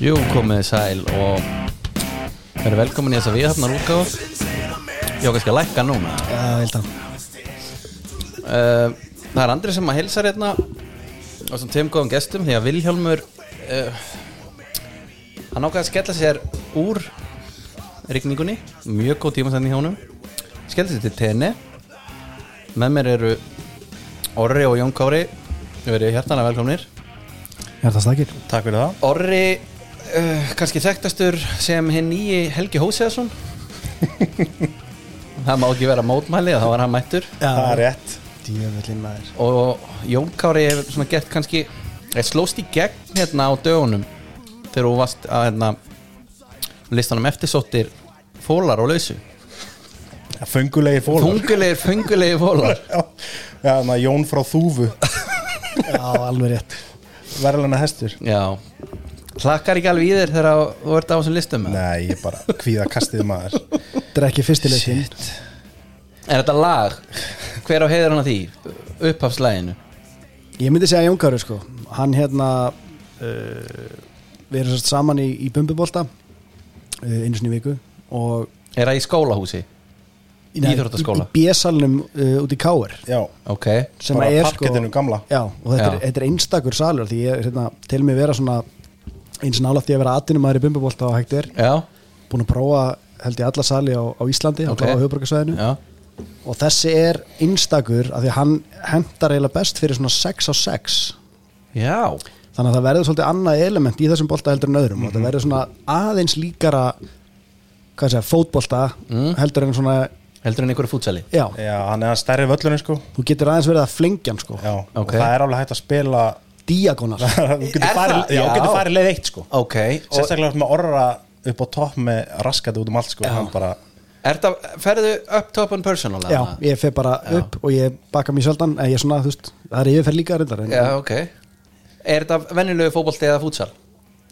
Jú, komið sæl og verið velkomin í þessa viðhafnar útgáð Ég á kannski að lækka núna Já, held að uh, Það er andri sem að helsa hérna á þessum tveim góðum gestum því að Vilhjálmur uh, hann ákveði að skella sér úr rigningunni mjög góð tímasending hjá honum skella sér til tenni með mér eru Orri og Jón Kári við erum hjartanlega velkomnir Hjarta stakir Takk fyrir það Orri uh, kannski þekktastur sem hinn nýji Helgi Hóseðarsson Það má ekki vera mótmæli þá var hann mættur Það er rétt Djöfullin maður og Jón Kári hefur svona gett kannski eh, slóst í gegn hérna á dögunum þegar hún varst að hérna listanum eftirsóttir fólar og lausu Ja, Föngulegi fólar Tungulegir, fungulegir fólar Já, já na, Jón frá Þúfu Já, alveg rétt Verðlana hestur Já Hlakkar ekki alveg í þér þegar þú ert á þessum listum eða? Nei, ég bara kvíða kastið maður Drekki fyrstileikin Er þetta lag? Hver á heiður hann að því? Upphafslæginu Ég myndi segja Jón Kári sko Hann hérna uh, Við erum sérst saman í, í Bumbubolta uh, Einu sinni í viku Og Er það í skólahúsi? Í íþróttaskóla? Í, í B-salnum uh, út í Káir Já, Ok, Sem bara að er sko parkettinu gamla Já, og þetta er, Já. þetta er einstakur salur Því ég hérna, tel mig vera svona Eins og nála því að vera atinum maður í Bumbubolta og hægt er já, Búin að prófa held ég alla sali á, á Íslandi Ok. okay. Á höfuborgarsvæðinu já og þessi er einstakur af því að hann hendar eiginlega best fyrir svona 6 á 6 Já, þannig að það verður svolítið annað element í þessum bolta heldur en öðrum og Mhm. það verður svona aðeins líkara hvað segja, fótbolta Mhm. heldur en svona, heldur en einhverju fútsali já, Já, hann er hann stærri völlurinn sko þú getur aðeins verið að flengja hann sko, Já, Ok. og það er alveg hægt að spila diagonal Þú getur Er það? farið- já, Já. þú getur farið leið eitt sko Ok, og Sérstaklega með orra upp á topp með raskati út um allt sko Hann bara er það, ferðu upp top and personal? já, eða? ég fer bara Já. upp og ég baka mér sjaldan, eða ég er svona, þú veist það er yfirferð líka reyndar en, já, ok Er þetta venjulegu fótbolti eða fútsal?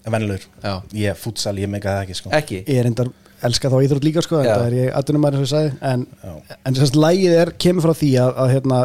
vennilegur Já. Ég fútsal, ég meika það ekki sko Ekki? ég er reyndar elska þá íþrótt líka sko, en Já. það er ég aðdunum maður eins og ég sagði en, Já. en sérst lægið er, kemur frá því að, að hérna,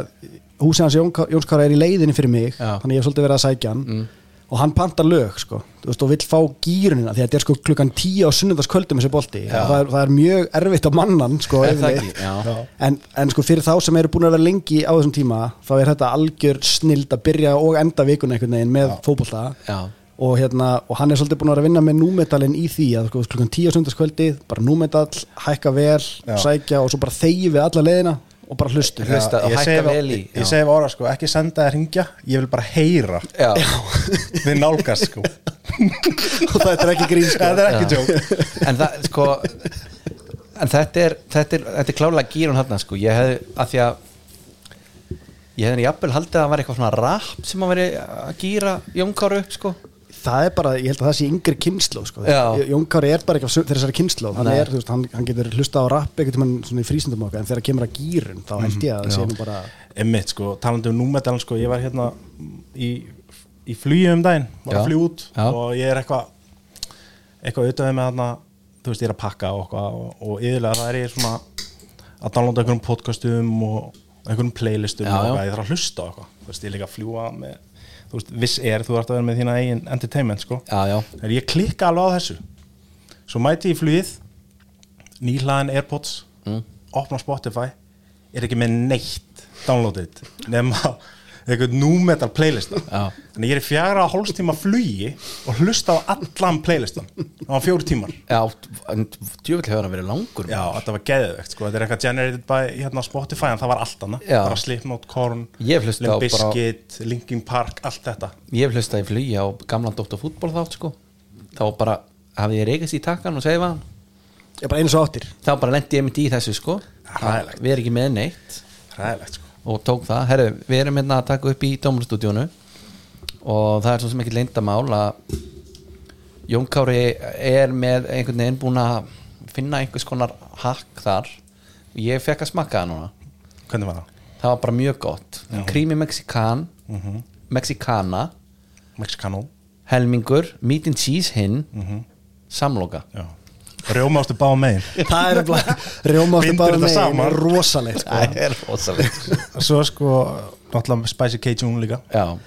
húsið hans Jón, Jónskára er í leiðinni fyrir mig, Já. Mm. þannig ég hef svolítið verið að sækja hann og hann pantar lög sko, þú veist, og vill fá gýrunina því að þetta er sko klukkan tíu á sunnundaskvöldum þessi bolti, og það er, það er mjög erfitt á mannan sko, Er það yfirleitt. ekki? Já. en, en sko fyrir þá sem eru búin að vera lengi á þessum tíma, þá er þetta algjör snild að byrja og enda vikuna einhvern veginn með fótbolta Já. og, hérna, og hann er svolítið búin að vera að vinna með númetalin í því að sko, klukkan tíu sundarskvöldi bara númetall, hækka vel Já. sækja og svo bara þegi við alla leðina og bara hlustu Já. Hlusta og Ég hækka segi við- vel í, já. Ég segi við orra sko, ekki senda að ringja Ég vil bara heyra Já, Við nálgast sko og þetta er ekki grín sko Þetta er Já. ekki tjók en það, sko En þetta er, þetta er, þetta er klálega gýrun hann sko. Ég hefði, að því að Ég hefði jafnvel haldið að það var eitthvað svona rap sem að veri að gýra Jónkár upp, sko það er bara, ég held að það sé yngri kynslu sko. Já. Jón Kári er bara ekki af su- þessari kynslu hann, Nei. er, þú veist, hann, hann getur hlusta á rapp ekkert mann svona í frísundum okkar en þegar kemur að gýrun þá held ég að Mm, það sé nú bara Emmitt sko, talandi um númetal sko, ég var hérna í, í flugi um daginn, var Já. að fljú út Já. og ég er eitthvað eitthvað auðvitað með þarna þú veist, ég er að pakka og eitthvað og, og yfirlega það er ég svona að downloada einhverjum podcastum og einhverjum playlistum Já, og já. eitthvað, ég þarf að hlusta á eitthvað þú veist, ég er líka að fljúa með þú veist, viss er, þú ert að vera með þína eigin entertainment sko, Já, já þegar ég klikka alveg á þessu svo mæti ég í flugið nýhlaðin Airpods Mm. opna Spotify er ekki með neitt downloaded nema einhvern númetal playlista Já. þannig ég er í fjara og hálfstíma flugi og hlusta á allan playlistan á fjóru tímar Já, en djúvill hefur hann verið langur Já, þetta var geðvegt sko, þetta er eitthvað generated by hérna, Spotify en það var allt annað, Já. bara Slipknot, Korn Ég hef hlustað á bara- Biscuit, Linkin Park, allt þetta Ég hef hlustað í flugi á gamlan Dóttar fútból þátt sko Þá bara hafði ég reykast í takkan og segið hann ég er bara eins og áttir Þá bara lendi ég mitt í þessu sko Hræðilegt. Við erum ekki með neitt ræðilegt sko og tók það Herru, við erum hérna að taka upp í Dómarstúdíónu og það er svo sem ekki leyndamál að Jón Kári er með einhvern veginn búin að finna einhvers konar hakk þar Ég fekk að smakka það núna Hvernig var það? Það var bara mjög gott Krími Mexikan Mexicana Mexicano helmingur, meat and cheese hinn Mhm. samloka Já. Rjómástu bá megin það er bara rjómastu Bindur bara þetta saman. með rosalegt sko. það er rosalegt Svo sko, náttúrulega Spicy Cajun líka já,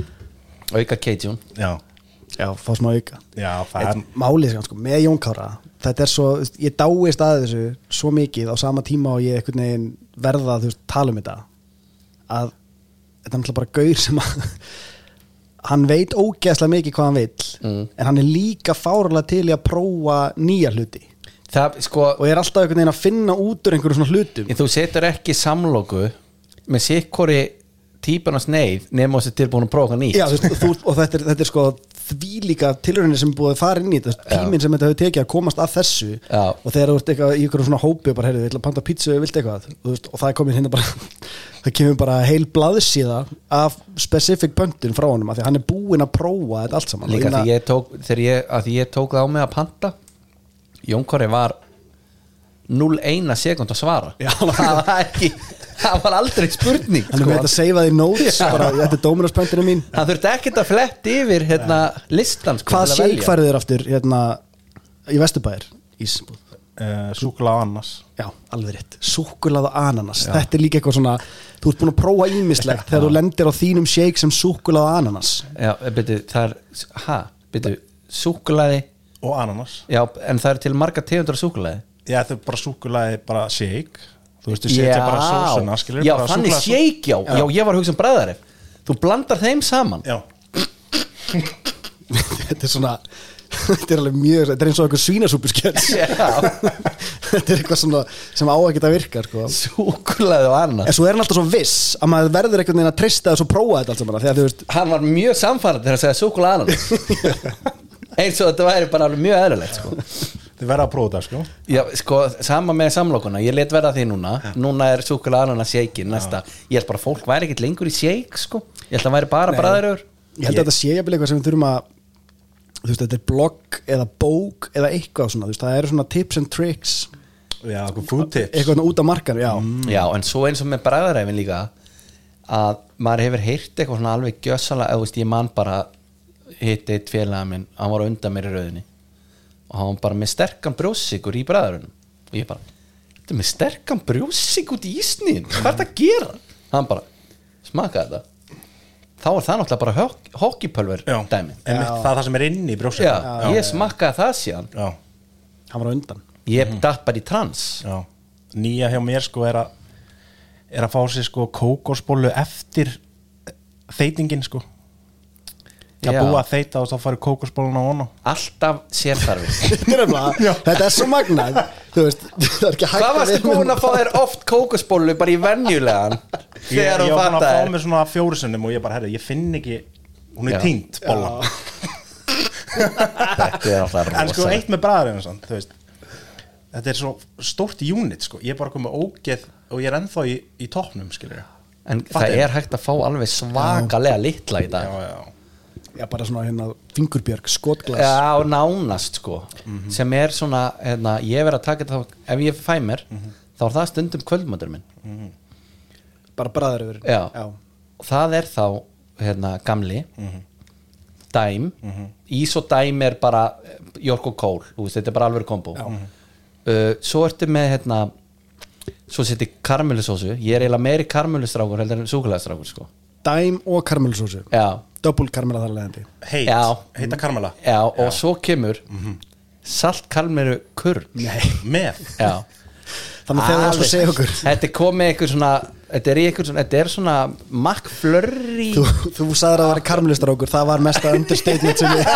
auka Cajun Já já, fá smá auka Já, það er En málið sem sko, með Jón Kára þetta er svo, þú veist, ég dáist að þessu svo mikið á sama tíma og ég einhvern veginn verða að þú veist, tala um þetta að þetta er náttúrulega bara gaur sem að hann veit ógeðslega mikið hvað hann vill en hann er líka fárlega til í að prófa nýja hluti það, sko, og er alltaf einhvern veginn að finna út úr einhverjum svona hlutum En þú setur ekki samloku með sikkori típan á sneið nema þessi tilbúin að prófa eitthvað nýtt Já, þú, veist, þú, og þetta er, þetta er sko því líka tilraunin sem er búið að fara inn í þetta tíminn sem þetta hefur tekið að komast að þessu Já. og þegar þú ert eitthvað í ykkur svona hópi og bara heyrðu, við ætla að panta pítsu eða vilt eitthvað og, þú veist, og það er komin hérna bara það kemur bara heil blaðsíða af specific pöntun frá honum af því að hann er búinn að prófa þetta allt saman Líka Þannig því ég tók, þegar ég, að því ég tók það á mig að panta Jónkori var 0,1 sekund að svara Já. það var ekki það var aldrei spurning hann er með þetta að seifa því notes sko- Já. bara, þetta er dóminars pöntunum mín hann þurfti ekkert að flett yfir hérna, listan sko, hvað til að velja. shake færið þér aftur hérna, í Vesturbæðir Ísbúð uh, súkla á annars Já, alveg rétt, súkulað og ananas Þetta er líka eitthvað svona, þú ert búin að prófa ímislegt þegar þú lendir á þínum shake sem súkulað og ananas Já, byrju, það er, hæ, byrju súkulaði, og ananas já, en það er til marga tegundar af súkulaði Já, þau bara súkulaði bara shake Þú veist, þú setja bara sósuna skilur, já, bara þannig súkkulaði- shake, já. já, ég var að hugsa um bræðari þú blandar þeim saman Já, Þetta er svona, þetta er alveg mjög Þetta er eins og eitthvað svínasúpuskjöld Þetta er eitthvað svona sem á að geta virka sko. súkulaði og annað En svo er hann alltaf svo viss að maður verður einhvern veginn að treysta þess og prófa þetta allt saman Þegar þú veist, hann var mjög samfærd þegar hann segja súkulaði annað eins og þetta væri bara alveg mjög eðlilegt sko. þið verða að prófa það sko Já, sko, sama með samlokuna, ég let verða því núna núna er súkulaði annað shake næsta, ég held bara að fólk væri ekkert lengur í shake sko. ég held að hann væri bara bræðaröfur ég held að þetta sé jafnvel eitthvað sem við þurfum að Þú veist, þetta er blogg eða bók eða eitthvað svona, þú veist, það eru svona tips and tricks Já, okkur food tips eitthvað svona út af markanum, já Já, en svo eins og með bræðaræfin líka að maður hefur heyrt eitthvað svona alveg gjössalega, eða þú veist, ég man bara hitt eitt félaga minn, hann var á undan mér í rauðinni og hann var bara með sterkan brjósikur í bræðarunum og ég bara, þetta er með sterkan brjósikur út í ísniðin, hvað er það að gera? Hann bara, smaka þetta þá er það náttúrulega bara hok- hockeypulver Já, dæmi en mitt, það er það sem er inni í brjósið Já, ég smakkaði það síðan já, Hann var á undan ég datt bara í trans já Nýja hjá mér sko er að er að fá sér sko kókosbólu eftir þeitingin sko að Já. búa að þeita og þá farið kókosbóluna á hana alltaf sérþarfið Þetta er nefnilega, þetta er svo magnað Þú veist, það er ekki hægt um Hvað varstu búin að fá þér oft kókosbólu bara í venjulegan Ég, þegar þú ég var búin fatt að fá þær mér svona fjórisunum og ég bara, herri, ég finn ekki hún er Já. týnd bólan Þetta er alltaf En sko rosalegt. eitt með bræðarinn sann, þú veist Þetta er svo stórt unit sko Ég er bara komið ógeð og ég er ennþá í, í toppnum skilur En Fattar það ég. er hægt að fá alveg svakalega litla í Já, dag já, Já, bara svona hérna, fingurbjörg, skotglas Já, nánast sko Mhm. sem er svona, hérna, ég verð að taka þetta þá- ef ég fæ mér, Mhm. þá er það stundum kvöldmöndur minn Bara bræðaröður Já. og það er þá hérna, gamli Mhm. dæm, ís og dæm er bara eh, Jörg og Kól, þú veist, þetta er bara alveg kombo uh, svo ertu með hérna, svo seti karmelusósu ég er eiginlega meiri karmelustrákur heldur en súkulegastrákur sko Dæm og karmelsósu já, Double karmela þar leðandi Heit, Já. heita karmela já, og svo kemur Mhm. salt karmelu kurn Með já Þannig að þegar þú varst að segja okkur Þetta er komið eitthvað svona Þetta er, í einhver svona, þetta er svona makkflörri Þú, þú sagðir að það var karmelistar okkur Það var mesta understatement sem ég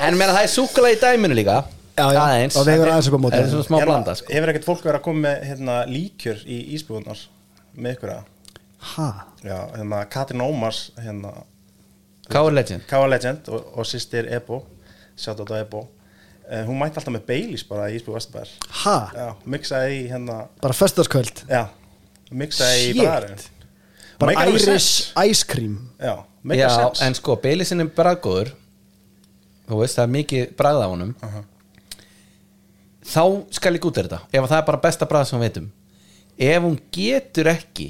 En meina það er súkulega í dæminu líka Já, já, aðeins og vegur aðeins eitthvað á móti. Það er svona smá Er- blanda sko. Hefur ekkert fólk verið að koma með hérna, líkjör í ísbúðunar Með ykkur að Ha, Já, hérna Katrin Ómars hérna, Káur Legend K.A. Legend og, og sýstir Ebo Sjátt á þetta Ebo eh, Hún mætti alltaf með Baileys bara í ísbúð Vesturbæðar ha, Já, mixaði í hérna bara föstaskvöld Já, mixaði í Shit. bræðarinn Bara Irish Ice Cream Já, make a Já, sense en sko, Baileysinn er bragóður Þú veist, það er mikið bragð á honum Þá skal ég gúta þetta Ef það er bara besta bragð sem við veitum Ef hún getur ekki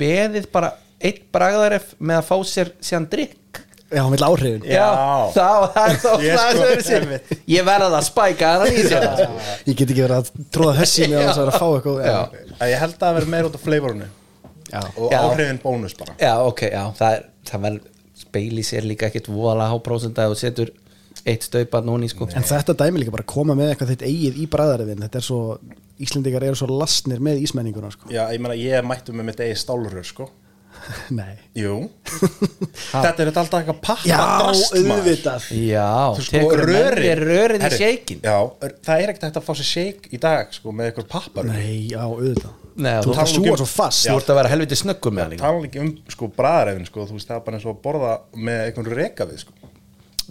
Beðið bara eitt bragðaref með að fá sér síðan drikk Já, hann vill áhrifin Já. þá, það er þá það Ég er sko, svo verið einmitt. sér Ég verða það að spæka hann í sér Ég get ekki verið að tróða hessi með þess að vera að fá eitthvað Já, Að ég held að það verði meira út af flavorinu já. og Já. áhrifin bónus bara Já, ok, já, það, er- það verður Baileys er líka ekkit voðalega háprósenda og setur eitt staupað núni sko En þetta dæmi líka bara að koma með eitthvað þitt eigið í bræðariðin Þetta er svo, Íslendingar eru svo lastnir með ísmenninguna sko. Já, ég meina, ég mættu með mitt eigi stálurur, sko Nei Jú Þetta er þetta alltaf eitthvað pakka Já, drasl, maður. auðvitað Já, Þú sko, tekur rörin rörin, rörin í Herri, sheikin Já, er- það er ekkert hægt að fá sér shake í dag, sko, með eitthvað pappar Nei, já, auðvitað Nei, þú Þú ert að talar nú sjúa ekki um- svo fast Þú ert að vera helviti snöggum með hann líka Talan ekki um, sko, bræðarefin, sko Þú veist, það er bara eins og að borða með eitthvað reka við, sko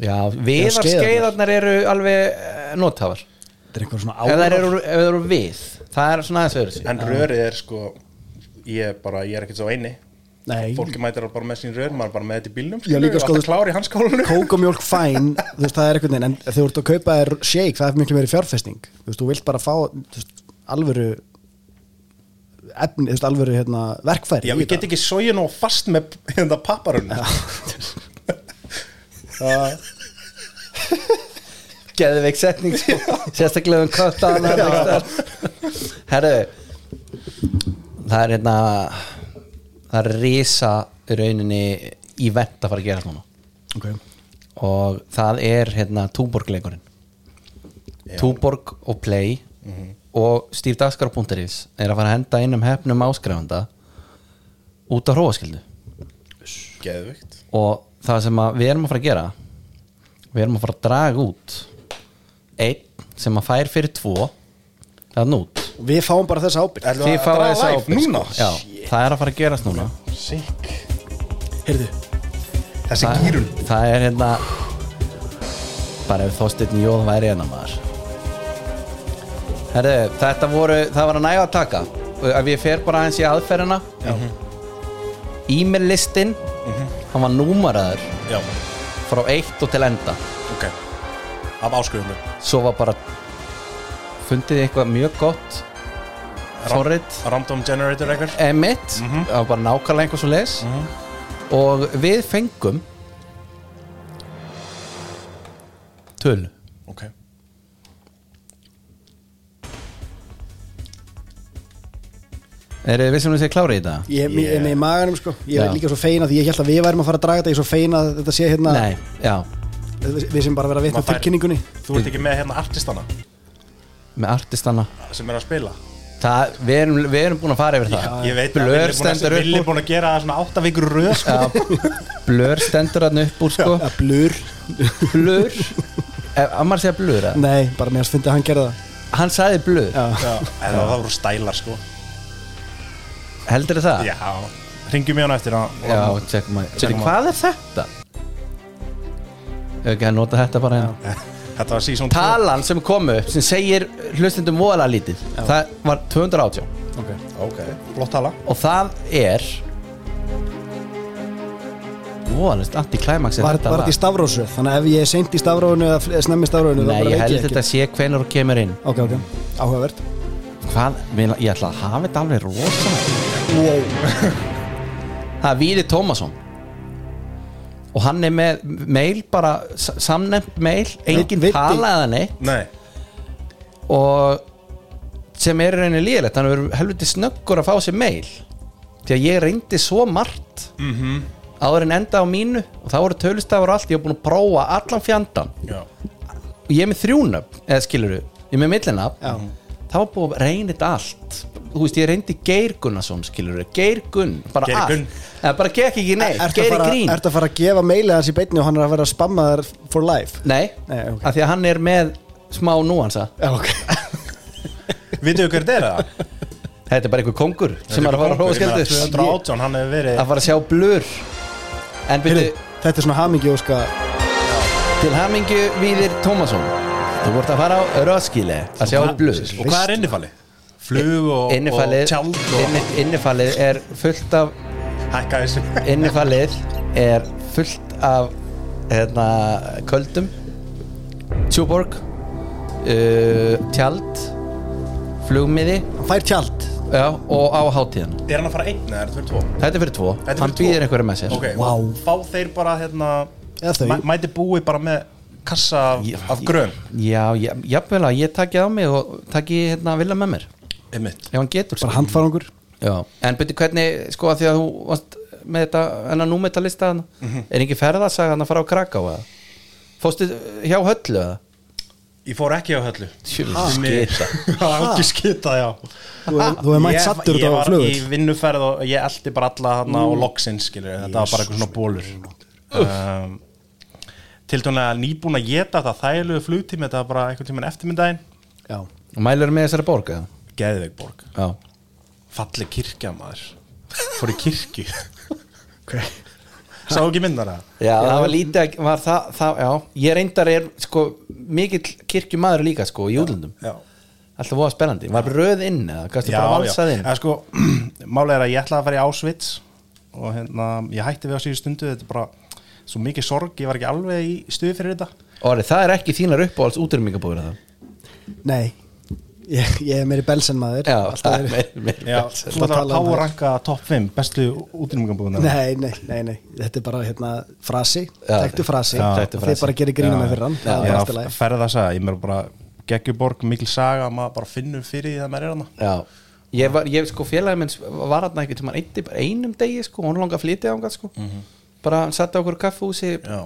Já, viðar skeiðarnar. skeiðarnar eru alveg eh, nothafar Þetta er einhver svona Ef það árar eru, ef þær eru við Það er svona aðeins öðru sig En rörið er, sko Ég bara, ég er ekkert svo eini Nei, Fólki mætir bara með sín rör, maður er bara með þetta í bílnum Já, líka, sko, Alltaf þú- klári í hanskólinu kókumjólk fæn þú veist, það er einhvern veginn, en þegar þú ert að kaupa þér shake, það er miklu meiri fjárfesting þú veist, þú vilt bara fá þú veist, alvöru efni, þú veist, alvöru hérna, verkfæri í Já, ég þetta. get ekki sóið nóg fast með hérna þetta papparunni Geðveik setning sko. Sérstaklega um kött að hann Herru Það er hérna Það er risa í rauninni í vent að fara að gera núna Ok. og það er hérna Túborg leikurinn Túborg og Play Mhm. og Steve Daskar.is er að fara að henda inn um hefnum áskrifanda út á hróaskildu Geðvikt og það sem að við erum að fara að gera við erum að fara að draga út einn sem að fær fyrir tvo það er nút við fáum bara þessa ábyrg Ætlum við að fáið draga þessa live ábyrgð, núna? sko. Já, það er að fara að gerast núna Sikk heyrðu, Þessi það, gýrun það er hérna bara ef Þorsteinn Jóð væri hérna maður Herðu, þetta voru það var að næga að taka ef ég fer bara aðeins í aðferðina e-mail listin hann var númaraður Já, frá 1 og til enda ok Af áskrifunum svo var bara fundið þið eitthvað mjög gott forrið Random generator eitthvað E- emitt, það var bara nákvæmlega einhver svo leis og við fengum töl Ok er þið vissum að þið sé klárið í þetta? ég Yeah. yeah. er með í maganum sko ég Já. er líka svo feina því ég held að við værum að fara að draga þetta ég er svo feina að þetta sé hérna Nei, já, við við sem bara vera að vitna Maður fær- tilkynningunni Þú ert ekki með hérna artistana með artistana sem er að spila það, við, erum, við erum búin að fara yfir það Ég veit að Blur Villi er búin að- stendur Villi upp er búin að gera það svona átta vikur röð sko. úr Já, Blur stendur hann upp úr sko að blur, Blur ef ef maður segja blur að nei, bara mér finnst að hann gera það hann sagði blur, já, Já, en það voru stælar sko heldur þið það? Já Ringjum ég hann eftir að Já, tjekkum að Tjekkum að- Hvað er þetta? Ef ekki að nota þetta bara hérna Þetta var season 2 Talan sem kom upp sem segir hlustendum voðalega lítið Það var 218 ok Ok Flott tala Og það er Voðalist, anti klæmaks Var var þetta í stafrósu? Þannig að ef ég er seint í stafrónu eða fl- snemmi í stafrónu Nei, ég held þetta sé hvenær þú kemur inn Ok, ok, áhugavert Hvað, Mér- ég ætla að hafa þetta alveg rosalega wow. Það er Víði Tómasson Og hann er með mail bara, s- samnefnt mail Engin Viddi. talaði neitt Nei og sem er í rauninni líðilegt hann verður helviti snöggur að fá sér mail því að ég reyndi svo margt mm Mhm. -hmm. áður en enda á mínu og það voru tölustafur og allt, ég var búin að prófa allan fjandan Já og ég er með þrjúnöfn, eða skiluru ég er með millinöfn, Já. það var búin að reynið allt þú veist, ég reyndi Geir Gunnarsson skiluru, Geir Gunn, bara Geir Gunn. allt eða bara gekk ekki neitt, Ertu Geir að, fara, Grín ertu að fara að gefa meilið hans í beinni og hann er að vera að spamma þær for life? nei, Nei, ok. af því að hann er með smá núansa Já, ok Vitið þau hver þetta er það? þetta er bara einhver kongur sem er að fara að Ég meina, hróskildu 218, hann hefur verið að fara að sjá blur en byrju, Heyrðu, Þetta er svona hamingi óska til hamingju Víðir Tómasson þú vort að fara á Roskilde að sjá blur Og hvað er innifalið? Flug og, og innifalið, tjald og inni, innifalið er fullt af hækka þessu innifalið er fullt af hérna, köldum tjúborg uh, tjald flugmiði Hann fær tjald já, og á hátíðan Er hann að fara einn eða er það fyrir tvo? þetta er fyrir tvo, Þetta hann er fyrir tvo. býðir einhverju með sér Ok, Vá. og fá þeir bara hérna Eða þau. mæ- Mæti búi bara með kassa af, Já, af grön já, já, jafnvel að ég taki á mig og taki hérna vilja með mér Einmitt ef hann getur sko. Bara handfarangur Já, en betur hvernig, sko að því að þú varst með þetta, hennar númetalista hann er ekki ferðasagan að fara á Kraká eða? Fórstu hjá höllu eða? Ég fór ekki á höllu Tjöfull skita. Það er ekki skita, já Þú er- þú er mætt Ég- sattur Ég út á var í flugul vinnuferð og ég eldi bara alla þarna og loksinn, skilur Þetta var bara eitthvað svona bólur um, Til tónlega nýbúin að geta þetta þægilegu flugtími Þetta var bara einhvern tímann eftirmyndaginn Já, Og Mælur með þessari borg eða? Geðveik borg Já Falleg kirkja, maður Fór í kirkju ok Sá ekki myndar það? Já, það var lítið að, var það, það, já, ég reyndar er sko, mikill kirkjumaður líka sko í útlöndum, Já alltaf voða spennandi var röð inn eða, kannski bara valsað inn Eða sko, Málið er að ég ætlaði að fara í Ásvits og hérna, ég hætti við á síðu stundu þetta er bara svo mikið sorg, ég var ekki alveg í stuði fyrir þetta Orri, það er ekki þínar uppáhalds útrýmingabúður það Nei, ég, ég er meiri belsen maður Já, Alltaf það er verið- meir, meir, Já, meir, þú ætlar tala um að það. power ranka top 5 bestu útrýmingambúðunar Nei, nei, nei, nei, þetta er bara hérna frasi, Já. tektu frasi Já. og Þekktu þið frasi. bara gerir grína með fyrir hann það er allt í Já, lagi ferða það að ég mér bara geggjuborg, mikil saga, maður bara finnur fyrir því það maður er hana Já, ég var, ég sko félagi minn var hann ekki tíma einum degi sko, hún langa að flytja ánga sko bara hann satt á okkur kaffúsi Já,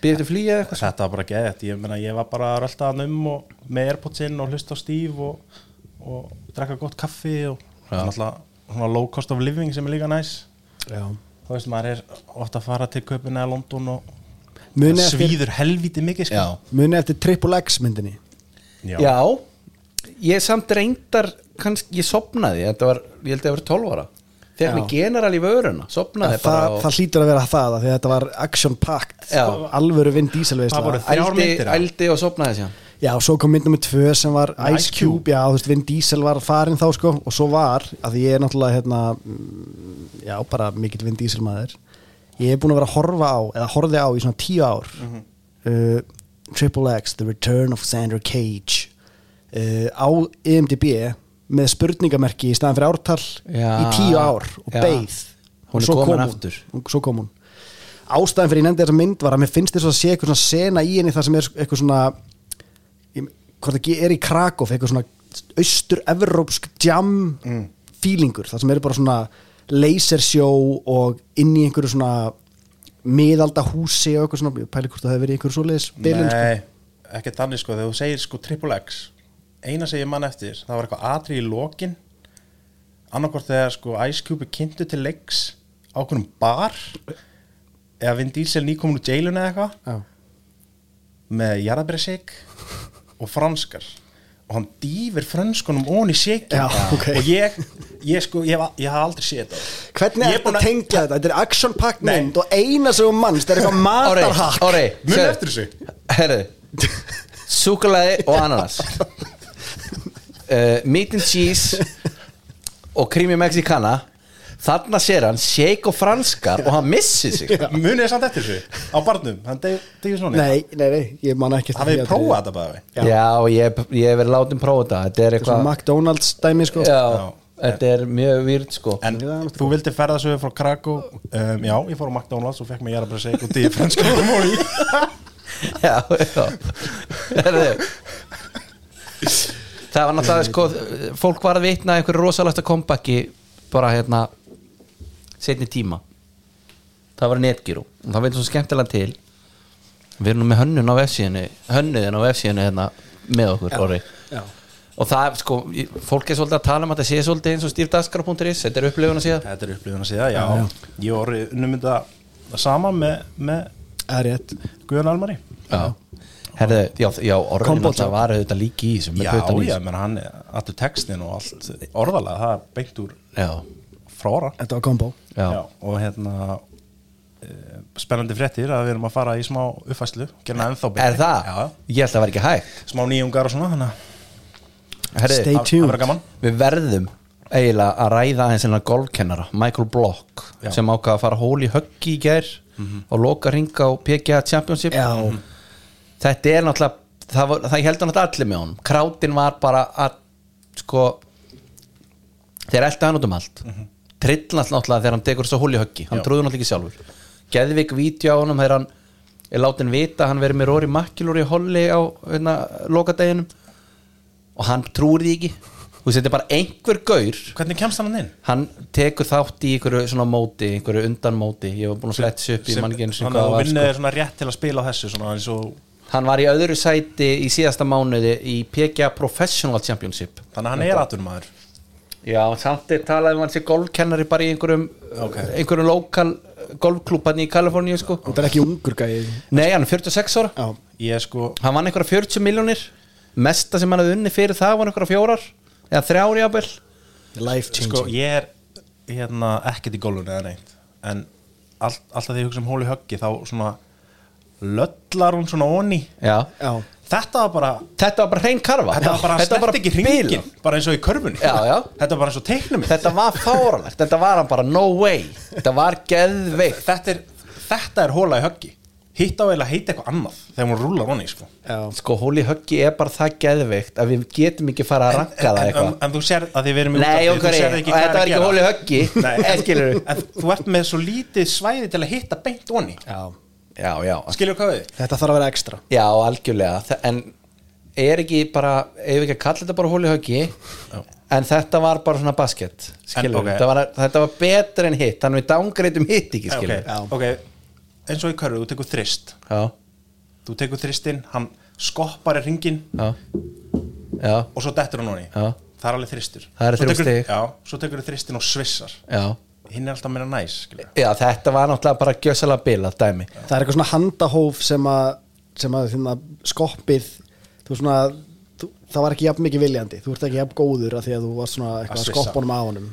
býðið til flýja eitthvað þetta var bara geðið ég, meina, ég var bara að rölda hann um og, með airpodsinn og hlusta á stíf og, og drekka gott kaffi og alltaf svona low cost of living sem er líka næs Já. þú veist maður er oft að fara til Köpina eða London og Munið það eftir, svíður helviti mikið sko. muni eftir Triple X myndinni Já. Já. ég samt reyndar kannski, ég sopnaði, þetta var ég held að það var 12 ára, þegar Já. mig general í vöruna, það, sopnaði bara það, og það hlýtur að vera það af því að þetta var action packed Já. alvöru vinn díselveisla Það voru þrjár ældi, myndir, já. ældi og sopnaði síðan Já, og svo kom mynd nummer tvö sem var Ice Ice Cube. Cube, já, þú veist, Vin Diesel var farin þá sko, og svo var, að ég er náttúrulega hérna, mm, já, bara mikill Vin Diesel maður, ég er búin að vera að horfa á, eða horfði á í svona tíu ár uh, Triple X The Return of Sandra Cage uh, á IMDb með spurningamerki í staðan fyrir ártal Já. í tíu ár og Já. beið Hún Og er svo komin kom aftur. og svo kom hún ástæðan fyrir ég nefndi þessa mynd var að mér finnst þess að sé eitthvað svona sena í henni þar sem er sko, eitthvað svona ég- hvort ekki er í Krakow eitthvað svona austur-evrópsk jam Mm. feelingur þar sem eru bara svona lasersjó og inn í einhverju svona miðalda húsi og eitthvað svona ég pæli hvort það hefur verið í einhverju svoleiðis bilun sko. Nei, ekki þannig sko, þegar þú segir sko triple X eina sem ég mann eftir, það var eitthvað atri í lokin annarkvort þegar sko Ice Cube er kynntu til leiks á okkurum bar eða Vin Diesel nýkomin úr jailun eða eitthvað Já. með jarðabærisík og franskar og hann dýfir frönskunum ón í síkin Já, ok. og ég, ég sko, ég, hef- ég haf aldrei séð þetta hvernig er Ég er búin þetta að að- tengja þetta? þetta er action pack Nei. mynd og eina sem um mannst er eitthvað matarhakk Orri, Munið sjáðu. eftir þessu. Herðu, súkulaði og ananas uh, Meat and cheese og krimi mexicana Þarna sér hann shake og franskar og hann missir sig munið þið samt eftir þessu á barnum, hann degið svona nei, nei, nei, ég man ekki eftir hafið því þið að- prófað þetta bara Já, ég, ég hef verið látið prófa þetta Þetta er Svona eitthvað McDonalds dæmi sko já, Þetta er mjög výrt sko En Já, það er þú vildi ferða sögur frá Krakow um, Já, ég fór á McDonalds og fekk mig jæra bara seg og dýði franska móli Já, já Herðu Það var náttúrulega sko Fólk var að vitna einhverju rosalasta kompaki Bara hérna Setni tíma Það var netgíru og það veitum svo skemmtilega til Við erum nú með hönnun á vefsíðinu Hönnuðin á vefsíðinu hérna Með okkur, orri já. Og það, er, sko, í- fólk er svolítið að tala um að þetta sé svolítið eins og stífdaskar.is, þetta er upplifuna síðan Þetta er upplifuna síðan, já, Ég var unnumynda sama með, með Það er rétt Guðan Almari Já, herðu, já, já orðin Kombo alltaf var auðvitað líki í sem Já, já, menn hann er allur textin og allt orðalega, það er beint úr já, fróra Þetta var kombo já, Og hérna eh, spennandi fréttir að við erum að fara í smá uppfæslu gerna ennþá betri. Er það? Já, Ég held að það var ekki hægt smá nýjungar og svona þannig að Herri, Stay það- það verður gaman. Við verðum eiginlega að ræða aðeins hennar golfkennara, Michael Block Já. Mhm. sem ákvað að fara hól í höggi í gær og loka ringa á PGA Championship Já, Þetta er náttúrulega það, var, það heldur náttúrulega allir með honum Krátin var bara að sko þeir elda hann út um allt mm -hmm. trillnast náttúrulega þegar hann tekur þess að hól í höggi hann Já. trúður náttúrulega ekki sjálfur Geðvik vídeo á honum þegar hann er látin vita að hann verið með Rory Mackilur í holli á hérna, lokadeginum og hann trúir því ekki þú veist, þetta er bara einhver gaur Hvernig kemst hann inn? hann tekur þátt í einhverju svona móti einhverju undan móti, ég var búin að fletta upp í mannginn sem Þannig hvað að það var vinnið sko. er svona rétt til að spila á þessu svona eins og hann var í öðru sæti í síðasta mánuði í PGA Professional Championship Þannig að hann er aðtunum maður já, samt er talað um hann sé golfkennari bara í einhverjum einhverjum lokal golfklúpan í Kaliforníu sko Þetta er ekki ungur gæði nei, hann er 46 ára Já, Ég sko, hann vann einhverja 40 miljónir mesta sem hann hafði unni fyrir það var einhverja fjórar eða þrjár jábel life sko changing ég er hérna, ekkert í gólfinu eða neitt en allt, alltaf þegar ég hugsa um hóli höggi þá svona löllar hún svona onni já. Já, Þetta var bara þetta var bara hrein karfa Þetta var bara, þetta var snert ekki hringin bilað. bara eins og í körfunni Já, já. Þetta var bara eins og teiknum þetta var fáranlegt, þetta var hann bara no way þetta var geðveikt þetta er, þetta er hóla í höggi hitt á eiginlega heita eitthvað annað þegar hún rúlar honni sko. já, sko hóli höggi er bara það geðveikt að við getum ekki fara að ranka það en, en, eitthvað en þú sér að þið verðum Nei, okkur er, og þetta var ekki hóli höggi en skilur en þú ert með svo lítið svæði til að hitta beint honni já já, já, skilur hvað við Þetta þarf að vera ekstra já, algjörlega Þa- en er ekki bara ef ekki að kalla þetta bara hóli höggi en þetta var bara svona basket skilur, En, ok. þetta, var, þetta var betur en hitt þannig við dángreitum hitt ekki skilur okay, ok, eins og í körfu, þú tekur þrist já, þú tekur þristinn, hann skoppar í ringin já, já, og svo dettur hann honni Já. það er alveg þristur Það eru Svo þrjú tekur- stig. já, svo tekur þú þristinn og svissar já hinn er alltaf meira næs skilur. Já, þetta var náttúrulega bara gjössalega bilað dæmi Það er eitthvað svona handahóf sem að, sem að þinna, skoppið þú svona, þú, það var ekki jafn mikið viljandi, þú ert ekki jafn góður af því að þú varst svona eitthvað Að að svissa. skoppunum á honum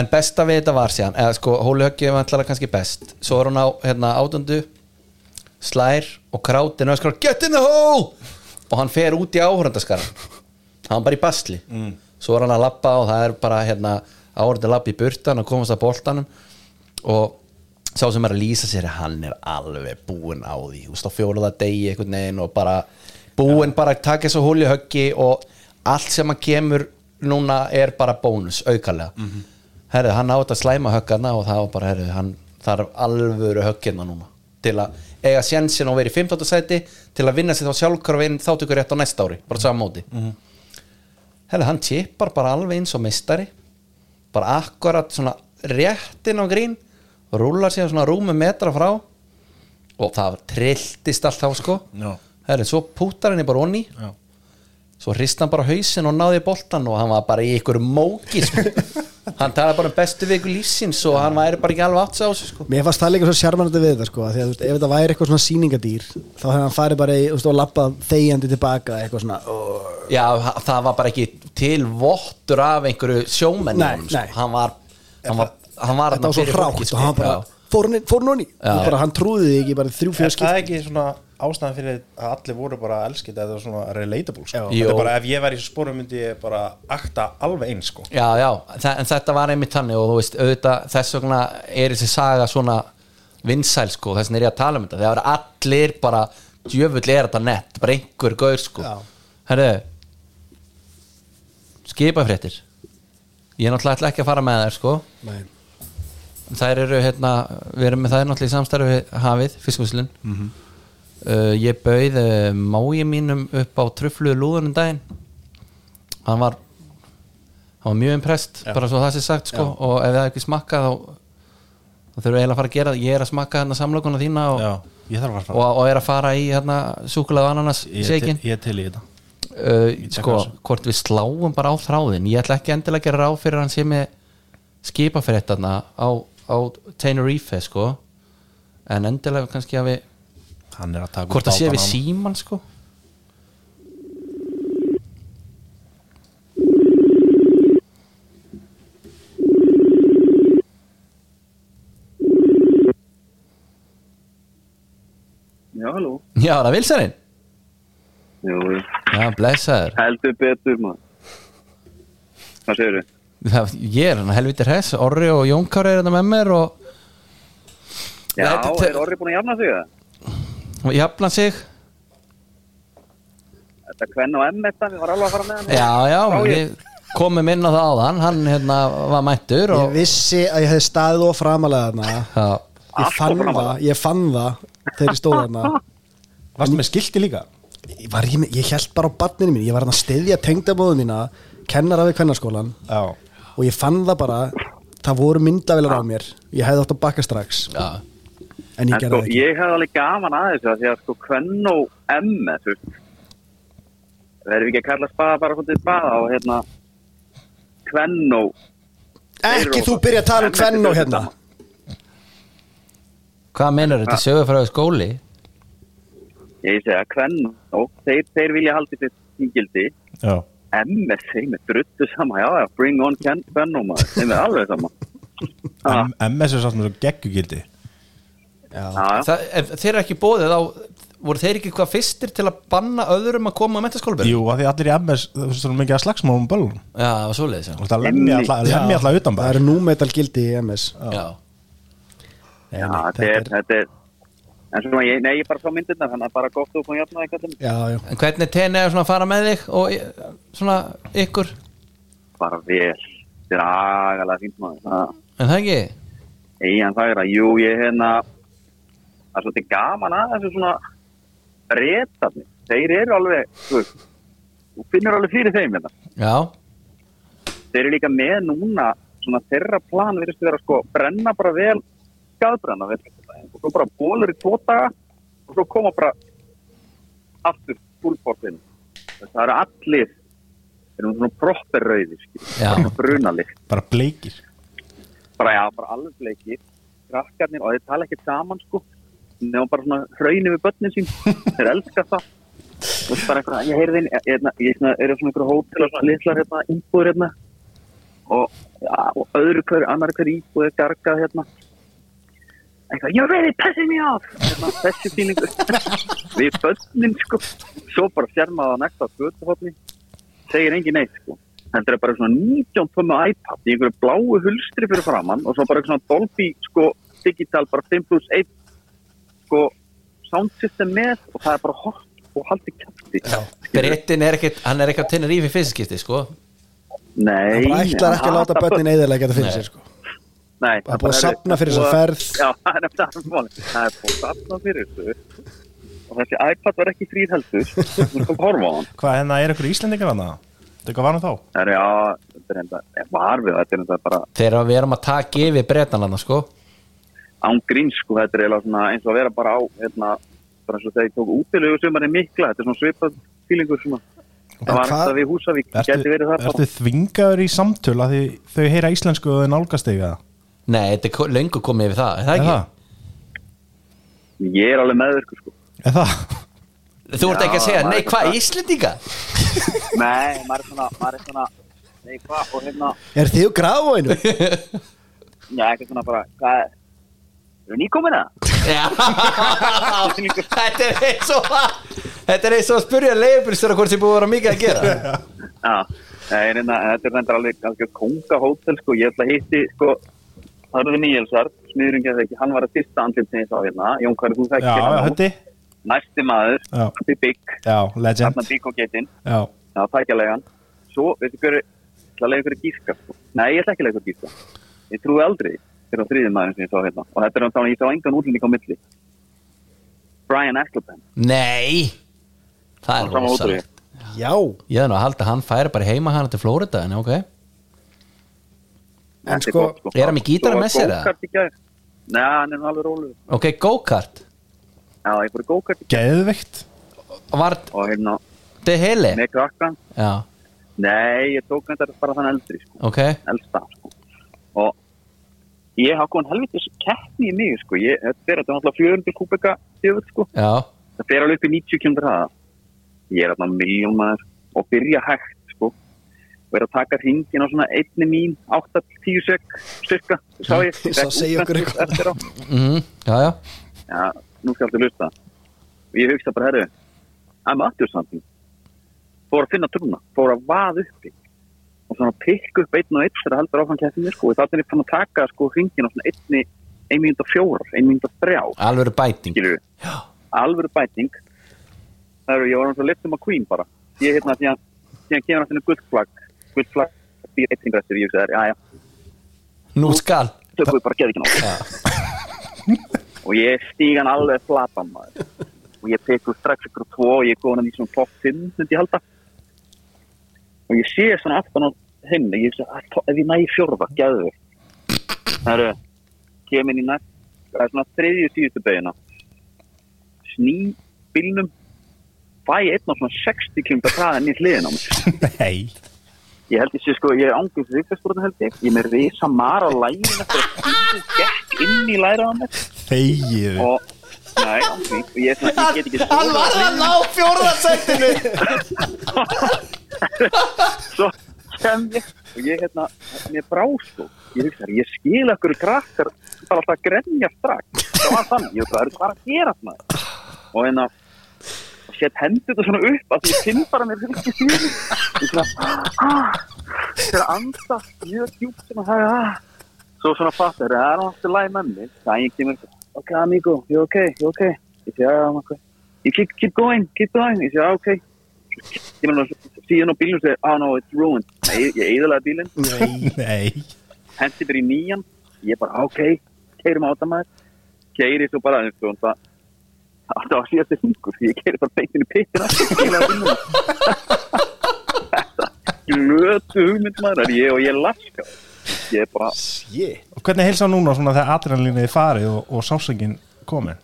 En besta við þetta var síðan eða sko, Hóli Höggi var alltaf kannski best Svo er hún á hérna, átöndu Slær og krátin og skrar Get in the hole Og hann fer út í áhörundaskara Hann var bara í basli Svo er hann að labba og það er bara hérna, áhörunda labba í burtan og komast að boltanum Og sá sem er að lýsa sér Hann er alveg búinn á því Þú veist á fjóruða degi einhvern veginn og bara Búinn bara að taka þessu Hóli Höggi Og allt sem hann kemur núna er bara bónus aukarlega herðu, hann á þetta slæma höggana og það var bara, herðu, hann þarf alvöru höggina núna til að eiga sjensin og vera í 15. sæti til að vinna sér þá sjálfkörfin þá tökur rétt á næsta ári, bara saman móti herðu, hann tippar bara alveg eins og meistari bara akkurat svona réttin á grín og rúlar sér svona rúmi metra frá og það trilltist allt þá sko Já. herðu, svo pútar henni bara onni Já. svo hrist hann bara hausin og náði í boltan og hann var bara í ykkur móki sko. hann talaði bara um bestu viku lífsins og hann væri bara ekki alveg átt sig á sig sko. Mér fannst það líka svo sjarmanandi við þetta sko af því að þú veist, ef þetta væri eitthvað svona sýningadýr þá hefði hann farið bara í, þú veist, og lappað þegjandi tilbaka eitthvað svona oh. já, ha- það var bara ekki til vottur af einhverju sjómenn Nei, sko. nei. hann var hann var, hann var Þetta þarna var svo fyrir hrátt fólkið, og hann sko. bara, Já. fór hann inn- fór hann onni Já. bara, hann trúði því ekki bara þrjú Er fjöð það skipt ekki svona ástæðan fyrir að allir voru bara elskit eða það var svona relatable sko? Já. Jú. Þetta er bara ef ég væri í þessu sporum myndi ég bara akta alveg eins sko já, já, þa- en þetta var einmitt þannig og þú veist, auðvitað þess vegna er þessi saga svona vinsæl sko, þess vegna er ég að tala um þetta þegar allir bara, djöfull er þetta nett bara einhver gaur sko Já. herðu skipafréttir ég er náttúrulega ætla ekki að fara með þær sko Nei. þær eru hérna, við erum með þær náttúrulega í samstarfi við hafið, fiskvíslun Mhm. uh, ég bauð uh, mái mínum upp á trufluðu lúðunum daginn hann var hann var mjög impressed, bara svo það sé sagt sko og ef það er ekki smakka þá þá þurfum við eiginlega að fara að gera, það. ég er að smakka hérna samlokuna þína og, ég þarf að og, og er að fara í hérna súkulega ananas shakein Ég er til í þetta uh, tek sko, þessu. hvort við sláum bara á þráðin ég ætla ekki endilega að gera ráð fyrir að hann sé með skipafréttarna á, á Tenerife sko en endilega kannski að við Hann er að taka hvort það sé við síman sko Já, halló. já, það er vilsarinn Jú, jú. já, blessaður heldur betur maður. Hvað segir þau? Það- ég er hann helviti hress, Orri og Jónkar er þetta hérna með mér og Já, Nei, þetta- er orðið búin að jafna sig það? og jafna sig Þetta kvenn og emmet það, ég var alveg að fara með hann. já, já, Frá ég. við komum inn á það áðan hann hérna var mættur Ég og, vissi að ég hefði staðið og framalega þarna já, Ég Allt fann of framalega. það, ég fann það þegar ég stóð þarna Varstu með skilti líka? ég, var ég, með- ég held bara á barninu mín ég var hann að styðja tengdabóðu mína kennara við kvennarskólan Já. og ég fann það bara það voru myndavilar á mér ég hefði átt að bakka strax Já, en ég En sko, gerði það ekki ég hefði alveg gaman að þessu af því að sko Kvennó M þú veist verðum við ekki að kalla spaða bara svolítið spaða og hérna Kvennó ekki þú byrja að tala um kvenn og hérna hvað meinar þetta? Sögur frá skóli? ég segja Kvennó þeir, þeir vilja haldi sér tíngildi Já. M er þeim er druttu sama já já, bring on Ken- Kvennó maður þeim er alveg sama Ha, M- MS er samt með svo geggugildi já, já. Það, ef þeir eru ekki bóðið þá voru þeir ekki hvað fyrstir til að banna öðrum að koma að mentaskólubur? Jú, af því allir í MS, þú veist það mikið að slagsmálum um bölun Já, það var svoleiðis já. Þú veist að lemja alla- lemja alla utan það bara eru númetal gildi í MS Já. Nei, Já, nei, þetta er, þetta er en svona, ég, nei, ég bara frá myndirna þannig að bara gott þú kom jafna eitthvað já, já, En hvernig tenni er svona að fara með þig og í- svona ykkur? bara vel, þetta er agalega fínt maður það En það ekki? Ían Fagra, jú, ég hérna það er svolítið gaman að þessu svona reytarni, þeir eru alveg þú veist, þú finnur alveg fyrir þeim hérna. Já, þeir eru líka með núna svona þeirra plan virðist vera sko brenna bara vel skadbrenna vel og svo bara bólur í tvo daga og svo koma bara aftur fúlbortin það eru allir þeir eru svona proper rauðir Já. brunalið Bara bleikir bara já, bara alveg bleikir krakkarnir og þeir tala ekkert saman sko nefnum bara svona hraunir við börnin sín þeir elska það Þú veist, bara eitthvað, ég heyrði inn ég, ég, ég, ég, er svona einhver hótel og svona litlar hérna, íbúður hérna og, ja, og öðru hver, annar hver íbúð er gargað hérna eitthvað, you're really pissing me off hérna, þessi fílingu við börnin sko svo bara sérmaða næsta skötuhopni segir engin neitt sko þetta er bara svona 19 tómmu iPad í einhverju bláu hulstri fyrir framann og svo bara eitthvað svona Dolby sko digital bara 5 plus 1 sko sound system með og það er bara hort og haldið kæfti Brettin er ekkert, hann er ekkert tennir í fyrir fyrstskipti, sko Nei, það bara ætlar hann ekki að láta hatar börnin eðalega þetta fyrir sér sko. Nei, Það er búið að safna fyrir þessa búið að- ferð. Já, það er það er málið. Það er búið að safna fyrir þessu og þessi iPad var ekki fríð heldur þú kom horfa á hann Hvað, hérna er einhver íslendingar hana? Þetta er hvað var hann þá? Það er já, þetta er enda ég var við, þetta er enda bara Þegar við erum að taka yfir brettan hann, sko án grín sko, þetta er eiginlega svona eins og að vera bara á hérna, bara eins og þegar ég tók útilegu sumarinn mikla, þetta er svona svipað fílingur svona, það var hvað- alltaf við Húsavík geti verið það ertu bara, þvingaður í samtöl að því þau heyra íslensku og þau nálgast þig eða? Nei, þetta er ko- löngu komið yfir það, er það Er ekki? það? ég er alveg meðverku sko Er það? Þú ert ekki að Já, segja, maður nei, er hvað, bara- Íslendinga? nei, maður er svona, maður er svona nei, hvað, og hérna, er þið gráð á einu? já, eitthvað svona bara hvað, er- eru nýkomin að? Já Þetta er eins og að- Þetta er eins og að spyrja leiðbyrstjóra hvort sem búið að vera mikið að gera já, nei, en hérna, þetta er enda alveg kannski kongahótel sko, ég ætla að hitti sko, Harður Níelsar smiðurinn getur ekki, hann var að fyrsta andlitni ég sá hérna, Jón Kari, þú Já, þekkir já, hann nú. höndi næsti maður, Já. Big Big Já, legend þarna Big og getinn Já, Já, tækjalegan. Svo, veitu hverju, ég ætla að leiða ykkur að gíska. sko. Nei, ég ætla ekki að leiða ykkur að gíska. Ég trúi aldrei fyrir á þriðið maður sem ég sá hérna. Og þetta er um þannig að ég sá engan útlending á milli. Brian Askelben. Nei Það er Saman rosa útrúið. já, Ég er nú að halda að hann færi bara heima hana til Flórida En ok en sko Er hann með gítara með sér, eða? eða? Nei, hann er nú alveg rólu. Ok, go-kart Já, ég fór í go-kart í gær geðveikt Var og hérna, de hele með krakkan. Já, Nei, ég tók þetta bara þann eldri, sko. ok Elsta, sko. Og ég hafa komið helvitis keppni í mig, sko. Ég, þetta er þetta er alltaf 400 kúbeka, djöfull, sko. Já, það fer alveg upp í 90 km hraða ég er þarna miljón maður og byrja hægt sko og er að taka hringin á svona einni mín 8-10 sek, cirka sá ég, Ég sá Fékk segja okkur útlensk eitthvað. eftir á. mm, já, já já, nú skal þú lusta og ég hugsa bara, herru I'm up to something fór að finna trúna, fór að vaða uppi og svona pikk upp einn og einn þegar heldur áfram kæftinni sko og þannig er ég fann að taka sko hringin á svona einni 1.4, 1.3 Alvöru bæting skilur við alvöru bæting það eru, ég var náttúrulega lefnum að Queen bara ég hérna, því að því að kemur að finna gullflag gullflag, því að eitthvað restur ég sagði, já, já, Nú skal tökum við bara geði ekki nátt og ég stíg hann alveg flatan maður og og ég tekur strax ykkur tvo og ég er góðan í svona top 5 myndi ég halda og ég sé svona aftan á hinn og ég sé að to- ef ég næ í fjórða, gæðu það eru kem inn í næst það er svona þriðju síðustu beina sný bílnum fæ einn á svona 60 km hraðan í hliðin á mig Nei Ég held ég sé sko, ég angið þvíkvæðsbúrinu held ég Ég er með risa mara á lægin eftir að fíðu gekk inn í læra á mér Þegið og Nei, angið, og ég, er svona, ég get ekki stóra að ná fjórðarsættinu Svo kem ég og ég hérna, mér brá sko Ég hugsa, ég skil okkur krakkar Það er alltaf að grenja strax Það var þannig, ég hugsa, það eru hvað er að gera þarna Og hérna og Sett hendur þetta svona upp að ég finn bara mér fyrir ekki fyrir Ég svona, ah, Þegar að anda mjög djúpt sem að það er ah svo svona fattar, það er alltaf læg með mig það ég kemur, ok amigo, you ok, you ok ég sé, já, ok you keep, keep going, keep going, ég sé, já, ok ég meina, síðan á bílnum segir, oh no, it's ruined Nei, ég, ég eðalega bílinn, Nei Nei hendi fyrir nýjan ég bara, "Ah, ok, keirum átamæður keiri svo bara, eins og það alltaf að síðast er hungur ég keiri bara beintinu pittina þetta glötu hugmynd maður er ég og ég laska ég er bara, Shit Og hvernig heilsa núna svona þegar adrenalinnið er farið og, og sásöngin komin?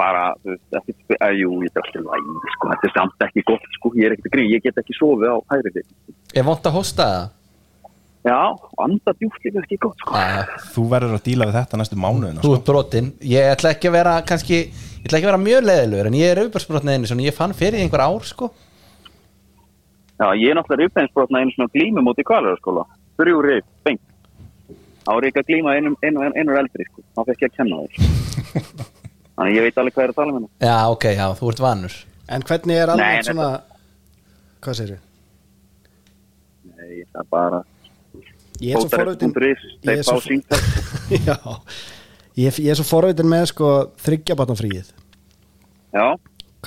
bara, þú veist, ekki, að, jú, ég er alltaf læg, sko, þetta er samt ekki gott, sko, ég er ekkert að grín, ég get ekki sofið á hægri þig. Ég vant að hósta það Já, og anda djúpt líka ekki gott, sko. Nei, Þú verður að díla við þetta næstu mánuðina Þú sko. ert brotinn Ég ætla ekki að vera kannski Ég ætla ekki að vera mjög leðilegur En ég er auðvarsbrotinn einu Svona ég fann fyrir því einhver ár sko Já, ég er náttúrulega uppeinsbrotna einu svona glímu móti kvaleraskóla, þrjú rif, bengt. Þá er ekki að glíma einum, einum, einum eldri, sko, þá fekk ég að kenna það, sko. Þannig ég veit alveg hvað er að tala um hérna. með hana. Já ok, já, þú ert vanur En hvernig er Nei, alveg nei, svona Hvað segir þið? Nei, það er bara, Ég er svo forvitin fótarist.is, ég þeir er fá svo- símtæk. Já Ég, ég er svo forvitin með sko þryggjabatnafríið Já,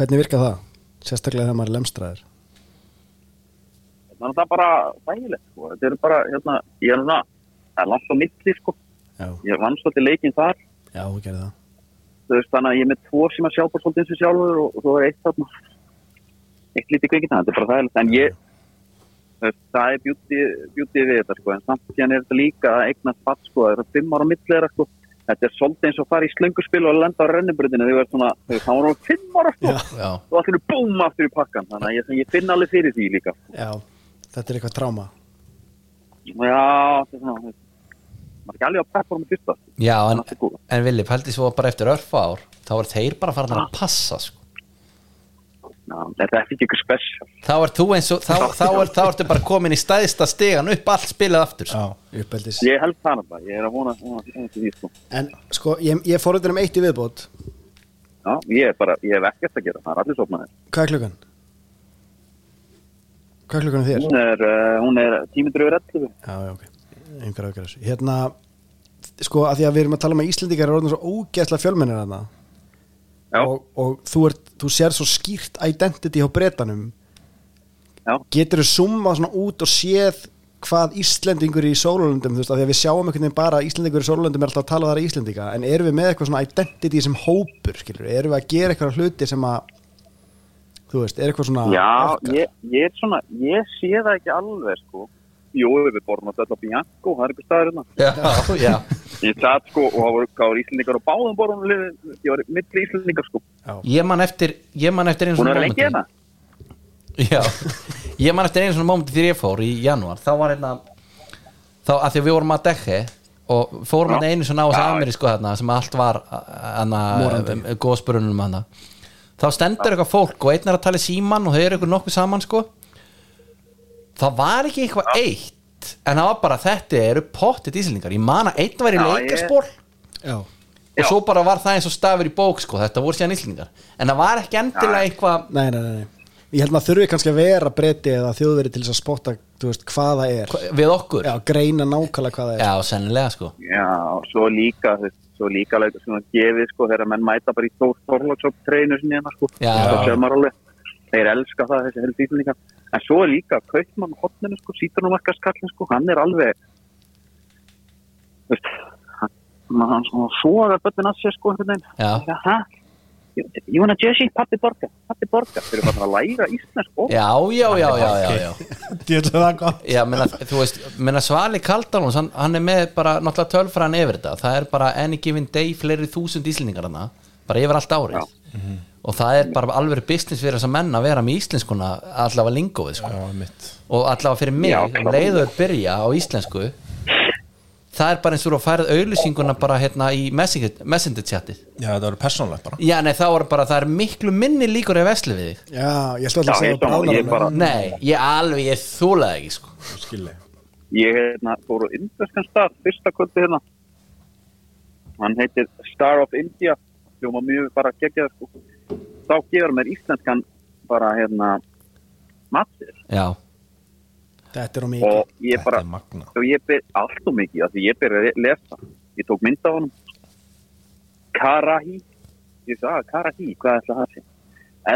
Hvernig virka það? Sérstaklega þegar maður er lemstraður þannig að það hérna er bara þægilegt, sko, þetta er bara, hérna, ég er svona, það er langt á milli, sko, Já, ég vann svolítið leikinn þar, já, hún gerði það þú veist þannig að ég er með tvo sem að sjá bara svolítið eins og sjálfur og, og svo er eitt þarna eitt lítið kveikina, þetta er bara þægilegt en ég, þú veist, það er beauty, beauty við þetta sko en samt síðan er þetta líka að eignast fatt sko það eru fimm ára millir þeirra sko þetta er svolítið eins og fara í slöngurspil og lenda á rennubröðinu þegar þú ert svona, þú veist, þá var hún fimm ára sko Já og allir búm aftur í pakkan þannig að ég, ég finn alveg fyrir því líka Já, þetta er eitthvað tráma já, þetta er svona þú veist, maður er ekki alveg að peppa hún með fyrsta sko. Já, en, Allt er góð. en Vili, pældi svo bara eftir örfa ár Þá er þeir bara farin að passa sko Ná, þetta er ekki ykkur spesial Þá ert þú eins og Þá, þá, er, þá ertu bara komin í stæðsta stegan upp allt spilað aftur sko. Já uppeldis ég held það náttúrulega, ég er að vona, vona, vona, vona, vona, vona En sko, ég, ég er forvitin um eitt í viðbót Já, ég er bara, ég hef ekkert að gera, það er allir sopnaðir. Hvað er klukkan? Hvað er klukkan á þér? Hún er, uh, hún er tímyndur yfir 11. Já, já, ok Einhver ágjör þessu Hérna, sko, að því að við erum að tala um að Íslendingar er orðin svo ógeðslega fjölmennir hana Já, og, og þú, ert, þú sér svo skýrt identity á bretanum já, getur þú summa svona út og séð hvað Íslendingur í sólulöndum þú veist, af því að við sjáum einhvern veginn bara að Íslendingur í sólulöndum er alltaf að tala þar í Íslendinga, en erum við með eitthvað svona identity sem hópur, skilur, erum við að gera eitthvað hluti sem að þú veist, er eitthvað svona já, okkar? ég, ég er svona, ég sé það ekki alveg, sko. Jú, við borðum að þetta Bianco, það er ykkur staður hérna. Já, já Ég satt, sko, og það voru, það voru Íslendingar á báðum borðum, liðum. ég var milli Íslendingar, sko. Ég man eftir Ég man eftir einu Hún svona er lengi momentum. hérna. Já, ég man eftir einu svona mómenti þegar ég fór í janúar þá var hérna þá að því að við vorum að dekki og fórum Já. hérna einu svona á þessu Já, já. amerísku þarna sem allt var hérna, hana, Morandi. góðspurunum hana þá stendur eitthvað fólk og einn er að tala í síman og þau eru eitthvað nokkuð saman sko það var ekki eitthvað eitt en það var bara þetta eru pottit íslendingar ég man að einn var í Já, ég- leikaspor já, og Já. svo bara var það eins og stafur í bók sko þetta voru síðan íslendingar en það var ekki endilega eitthvað nei, nei, nei, nei ég held maður þurfi kannski að vera breyti eða þjóðveri til þess að spotta, þú veist, hvað það er við okkur já, greina nákvæmlega hvað það er Já, sennilega sko Já, og svo líka, þú veist, svo líka alveg sem það gefið, sko, þegar menn mæta bara í Þór Þorlóksop treinu sinni hérna, sko. Já. Það séu maður alveg. Þeir elska það, þessi helst Íslendingar. En svo er líka Kaupmann hotninu, sko, sítarnumarkaskallin, sko, hann er alveg, þú veist, hann, hann svona sogar böttin að sér, sko, einhvern veginn. Já. Það, Jóna Jesse, pappi borga, pappi borga Þeir eru bara að læra íslensk og Já, já, já, já, já, já. Djöfull er það gott Já, menna, þú veist, menna Svali Kaldalons hann, hann er með bara náttúrulega tölfræðan yfir þetta það er bara any given day fleiri þúsund íslendingar hana, bara yfir allt árið og það er bara alveg business fyrir þess að menna að vera með íslenskuna allavega lingóið sko. Já, mitt og allavega fyrir mig, Já, um leiður byrja á íslensku það er bara eins og þú færið auðlýsinguna bara hérna í messenger, messenger chatið Já, þetta verður persónlegt bara já, nei, þá er bara, það er miklu minni líkur ef veslu við þig Já, ég ætla alltaf Já, að segja ég sammála, ég bara- nei, ég alveg, ég þúlega ekki sko. Skilji Ég hérna, fór á indverskan stað fyrsta kvöldi hérna Hann heitir Star of India Hljóma mjög bara geggjað sko. Þá gefur mér íslenskan bara hérna matur já, Þetta er á mikið og ég Þetta bara er magna og ég byrði allt og mikið af því ég byrði að lesa ég tók mynd á hann Karahi ég sagði að Karahi, hvað ætla það að sé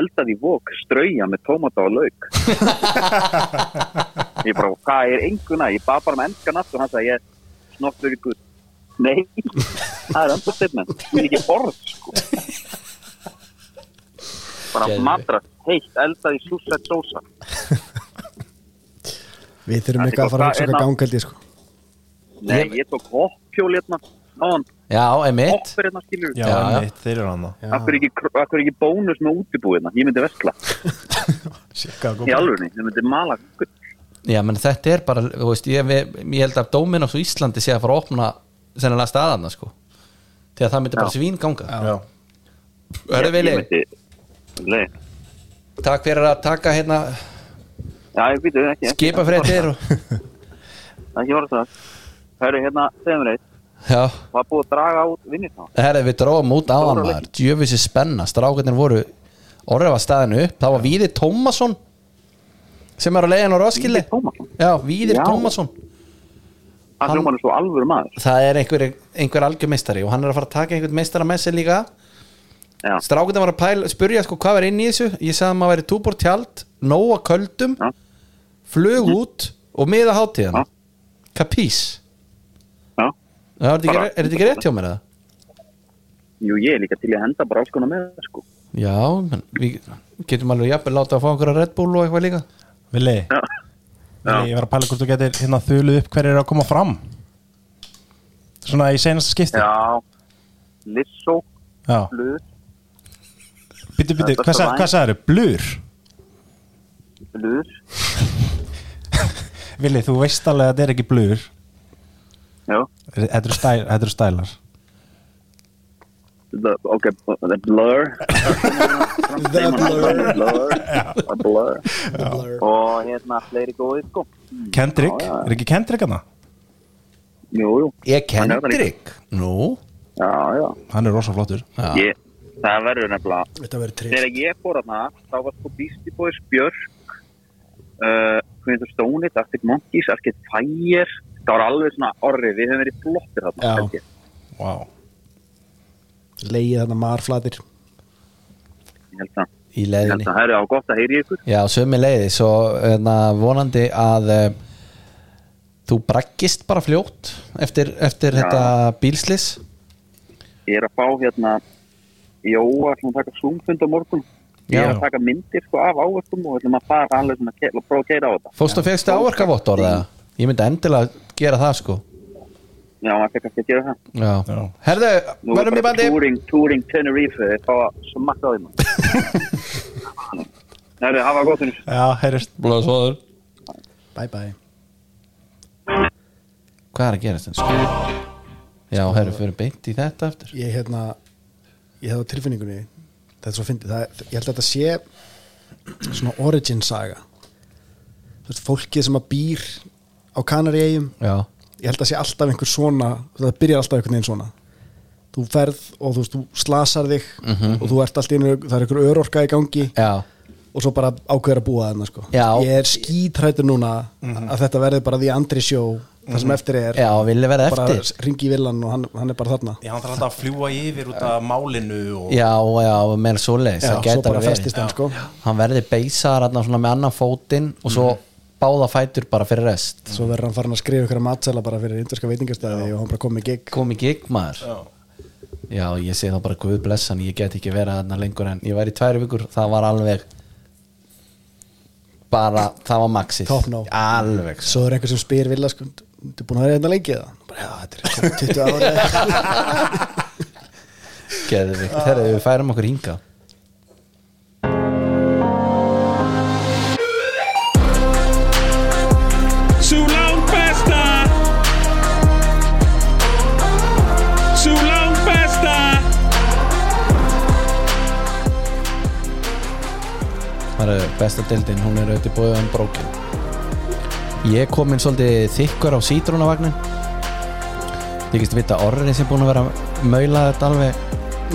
eldað í vok, strauja með tómata og lauk ég bara, hvað er enguna ég bað bara um ennskan aftur og hann sagði ég snott verið guð nei, það er understatement það er ekki orð sko. bara Geðveikt. matra heitt eldað í súsett sósa Við þurfum Þetta eitthvað er að fara að gott, hugsa það okkar er gangaldi sko. nei, ég tók hoppjóli hérna á hann, já, emitt hoppur hérna skilur Já, Já, já. mitt, þeir eru hann það Akkur ekki, akkur ekki bónus með útibúina Ég myndi vesla Sikka í alvörni, ég myndi mala gull. Já, menn þetta er bara, þú veist, ég, við- ég held að Dominos og Íslandi sé að fara að opna sennilega staðarna, sko því að það myndi bara Já. svín ganga Já, Hörðu Ég Vili, myndi leið. takk fyrir að taka hérna Já, ég býtu ekki skipafréttir og, Það er ekki voru það Hörru, hérna, segðum við reitt já, Það er búið að draga út vinnir þá herri við dróðum út áðan maður djöfisir spenna, strákarnir voru orðið var staðinu upp, það var Víðir Tómasson sem er á leiðin á Roskilde Tómasson Já, Víðir Já. Tómasson Það Hann- hljómar er svo alvöru maður það er einhver, einhver algjör meistari og hann er að fara að taka einhvern meistara með sér líka Já, strákunum var að pæla, spurja sko hvað var inn í þessu ég sagði að maður væri túbor tjald nóa köldum, Já. flug út og miða hátíðan Já. kapís já Já, er þetta ekki, Bara- er þetta ekki rétt hjá mér eða? Jú, ég er líka til í að henda bara alls konar með það, sko já, menn, við getum alveg jafnvel láta að fá einhverja Red Bull og eitthvað líka Vili, Já, Vili, ég var að pæla hvort þú getur hérna þöluð upp hverju er að koma fram Svona í seinasta skipti já. Lissó, Já. Blöð, Býttu, býttu, Þetta hvað er sa- væn. hvað sagður? Blur? Blöður Vili, þú veist alveg að þetta er ekki blur Já, Þetta eru stæl, þetta eru stælar the, ok, the blur The blur The blur Og hérna, fleiri góðið, sko Kendrick, Já, já. er ekki Kendrick hana? Jú, jú, ég Hann er það Kendrick nú, já, já Hann er rosa flottur já, ég, það verður nefnilega Þetta verður trygg þegar ég fór hana, þá var sko Beastie Boys Björk uh, Quintus Stoneit, Arctic Monkeys Arctic Fire, það var alveg svona orri, við höfum verið flottir þarna Já. held ég. Vá Leigið þarna marflatir ég held það, í ég leiðinni held það, það er á gott að heyri ykkur já, sömu leiði, svo hérna, vonandi að eh, þú braggist bara fljótt eftir, eftir Já. þetta bílslis ég er að fá hérna Jóa, svona taka zoomfund á morgun ég Já. er að taka myndir sko af ávörstum og ætlum að fara alveg svona ke- og prófa að keira á þetta Fóstu og fegstu áverkavott orða Ég myndi endilega gera það sko já, maður fyrir kannski að gera það Já, Já. herðu, nú er verðum í bara bandi touring, touring Tenerife þeir fá smakka á því maður Næru, hafa gott um Já, heyrist Blóðsvóður Bye bye Hvað er að gera þetta? Skil Já, herru, fyrir beint í þetta eftir Ég hérna Ég hefði á tilfinningunni Þetta er svo fyndið það, er- Ég held að þetta sé Svona origin saga Þú veist, fólkið sem að býr Á Kanaríegjum Já, Ég held að sé alltaf einhver svona Það byrjar alltaf einhvern veginn svona Þú ferð og þú, veist, þú slasar þig Og þú ert alltaf einu Það er einhver örorka í gangi já, og svo bara ákveður að búa þarna sko. Já. ég er skítrættur núna að þetta verði bara því andri sjó það sem eftir er já, vilja vera bara eftir ringi í villan og hann, hann er bara þarna Já, hann þarf alltaf að fljúa yfir út af málinu og... Já, já, meira svoleiðis Já, Það svo geta bara alveg festist verið hann sko. Hann verði beisar hann svona með annan fótinn og svo Mhm. báða fætur bara fyrir rest svo verður hann farin að skrifa ykkur að matsela bara fyrir indverska veitingastæði og hann bara komið gig Komi gig maður Já. já, ég segi þá bara guð blessan, ég get ekki verið þarna lengur en ég væri í tværi vikur, það var alveg bara, það var maxið Top no. alveg svo er einhver sem spyr vilja sko, þú er búin að vera hérna lengi það bara, já, þetta er komið 20 ára Geðvikt, þegar við færum okkur hinga Sú langt besta Sú langt besta Það eru besta deildin, hún er auðvitað búið um brókin Ég kom inn svolítið þykkur á sítrónavagnin Þykist vita orri sem búin að vera að maula þetta alveg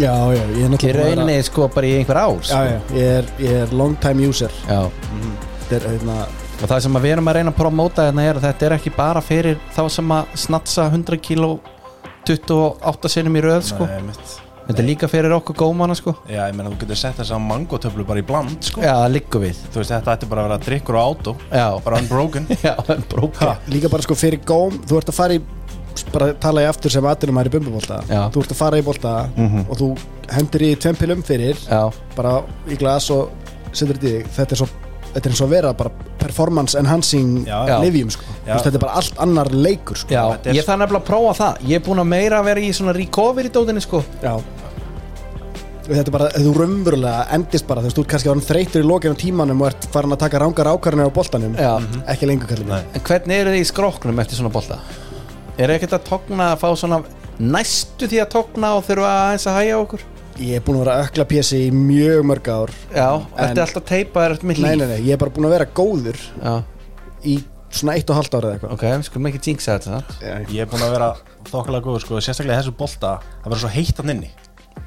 já, já, ég er Til náttúrulega búinn að rauninni sko bara í einhver ár já, sko. já, ég er, ég er long time user Já. þetta er hérna Og það sem að við erum að reyna að promóta hérna er að þetta er ekki bara fyrir þá sem að snatsa 100 kíló 28 sinum í röð sko. Nei, eh, mitt. Þetta er líka fyrir okkur gómana sko. Já, ég meina þú getur sett þess að mangotöflu bara í bland sko. Já, það liggum við Þú veist, þetta ætti bara að vera drikkur og átó Já, Bara unbroken Já, en brókin líka bara sko fyrir góm þú ert að fara í bara tala ég aftur sem aðdunum er í bumbubólta Já. þú ert að fara í bólta og þú hendur í tveim pilum fyrir Já, bara í glas og setur þetta í þig þetta er svo þetta er eins og að vera bara performance enhancing Já. livjum sko. Já. Þú veist, þetta er bara allt annar leikur sko. já, Þetta er- ég þarf nefnilega að prófa það Ég er búin að meira að vera í svona recovery dótinni sko Já. og þetta er bara, ef þú raunverulega endist bara, þú veist, þú ert kannski orðin þreytur í lokinu tímanum og ert farin að taka rángar ákvarðinu á boltanum, Já. ekki lengur kallið Nei. En hvernig eru þið í skróknum eftir svona bolta? Er ekkert að togna að fá svona næstu því að togna og þurfa að eins að hæja okkur? ég er búin að vera að ökla pési í mjög mörg ár Já, ertu alltaf teipa, er þetta mitt líf? nei, nei, nei, ég er bara búin að vera góður Já, í svona eitt og halvt ára eða eitthvað ok, við skulum ekki jinxa þetta það Ég er búin að vera þokkalega góð sko. Sérstaklega í þessu bolta að vera svo heitt hann inni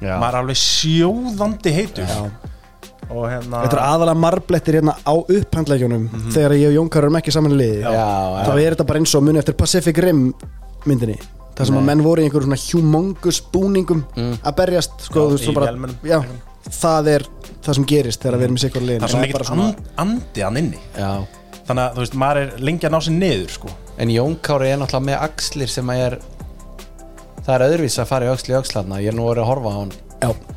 Já. Maður er alveg sjóðandi heitur Og hérna þetta er aðalega marblettir hérna á upphandleikjunum Mhm. þegar ég og Jónkar erum ekki saman í liði Já, já. þá er þetta bara eins og muni eftir Pacific Rim myndinni þar sem að menn voru í einhverjum svona humongous búningum að berjast sko, Mm. Já, þú veist, svo í bara, vélmennum. já, það er það sem gerist þegar við erum í sikur liðin Það er svo mikill and, andi hann inni Já, Þannig að þú veist, maður er lengi að ná sér niður sko. en Jón Kári er náttúrulega með axlir sem að er Það er öðruvís að fara í öxli í öxlarna Ég er nú orðið að horfa á hann já,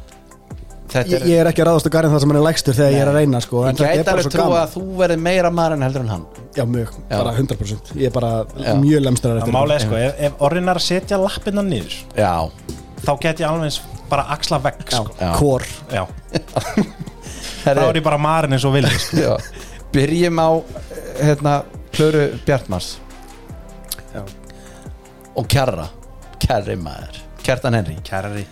Þetta ég, ég er ekki að ráðast á garðin þar sem hann er lægstur þegar ég er að reyna sko, en Ég þetta er gæti bara alveg svo trú gaman að þú verði meira maður en heldur en hann já, mjög, bara 100% ég er bara Já. mjög lemstrar Það eftir málega er, sko, ef, ef orðin er að setja lappina niður Já, Þá get ég alveg eins bara axla vegg já, sko. Já. kór Já. Þá Herri, er ég bara marinn eins og vilja sko. já, byrjum á hérna, Klöru Bjartmars Já. og Kjarra Kjarri maður, Kjartan Henry Kæri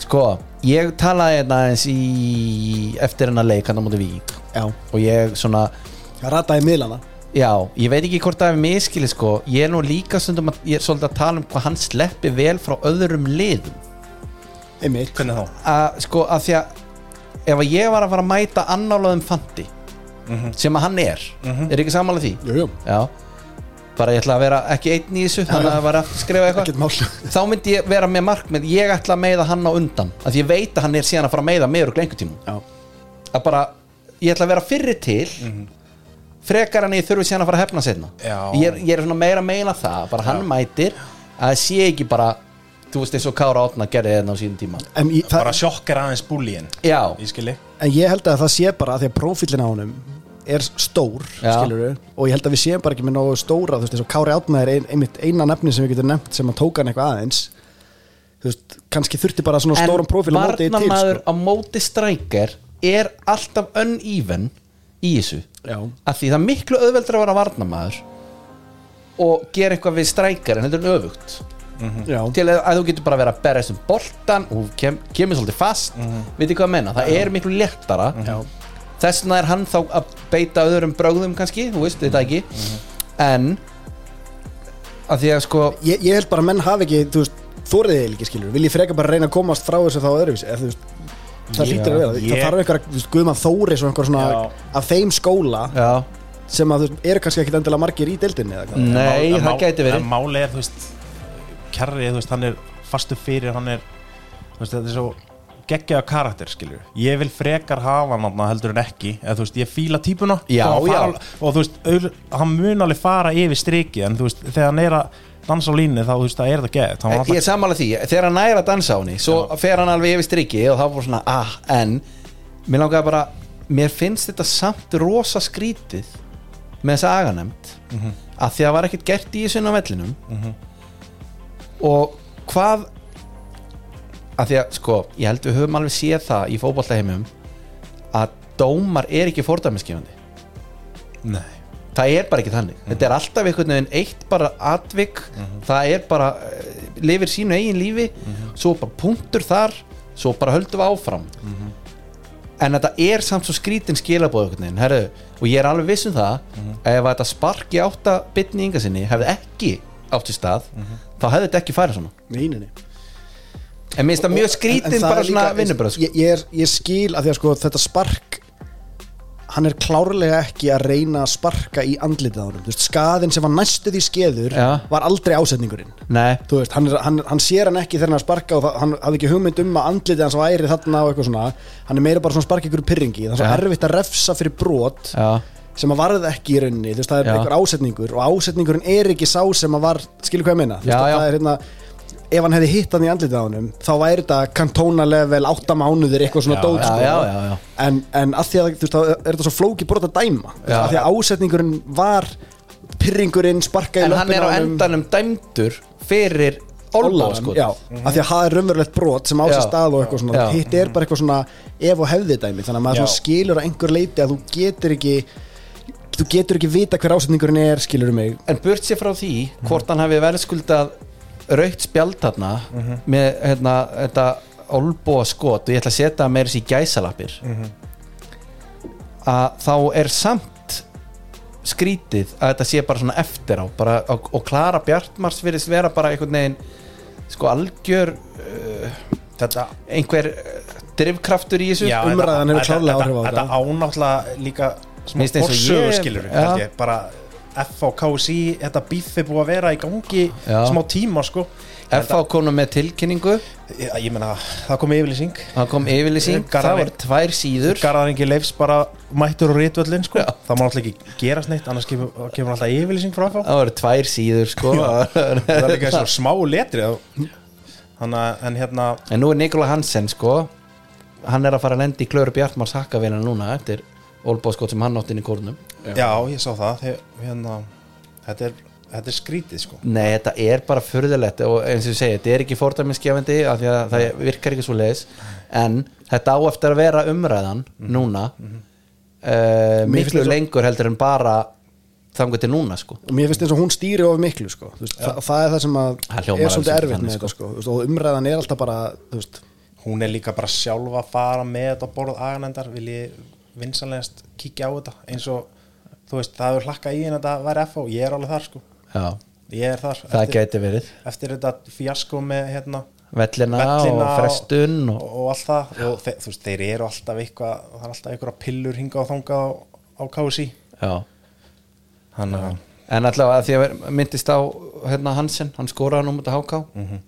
sko, ég talaði hérna eins í eftir hennar leik hann á móti Vík já, og ég svona, það rataði miðlana já, ég veit ekki hvort það er miskili sko, ég er nú líka stundum að ég er svolítið að tala um hvað hann sleppi vel frá öðrum liðum einmitt, Hvernig þá? að sko að því að ef að ég var að fara að mæta annálaðum fandi sem að hann er er ekki sammála því? jú, jú, Já bara ég ætla að vera ekki einn í þessu þannig að það var að skrifa ekkert eitthvað mál þá myndi ég vera með markmið, ég ætla að meiða hann á undan af því ég veit að hann er síðan að fara að meiða meður og lengur tíma já, að bara, ég ætla að vera fyrri til frekar en ég þurfi síðan að fara að hefna setna Já. ég, er- ég er svona meira að meina það bara hann mætir að það sé ekki bara þú veist eins og Kára Átna gerði þetta á sínum tíma en í, það, Bara sjokkar aðeins búlíin já, Ég skilji en ég held að það sé bara að því að prófílin á honum er stór, Já. skilur og ég held að við séum bara ekki með nógu stóra þú veist, eins og Kári Átna er ein, einmitt eina nefni sem við getum nefnt sem að tóka hann eitthvað aðeins þú veist, kannski þurfti bara svona stóran prófíl á móti til, varnarmaður sko. á móti strækjar er alltaf uneven í þessu Já. að því það er miklu auðveldur að vera varnarmaður og gera eitthvað við strækjar en þetta er öfugt Já, til að, að þú getur bara að vera að berja þessum boltan og kem, kemur svolítið fast Mhm. mm -hmm. veitir hvað að menna, það er miklu léttara Já. þess vegna er hann þá að beita öðrum brögðum kannski, þú veist þetta ekki Mhm. en að því að sko ég, ég held bara að menn hafi ekki þú veist, þóriðið eiginlega ekki, skilur vil ég freka bara reyna að komast frá þessu þá öðruvísi eða þú veist, það Já. hlýtur að vera Ég- það þarf einhver, þú veist, Guðmann Þóris og einhver svona Já. af þeim skóla já, sem að þú veist, eru kannski ekkit endilega margir í deildinni eða hvað nei, En Eh, mál- eh, það gæti verið en Máli er, þú veist Kjarri, þú veist, hann er fastu fyrir Hann er, þú veist, þetta er svo geggjaða karakter skilur ég vil frekar hafa hann þarna heldur en ekki eða þú veist ég fíla típuna Já, og, hann fara- já. og þú veist auðl- hann mun alveg fara yfir striki en þú veist þegar hann er að dansa á línu þá þú veist það er það geðt hann Ég var alltaf er sammála því, þegar hann næra að dansa á henni svo fer hann alveg yfir striki og það var svona ah, en mér langaði bara, mér finnst þetta samt rosa skrítið með þessa aganemt mm Mhm. að því að það var ekkert gert í þessu inn á vellinum og hvað að því að sko, ég held við höfum alveg séð það í fótballtaheimum að dómar er ekki fórdæmiskefandi nei það er bara ekki þannig þetta er alltaf einhvern veginn eitt bara atvik Mhm. það er bara, eh, lifir sínu eigin lífi svo bara punktur þar svo bara höldum við áfram Mhm. en þetta er samt svo skrítin skilabóð einhvern veginn, herðu, og ég er alveg viss um það Mhm. ef að þetta spark í átta bitni ynga sinni hefði ekki átt í stað Mhm. þá hefði þetta ekki farið svona Meininni en minnst það mjög En- en skrítin það bara er líka- svona vinnubröð sko. ég, ég, er- ég skil að því að sko þetta spark hann er klárlega ekki að reyna að sparka í andlitið á honum Þú veist, skaðin sem var næstuð í skeður Já. var aldrei ásetningurinn nei, Þú veist, hann, er, hann, hann sér hann ekki þegar hann er að sparka og það, hann hafði ekki hugmynd um að andlitið hans væri þarna og eitthvað svona hann er meira bara svona að sparka ykkur pyrringi það er svo Já. erfitt að refsa fyrir brot já, sem að varð ekki í rauninni þú veist, það er Já. einhver ásetningur og ásetningurinn er ekki sá sem að var, skilur hvað ég meina Þú veist, Já, að já. það er hérna ef hann hefði hitt hann í andlitið á honum þá væri þetta kantónalevel 8 mánuðir eitthvað svona Já, dót já, sko. já, já, já. En, en að því að þú veist, þá er þetta svo flóki brot að dæma Þú veist, Já. að því að ásetningurinn var pyrringurinn sparkaði en hann er löppin á honum, endanum dæmdur fyrir ollan, olbóð sko já, að því að það er raunverulegt brot sem á sér Já. stað og eitthvað svona Já. hitt er bara eitthvað svona ef og hefði dæmi þannig að maður Já. svona skilur að einhver leiti að þú getur ekki þú getur ekki vita hver ásetningurinn er skilur mig en burt sér frá því hvort hann hafi verðskuldað raukt spjald þarna Mhm. með hérna, þetta olbúa skot og ég ætla að setja meira sér í gæsalappir Mhm. að þá er samt skrítið að þetta sé bara svona eftir á bara, og, og Klara Bjartmars virðist vera bara einhvern veginn sko algjör uh, þetta einhver uh, drifkraftur í þessu en- umræðan hefur klárlega áhrif á þetta. þetta ánáttúrulega líka Mér smá finnst eins og forsögu ég- skilur Já. held ég, bara FHKSI þetta bífi búið að vera í gangi Já. smá tíma sko FH konum með tilkynningu Já, ég meina, það kom yfirlýsing það kom yfirlýsing, það Garðar- var tvær síður Garðar Ingi Leifs bara mættur og rítvöllin sko. það má alltaf ekki gerast neitt annars kemur, kemur alltaf yfirlýsing frá FH það var tvær síður sko það er líka svo smá letri þá. þannig að en hérna En nú er Nikola Hansen sko Hann er að fara að lendi í Klöru Bjartmars hakkavélina núna Eftir olbóðskot sem hann átt inn í kórnum já, ég sá það þegar, hérna, þetta, er, þetta er skrítið sko. Nei, þetta er bara furðulegt Og eins og ég segi, þetta er ekki fordæmiskefandi af Því að það virkar ekki svo leis En þetta á eftir að vera umræðan Núna uh, Mér finnst Miklu þetta- lengur heldur en bara Þangu til núna sko og mér finnst eins og hún stýri of miklu sko. Þú veist, það, það er það sem að Það hljómar er alls svolítið ekki erfitt þannig, með sko. þetta sko. Þú veist, og umræðan er alltaf bara þú veist, hún er líka bara sjálfa að fara með þetta á borð aganendar vil ég vinsanlegast kíkja á þetta eins og þú veist, það hefur hlakka í en þetta væri FH, ég er alveg þar sko. Já, ég er þar það eftir, gæti verið eftir þetta fjasko með hérna, Vellina, Vellina og og- frestun og, og, og allt það og þeir, þú veist, þeir eru alltaf eitthvað það er alltaf einhverja pillur hinga og þanga á, á KSI Já hann að En allavega að því að ver- myndist á hérna Hansen, hann skoraði nú mútið háká Mhm.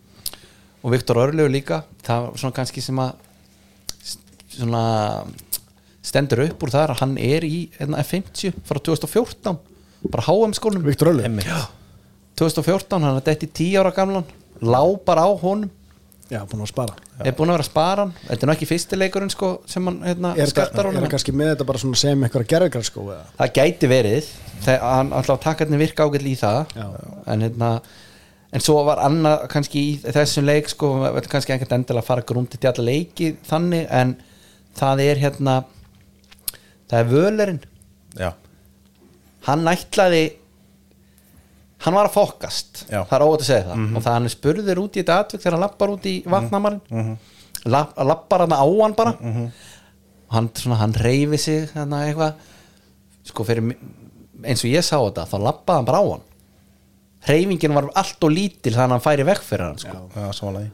og Viktor Örlegu líka það var svona kannski sem að st- svona stendur upp úr þar að hann er í hérna, F50 frá 2014 bara HM skónum Viktor Öllu emmi, 2014, hann er dætt í 10 ára gamlan lá bara á honum já, búin að spara er búin að vera að spara hann þetta er nú ekki fyrsti leikurinn sko sem hann hérna, er þetta- skattar er honum hann kannski með þetta bara svona sem eitthvað gerðgarskó eða það gæti verið þegar hann alltaf takkarnir virka ágætli í það Já. en hérna en svo var annað kannski í þessum leik sko, við ætlum kannski ekkert endilega að fara grúmti til alla leiki þannig en það er hérna það er völerinn já, hann ætlaði hann var að fokast Já. Mhm. það er óvægt að segja það og það hann er spurður út í þetta atvik þegar hann lappar út í vatnamarinn mm Mhm. lappar hann á hann bara og hann, svona, hann reyfi sig þannig eitthvað sko fyrir mi- eins og ég sá þetta þá lappaði hann bara á hann reyfingin var allt og lítil þannig að hann færi vekk fyrir hann sko já samanlega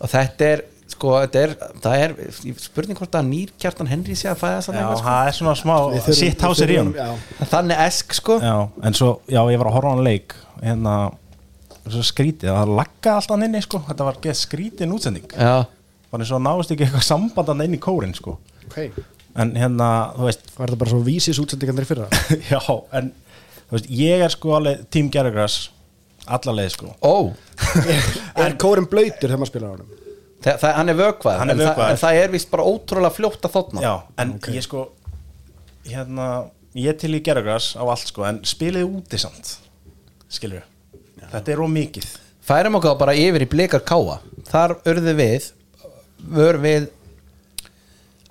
og þetta er sko þetta er, það er spurning hvort að nýr kjartan Henry sé að fæða þess að já, sko. það er svona smá Við þurfum- sitt við hásir í þurfum- honum já. þannig esk sko já, en svo, já, ég var að horfa á hann leik hérna, svo skrítið, það laggaði alltaf hann inni sko, þetta var geð skrítin útsending já. bara eins og náðist ekki eitthvað sambandan inn í kórin sko. okay. en hérna, þú veist Var þetta bara svo vísis útsendingarnir fyrir það? já, en þú veist, ég er sko alveg tím gerðugræs allarleið sko Ó, er kórin blöytur þegar maður spilar á honum? það, það, hann er vökvað, Hann er en, það, vökvaður. en það er vist bara ótrúlega fljótt að þotna já, en ég sko hérna, ég er til í gerðugræs á allt sko, en spilið úti samt skilur þetta er ómikið Færum okkur bara yfir í blikar káa Þar urðu við Vör við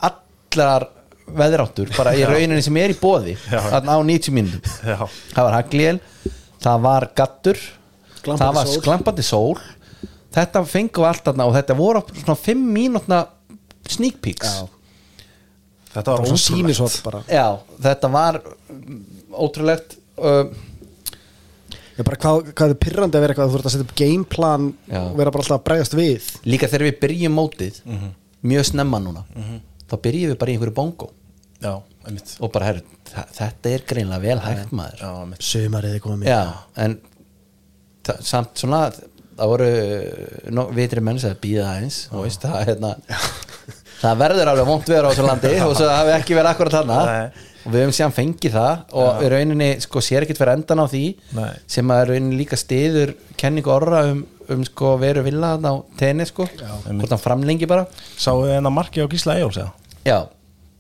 Allar veðráttur Bara í rauninni sem er í bóði Já. Þannig á 90 mínútum Já. Það var haglél, það var gattur Glampandi Það var sól. sklampandi sól Þetta fengum við allt þarna Og þetta voru svona 5 mínútna Sneak peeks Já, þetta bara var svo sínisort ótrúlegt bara Já, þetta var mm, ótrúlegt uh, Já, bara hvað, hvað er pyrrandi að vera eitthvað að þú ert að setja upp gameplan Já. og vera bara alltaf að bregðast við Líka þegar við byrjum mótið Mhm. Mjög snemma núna Þá byrjum við bara í einhverju bongo já, einmitt og bara herru, þa- þetta er greinlega vel hægt maður já, einmitt Sumarið er komið já, en þa- samt svona það voru uh, no, vitri menn sem býða aðeins og veist það hérna það verður alveg vont veður á þessu landi og svo hafi ekki verið akkurat þarna Nei. og við höfum síðan fengið það og í rauninni sko sér ekkert fyrir endan á því Nei. sem að í rauninni líka stiður kenningu orra um, um sko veru vilja þarna á tenni sko hvort hann framlengi bara Sáuðu þið hennar markið á Gísla Eyjóls eða? já,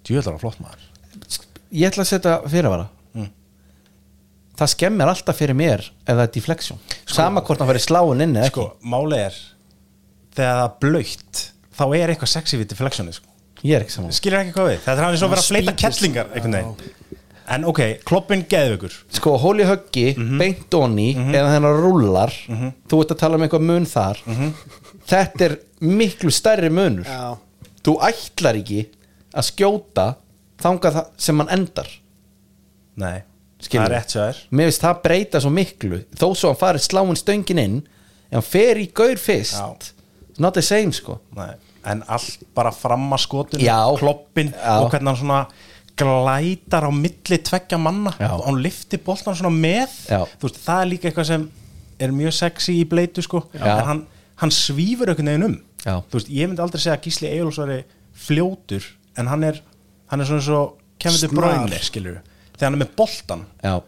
Djúðlar var flott maður ég ætla að setja fyrirvara Mm. það skemmir alltaf fyrir mér ef það er deflection sama hvort hann fyrir sláin inn eða Sko, málið er Þegar það er blöytt Þá er eitthvað sexy við deflectionið sko. ekki ég er ekki saman Skilur ekki hvað við Þetta er hann eins og vera að fleita kettlingar einhvern veginn En ok, kloppin geðvökur sko, hóli höggi, Mhm. beint onni eða þennan rúllar þú ert að tala um eitthvað mun þar Mhm. þetta er miklu stærri munur Já. þú ætlar ekki að skjóta þangað það sem hann endar Nei, Skilur. það er rétt sér mér finnst það breyta svo miklu þó svo hann farið sláin stöngin inn en hann fer í gaur fyrst Já. It's not the same sko Nei. En allt bara fram að skotun Já. Kloppin Já. og hvernig hann svona glætar á milli tveggja manna Já. og hann lifti boltan svona með Já. Þú veist, það er líka eitthvað sem er mjög sexy í bleitu sko Já. en hann, hann svífur einhvern veginn um Já. þú veist, ég myndi aldrei segja að Gísli Eyjólfs væri fljótur en hann er, hann er svona svo kemur til Snar. bræni, skilur þegar hann er með boltan, já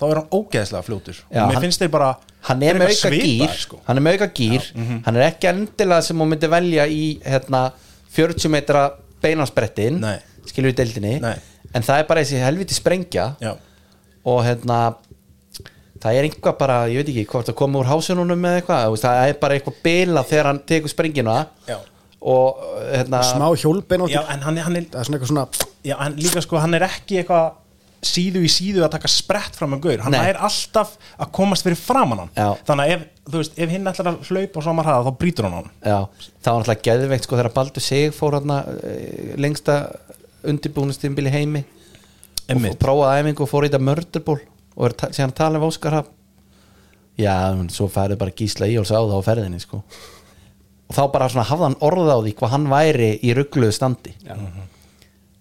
þá er hann ógeðslega fljótur Já, og mér hann- finnst þeir bara hann er þeir með bara auka svipaðir, gýr sko. Mhm. hann er með auka gýr hann er ekki endilega sem hún myndi velja í hérna, 40 metra beinansbrettin Nei. skilur við deildinni Nei. en það er bara þessi helviti sprengja Já. og hérna það er einhvað bara, ég veit ekki hvort að koma úr hásununum eða eitthvað þú veist, það er bara eitthvað bila þegar hann tekur sprengina Já. og hérna Smá hjólbein á því Já, en hann, hann er Það er svona eitthvað svona já, en líka sko, hann er ekki eitthvað síðu í síðu að taka sprett fram að gaur, hann Nei. er alltaf að komast fyrir framan hann, Já. þannig að ef, þú veist, ef hinn ætlar að hlaupa á sama hraða, þá brýtur hann hann Já, það var náttúrulega geðveikt sko þegar Baldur Sig fór hérna eh, lengsta undirbúinustimbil í heimi Einmitt. og prófaði æfingu og fór í þetta mörderból og er ta- síðan að tala um Óskar Haf Já, en svo færið bara gísla í og sá það á ferðinni sko og þá bara svona hafði hann orða á því hvað hann væri í ruggluðu standi já. Mhm.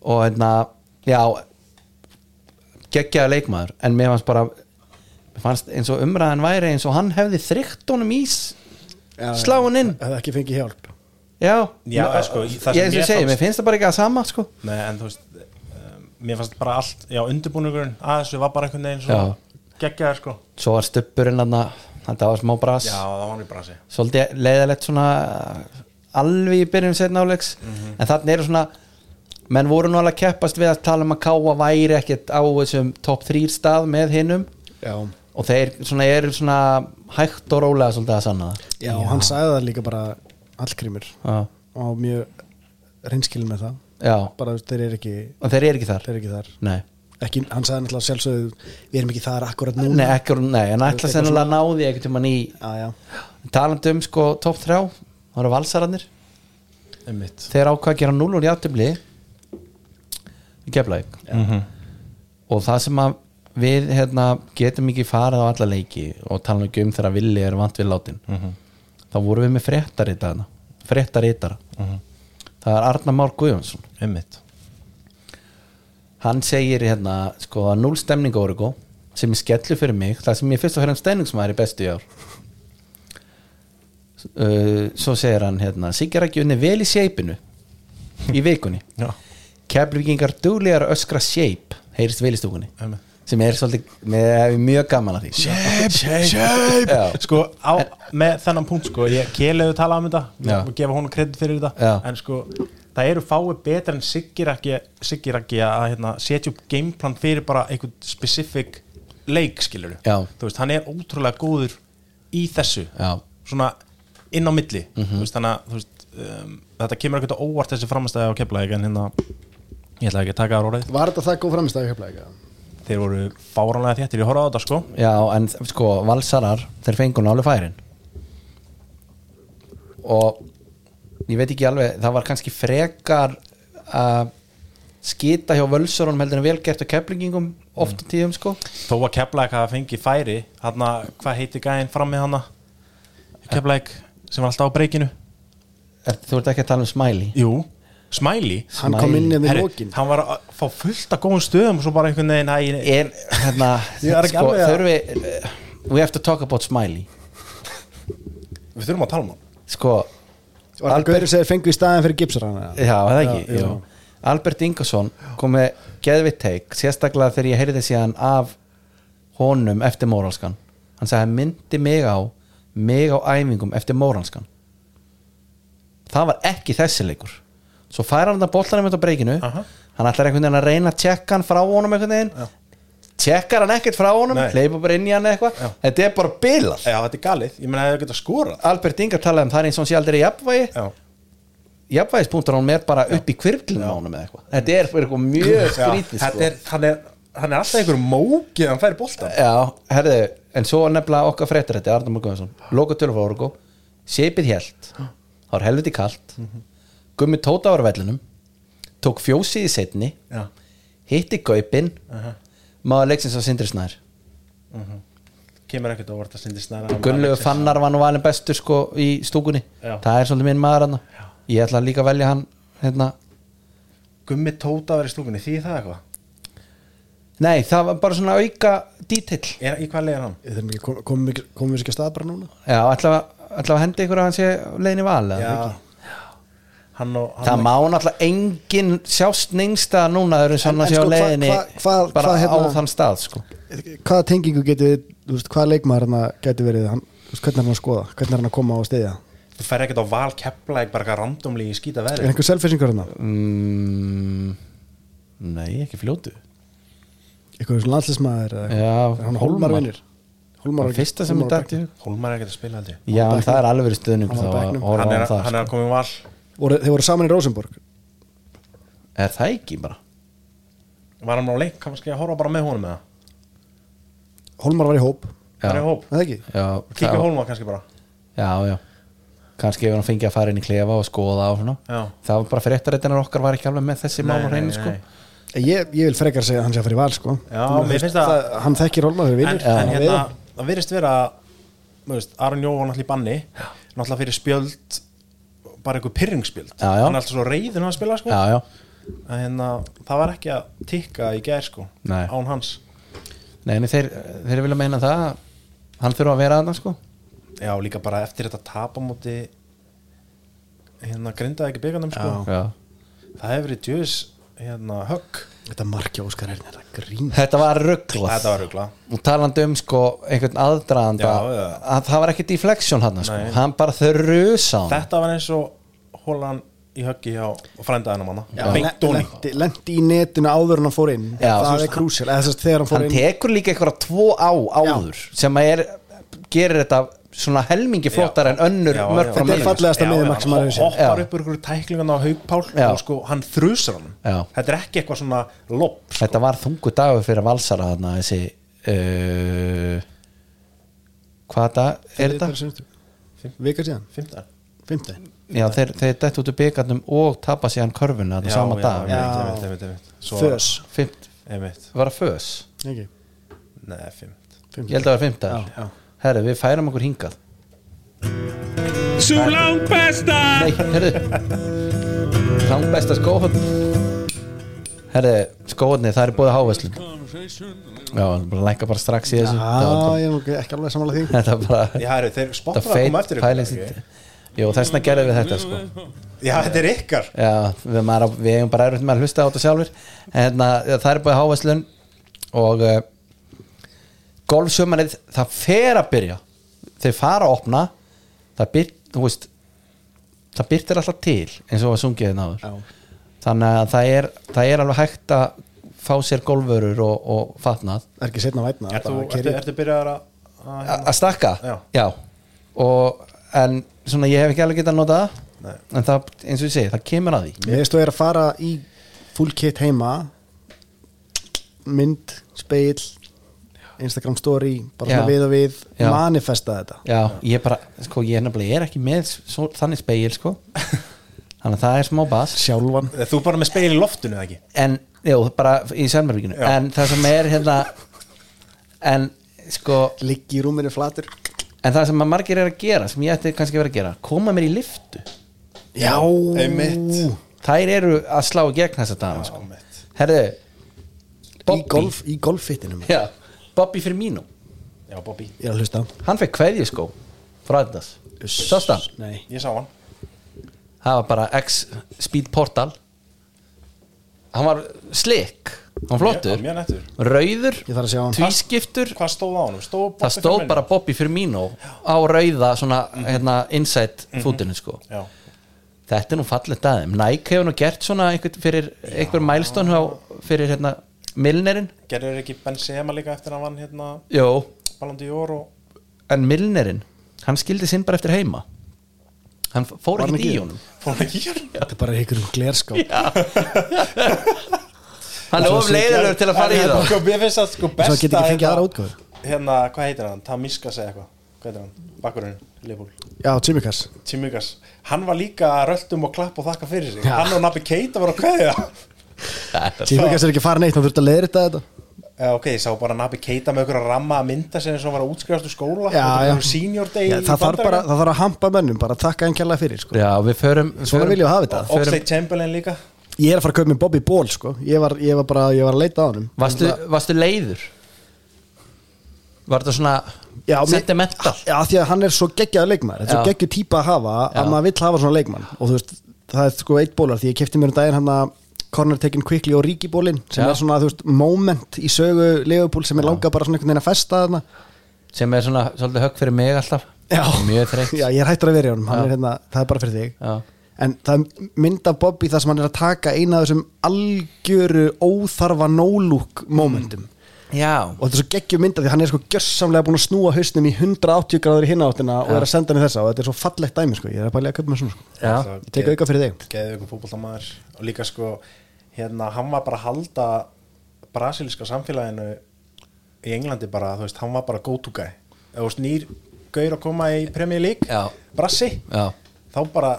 og hérna já geggjaði leikmaður en mér fannst bara mér fannst eins og umræðan væri eins og hann hefði þrygt honum ís slá hann inn Það ekki fengið hjálp Já, Já, Ma- sko, í- ég, eins og það sem mér ég segi, fannst- mér finnst það bara ekki að sama sko. Nei, en þú veist um, Mér fannst bara allt, já, undirbúningurinn að þessu var bara einhvern veginn svo geggjaðar sko Svo var stöppurinn hann þetta var smá bras Já, það var hann í brasi Svolítið leiðalegt svona uh, alveg í byrjun setna áleiks en þannig eru svona menn voru nú alveg að keppast við að tala um að Káa væri ekkert á þessum top 3 stað með hinnum Já, og þeir svona eru svona hægt og rólega svolítið að sanna það Já. hann sagði það líka bara Hallgrímur Já, og mjög reynskilin með það já. bara þú veist, þeir eru ekki, og þeir eru ekki þar þeir eru ekki þar Nei, ekki, hann sagði náttúrulega sjálfsögðu við erum ekki þar akkurat núna nei, ekki, nei en ætla Eitthvað sennilega að náði ekkert um hann í Já, já. talandi um sko top 3 það eru valsararnir Einmitt þeir ákvað að gera 0 úr játtöfli í keflæk Mhm. og það sem að við hérna, getum ekki farið á alla leiki og tala nú ekki um þegar villi er vant við látin þá vorum við með fréttarítara fréttarítara það er Arnar Már Guðjónsson Einmitt hann segir hérna sko að 0 stemning Origo sem er skellu fyrir mig það sem ég fyrst og hérna stemningsmaður er bestu í ár uh, svo segir hann hérna Sigarækjunni vel í seipinu í vikunni Já. Keflvíkingar duglegar að öskra seip heyrist vel í stúkunni Amen. sem er svolítið, með, er mjög gaman að því Shape, shape Já. Sko, á, með þennan punkt sko ég keliðu tala um þetta Já. og gefa honum kredit fyrir þetta Já. en sko, það eru fáið betra en Sigiraki Sigiraki að hérna, setja upp gameplan fyrir bara einhvern specific leik, skilur Já. þú veist, hann er ótrúlega góður í þessu Já. Mhm. svona inn á milli þú veist, þannig að þú veist, um, þetta kemur ekkert á óvart þessi framstæði á keflaði en hérna, ég ætla ekki að taka þar orðið Var þetta það góð framistæði hefla þeir voru fáranlega þéttir, ég horfði á þetta sko Já, en sko, valsarar þeir fengur nálega færin og ég veit ekki alveg, það var kannski frekar að skita hjá völsurunum heldur en vel gert á keflingingum oft Mm. og tíðum sko þó að Keflæk hafa fengið færi hann hvað heitir gæinn fram með hann Keflæk sem var alltaf á breykinu Er, Þú ert ekki að tala um smæli Jú, Smiley Hann kom inn hérna í Herri, lókin hann var að fá fullt af góðum stöðum og svo bara einhvern veginn æ, En, hérna, Ég er ekki sko, alveg að- þurfi uh, We have to talk about smiley við þurfum að tala um hann Sko, Var þetta gaurið sem þeir fengu í staðin fyrir gipsar hann já, er það ekki Já, já, Albert Ingersson kom með geðvitt teik, sérstaklega þegar ég heyrði síðan af honum eftir móralskan hann sagði hann myndi mig á mig á æfingum eftir móralskan það var ekki þessi leikur svo færa hann það bollanum út á breykinu Aha. hann ætlar einhvern veginn að reyna að tjekka hann frá honum einhvern veginn tjekkar hann ekkert frá honum, Nei. hleypa bara inn í hann eitthvað þetta er bara bilað Já, þetta er galið, ég meina að það geta skorað Albert Ingar talaði um það er eins og hann sé aldrei í jafnvægi Já, jafnvægispunktur hann er bara upp í kvirflinu á honum eða eitthvað þetta er fyrir eitthvað mjög skrítið þetta sko. er, hann er, hann er alltaf einhver mókið hann færi boltan já, herðu, en svo nefnilega okkar fréttir þetta, Arnum Guðjónsson loka tölur frá Orgo, sépið hjælt það var helviti kalt Mhm. gummi tóta var á vellinum tók fjósið í setni Já, hitti gaupin maður leiksins á Sindri Snær mhm. kemur ekkert á orða sindi snæra Gunnlegu Fannar var nú valin bestur sko í stúkunni Já. það er svolítið minn maður hann ég ætla líka að velja hann hérna, Gummi Tóta var í stúkunni, því það eitthvað Nei, það var bara svona auka dítill Er- Í hvað leir hann? Komum við komum við sér ekki að stað bara núna Já, ætlaðu ætla að henda ykkur að hann sé leiðin í val eða ekki? Hann og, hann Það má náttúrulega engin sjást nengsta núna þegar En- svona en sé á sko, hva- leiðinni hva- hvað- bara hvað, hérna- á þann stað sko. Hvaða tengingu getur við þú veist, Hvaða leikmaður hann getur verið hann, þú veist, Hvernig er hann að skoða, hvernig er hann að koma á stiðja Þú fer ekkert á val kepla ekki bara eitthvað randomli í skýta Er veðri einhver selfisingur hann mm, Nei, ekki fljótu Eitthvað þessu landslismæður Já, Er hann Hólmar. Hólmar vinnur Hólmar Það fyrsta sem ég dætti Hólmar er ekkert að spila aldrei Já, en það er alveg verið stuðning Hann þá var á að bekknum. horfa hann á er, það hann sko. er að koma í val voru, Þeir voru saman í Rosenborg Er það ekki bara? Var hann á leik, kannski að horfa bara með honum eða Hólmar var í hóp Já, Hann er í hóp Eða ekki? já, Kíkja það- Hólmar kannski bara já, já. Kannski ef hann fengi að fara inn í klefa og skoða og svona Já. Það var bara fréttaréttinar okkar var ekki alveg með þessi mál og reyni nei, sko nei. Ég, ég vil frekar segja að hann sé að fara í val sko. Já, Þú mér veist, finnst það- Hann þekkir Hólmar fyrir En, vinnur en hérna, það virðist vera þú veist, Aron Jó var náttúrulega í banni Náttúrulega fyrir spjöld Bara einhver pyrringspjöld Já, já. Hann er alltaf svo reyðin að spila sko Já, já, En hérna, það var ekki að tikka í gær sko Nei. Án hans Nei, nei þeir, þeir vilja meina það að Hann þurfa að vera þarna sko Já, líka bara eftir þetta tapa móti Hérna, grindaði ekki bygganum sko Já. Það hefur verið djöðis hérna, högg Þetta markja Óskar er þetta grín Þetta var rugglað Þetta var rugla Og talandi um sko einhvern aðdraðanda Já, já. að það var ekki deflection hann sko. Nei. hann bara þurrusa hann Þetta var eins og hólan í höggi hjá frændaðinum hana Beint ofan í. lendi, lendi í netinu áður en hann fór inn Já. það er krúsjál, eða þess að þegar hann fór hann inn tekur líka einhverja tvo á áður sem að er, gerir þetta svona helmingi flottar en önnur Já, mörg já. frá Þetta er mönnum fallega- fallegasta Já, miðjumark já, sem maður hefur séð. Hann hoppar Já. upp úr ykkur tæklingan á haugpál Já. og sko hann þrjusar hann Já. Þetta er ekki eitthvað svona lopp sko. Þetta var þungu dagur fyrir valsara þarna þessi uh, hvað dag er þetta? Vika síðan, Fimmtán fymti Já, þeir, þeir dætt út úr byggarnum og tapa síðan körfuna þarna sama dag já. einmitt, einmitt, einmitt. Svo- Fös Fimmt, Einmitt, var það fös? Ekki, neða fimmt Ég held að það var fymtaður Herru, við færum okkur hingað Su langbesta! Nei, herru Langbesta skóhund Herði, skóðni, það er búið að háveslun Já, bara lækka bara strax í þessu Það var Já, bara- ég er nú ekki alveg samanlega því Þetta er bara Já, herru, þeir Þetta spottar að koma feit eftir ykkur, pæling ekki? sínt Jó, þessna gerðum við þetta sko Já, þetta er ykkar Já, við, maður, við eigum bara erfitt með að hlusta á þetta sjálfur En hérna, það er búið háveslun Og uh, Golfsumarið, það fer að byrja Þeir fara að opna Það byr, þú veist Það byrtir alltaf til eins og að sungið þeir náður Þannig að það er, það er alveg hægt að fá sér golfurur og, og fatnað Er ekki setna vætna Ertu, ertu, ertu byrjar að að- A- að stakka Já. Og, en svona ég hef ekki alveg getað að nota Nei. það en það, eins og ég segi, það kemur að því Mér veist þú er að fara í full kit heima mynd, speil Instagram story, bara Já. svona við og við Já. manifesta þetta já, ég bara, sko, ég er nefnilega ég er ekki með svo, þannig speil, sko þannig að það er smá bas sjálfan Þú bara með speil í loftinu, eða ekki? en, jú, bara í Sönbergíkinu Já. en það sem er hérna en, sko liggi í rúminu flatur en það sem að margir er að gera, sem ég ætti kannski að vera að gera koma mér í liftu Já, einmitt. þær eru að slá í gegn þessa dana, sko mitt. herðu, í golf, í golffittinu já, Bobby Firmino Já, Bobby, Ég er að hlusta hann fekk kveðjuskó frá Adidas sást hann, Nei, ég sá hann það var bara X Speed Portal hann var slik hann flottur, Mjög- mjög nettur. rauður ég þarf að sjá hann tvískiptur Hvað stóð á honum? Stóð það Bobby stóð Firmino? bara Bobby Firmino á rauða svona Mhm. hérna, inside fútinu sko Já, þetta er nú fallet aðeim, Nike hefur nú gert svona einhver, fyrir einhver milestone á, fyrir hérna Milnerin gerður ekki Benzema líka eftir að hann vann hérna Jó, Ballon d'Or og en Milnerin hann skildi sinn bara eftir heima hann f- fór Var hann ekki í ekki? honum fór hann ekki hér? Þetta er bara einhverjum glerskáp hann er Svo of sýklar- leiðilegur til að fara í það Sko, mér finnst það sko besta Svo hann geti ekki fengið hérna- aðra útgáfu. Hérna, hvað heitir hann? Tamiska segja eitthvað Hvað heitir hann? Bakkurinn, Leifúl Já, Jimmy Cass Timikas Hann var líka að röltum og klapp og þakka fyrir sig Já. Hann og Nabi Keita var að kveðja Jimmy Cass er ekki farin eitt, hann þurfti að leiðrita þetta Eh, Ok, ég sá bara Nabi Keita með okkur að ramma að mynda sem eins og hann var að útskrifast úr skóla Já, Þetta já. var senior day Já, í það, þarf bara, Bandaríkjunum. það þarf að hampa mönnum, bara þakka hann kjærlega fyrir sko. Já, við förum Svona förum- viljum við hafa þetta. förum- Oxlade Chamberlain líka Ég er að fara að kaupa með Bobby Ball sko. ég, var, ég var bara ég var að leita á hann varstu, varstu leiður? Var þetta svona Já, mér- sentimental? Já, af því að hann er svo geggjaður leikmann Þetta er svo Já. geggjuð típa að hafa Já. að maður vill hafa svona leikmann og þú veist, það er sko eitt bólar því ég kefti mér um daginn hann að corner taken quickly og ríki bólin sem Já. er svona, þú veist, moment í sögu leifupól sem er langað bara svona einhvern veginn að festa þarna Sem er svona svolítið högg fyrir mig alltaf Mjög þreytt Já, ég er hættur að vera í honum, hann Já. er hérna, það er bara fyrir þig Já. En það er mynd af Bobby þar sem hann er að taka eina af þessum algjöru óþarfa no-look momentum Já. og þetta er svo geggjum mynda því hann er sko gjörsamlega búin að snúa hausnum í 180 gráður í hináttina og er að senda henni þessa og þetta er svo fallegt dæmi sko, ég er að bara að kaupa með svona sko Já. Ég tek auka fyrir þig Geðið ykkur fótboltamaður Og líka sko, hérna, hann var bara að halda brasilíska samfélaginu í Englandi bara, þú veist, hann var bara go to guy Ef þú veist, nýr gaur að koma í Premier League Já. Brassi Já. Þá bara,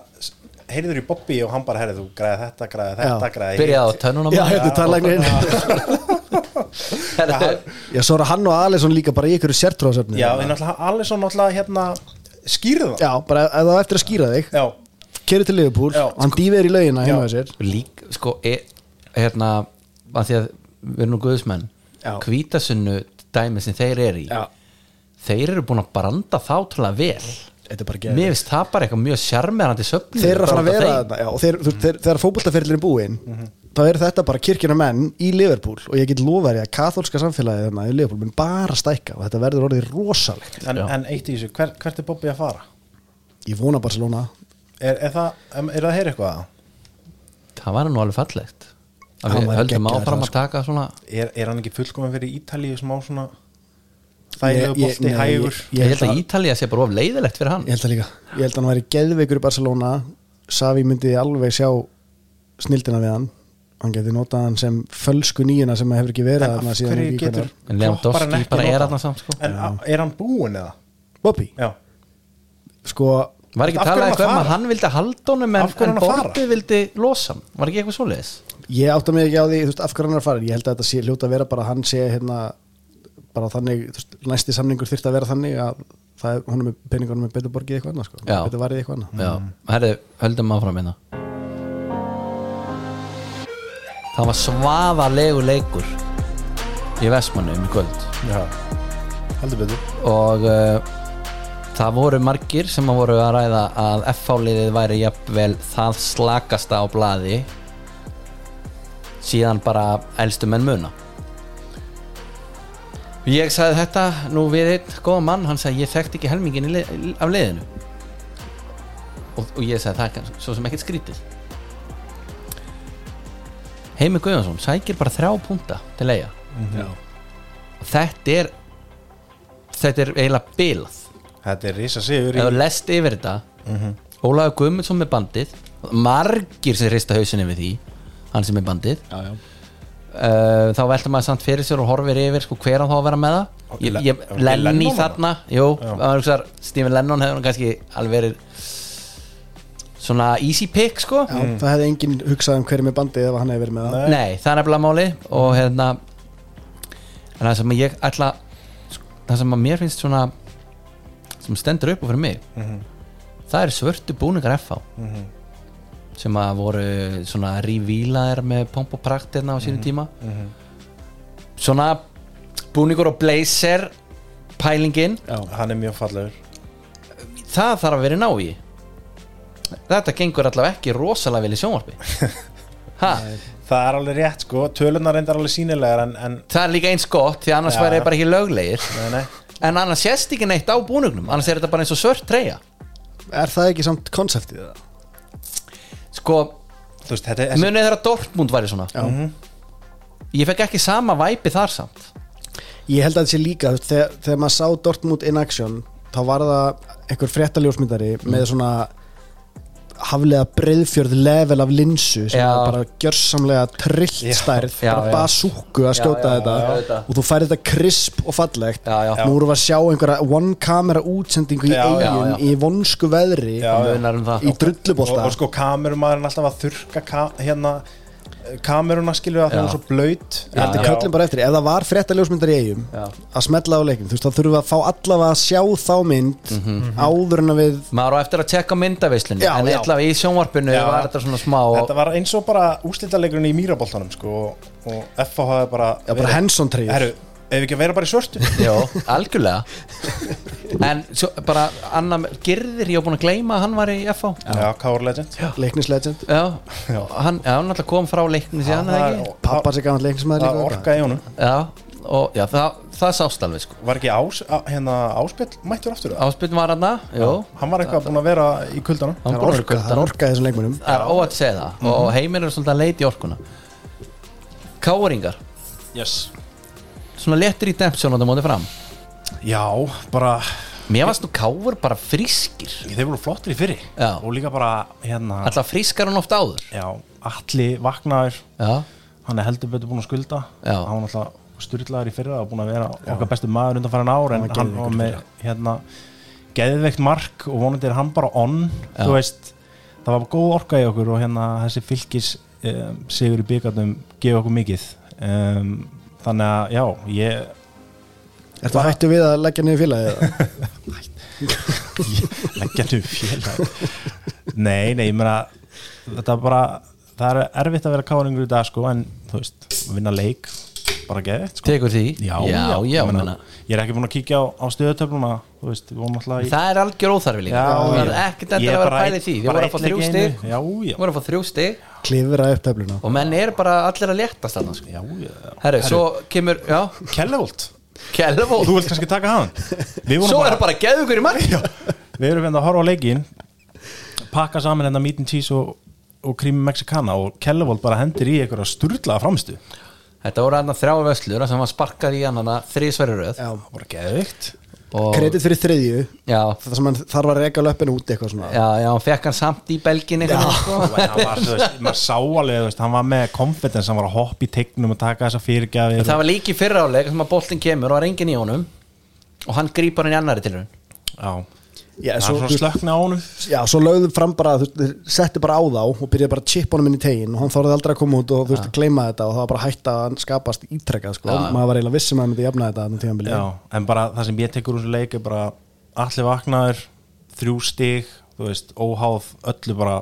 heyrður í Bobby og hann bara, heyrðu, þú græði þetta, græði þetta, Já. græði Byrjaði á tönnunum Já, hérna, þetta er talagnir Já, svo er hann og Alisson líka bara í ykkur sértróðsöfni Já, en alltaf, Alisson alltaf, hérna, skýrði það Já, bara ef það á eftir að skýra þig Já, Kerið til Liverpool, Já. hann dýfir í laugina heima Já. þessir Lík, sko, e, hérna að Því að við erum nú guðismenn Já. Hvítasunnu dæmi sem þeir eru í já. Þeir eru búin að branda þá til að vel Þetta er bara geðið Mér finnst það bara eitthvað mjög sjarmerandi söfn þeir eru að fara að vera þarna já, og þeir, þú- þeir, þegar fótboltaferðlinn er búinn Mhm. þá eru þetta bara kirkjuna menn í Liverpool og ég get lofa þér að katholska samfélagið þarna í Liverpool mun bara stækka og þetta verður orðið rosalegt En, Já. en eitt í þessu, hver, hvert er Bobby að fara? ég vona Barcelona Er, er það, er það að heyra eitthvað að? Það var nú alveg fallegt Að Hann Við var höldum geggjaður, áfram að sko. taka svona er, er hann ekki fullkominn fyrir Ítalíu smá svona Ég- þægilegu ég- bolti nei, hægur Ég, held að, að- Ítalía sé bara of leiðilegt fyrir hann ég held það líka ég held að hann væri geðveikur í Barcelona Savi myndi alveg sjá snildina við hann hann geti notað hann sem fölsku nýjuna sem hefur ekki verið en þarna af síðan hverju ég ekki getur hvenær. En Lewandowski Klopp hann ekki bara er notað? þarna samt, sko. en a- er hann búinn eða? Bobby, já, sko Var ekki Af hverju talað hann eitthvað um að að fara? hann vildi halda honum en, Af hverju en hann að fara? Borti vildi losa hann Var ekki eitthvað svoleiðis? ég átta mig ekki á því þú veist, af hverju hann er farin, ég held að þetta sé hljóta að vera bara að hann sé hérna bara þannig, þú veist, næsti samningur þyrfti að vera þannig að það er, hún er með peningunum er betur borgið eitthvað annað, sko, Já. betur varðið eitthvað Mm. annað Já, herri, höldum áfram hérna það var svaðalegu leikur í Vestmannum í kvöld Já, heldur betur og uh, það voru margir sem að voru að ræða að F-fáliðið væri jafnvel það slakasta á blaði síðan bara elstu menn muna ég sagði þetta nú við einn góða mann, hann sagði ég þekkt ekki helmingin í lið, af liðinu og, og ég sagði það er kannski- svo sem ekkert skrítið Heimi Guðjónsson sækir bara þrjá punta til eiga þetta er þetta er eiginlega bilað Þetta er risa sigur í ef þú lest yfir þetta Ólafur Guðmundsson með bandið margir sem rista hausinni við því hann sem er bandið já, já. uh, þá velta maður samt fyrir sér og horfir yfir sko, hver á þá að vera með það ég, ég, Le- Lenny Lennon þarna jú, maður hugsar, Stephen Lennon hefur nú kannski alveg verið svona easy pick sko Já, Mm. það hefði enginn hugsað um hverju með bandið ef hann hefði verið með það Nei, það er nefnilega máli og hérna en það sem ég ætla það sem að mér finnst svona sem stendur upp og fyrir mig Mhm, það eru svörtu búningar FH sem að voru svona revílaðir með pomp og prakt hérna á sínum Mhm. tíma svona búningur og blazer pælingin, Hann er mjög fallegur það þarf að vera ná í þetta gengur allavega ekki rosalega vel í sjónvarpi ha, Það er alveg rétt sko, tölunar reyndar alveg sínilegar en, en það er líka eins gott því annars Já. væri ég bara ekki löglegir nei, nei. en annars sést ekki neitt á búnugnum annars er þetta bara eins og svört treyja Er það ekki samt konseptið það? sko, Þú veist, þetta er þessi- Mhm. munið þegar Dortmund væri svona Já. ég fekk ekki sama væpi þar samt Ég held að þetta sé líka, þú veist, þegar, þegar maður sá Dortmund in action þá var það einhver fréttaljósmyndari Mm. með svona haflega breyðfjörð level af linsu sem Já. var bara gjörsamlega trillt Já. stærð, Já, bara já. basúku að Já, skjóta já, þetta já, auðvitað. og þú færi þetta krisp og fallegt Já, já. nú voru við að sjá einhverja one camera útsendingu í Já, já, eigin já. í vonsku veðri Já, já. munar um það í drullubólta og, og sko kamerumæðurinn alltaf að þurka ka, hérna eh, kameruna skilur við að Já. það er svo blöyt Ég held að köllum bara eftir, því. ef það var fréttaljósmyndar í eigum að smetla á leikin, þú veist, þá þurfum við að fá allavega að sjá þá mynd Mhm. áður en að við maður á eftir að tjekka myndavislinu Já, en já. allavega í sjónvarpinu Já. var þetta svona smá Þetta var eins og bara úslitaleikurinn í mýraboltanum sko, og- og FH hafði bara Já, bara Henson treyjur. Herru, ef við ekki að vera bara í svörtu Jó, algjörlega en svo, bara annar Girðir, ég var búin að gleyma að hann var í FH Já, Káur Legend leiknislegend já, hann, já, hann alltaf kom frá leikni síðan eða ekki? pappa sé gaman leiknismæður Það líka orkaði í honum já, og, já, það, það sást alveg sko. Var ekki ás, á, hérna, áspill mættur aftur það? áspiln var hann jú, Hann var eitthvað búinn að vera í kuldanum hann það búinn að orka, skulda það orkaði þessum leikmönum það er óætt að segja það og heimir er svolítið að leita í orkuna Káringar Yes svona léttir í dempsjón á það móti fram Já, bara, mér varst nú káur bara frískir þeir voru flottir í fyrri Já. Og líka bara, hérna alltaf frískar hann oft áður Já, allir vaknaður já, hann er heldur betur búinn að skulda Já. hann var náttúrulega styrlaður í fyrra og búinn að vera okkar bestu maður undan farin ár en var hann var með hérna geðveikt mark og vonandi er hann bara on þú veist, það var góð orka í okkur og hérna þessi fylgis um, sigur í byggarnum gefa okkur mikið um, þannig að já, ég Ertu hættu við að leggja niður félagið? eða? leggja nú félag nei, nei, ég meina þetta er bara, það er erfitt að vera káringur í dag sko, en þú veist, vinna leik bara geðveikt sko tekur því já, já, já, ég, meina, ég er ekki búinn að kíkja á, á stöðutöfluna þú veist, við vorum alltaf í það er algjör óþarfi líka það er ekkert endur að vera pæli því þið voru að fá þrjú stig já, já, þið voru að fá þrjú stig klifra upp töfluna og menn er bara allir að léttast þarna sko. já, já. herru, svo kemur já, Kellevolt, og þú Kjellvóð vilt kannski taka hann við vorum svo er það bara geðugur í mark já, við erum hérna að horfa á leikin pakka saman hérna meat and cheese og, og krími mexikana og Kellevolt bara hendir í einhverja sturlaða framstu Þetta voru hann að þrjá veslur sem var sparkað í hann þrísverju röð Já. bara geðvikt og, kredit fyrir þriðju já, það sem hann þarf að reka löppin út eitthvað svona já, já, hann fekk hann samt í sko. belgin já, maður sá alveg, þú veist, hann var með confidence, hann var að hoppa í tegnum og taka þessa fyrirgjafir Það var líki fyrra áleik sem að boltinn kemur og það er enginn í honum og hann grýpar hann í annari til hún já, já, það svo, var þú svona veist, slökna á honum já, svo lögðum fram bara þú veist, þeir settu bara á þá og byrjaði bara að chipa honum inn í tegin og hann þorði aldrei að koma út og þú veist að gleyma þetta og það var bara hægt að hann skapast ítrekkað sko. maður var eiginlega vissum að hann myndi jafna þetta þarna tímabili. Já, en bara það sem ég tekur úr þessu leik er bara allir vaknaður, þrjú stig þú veist, óháð, öllu bara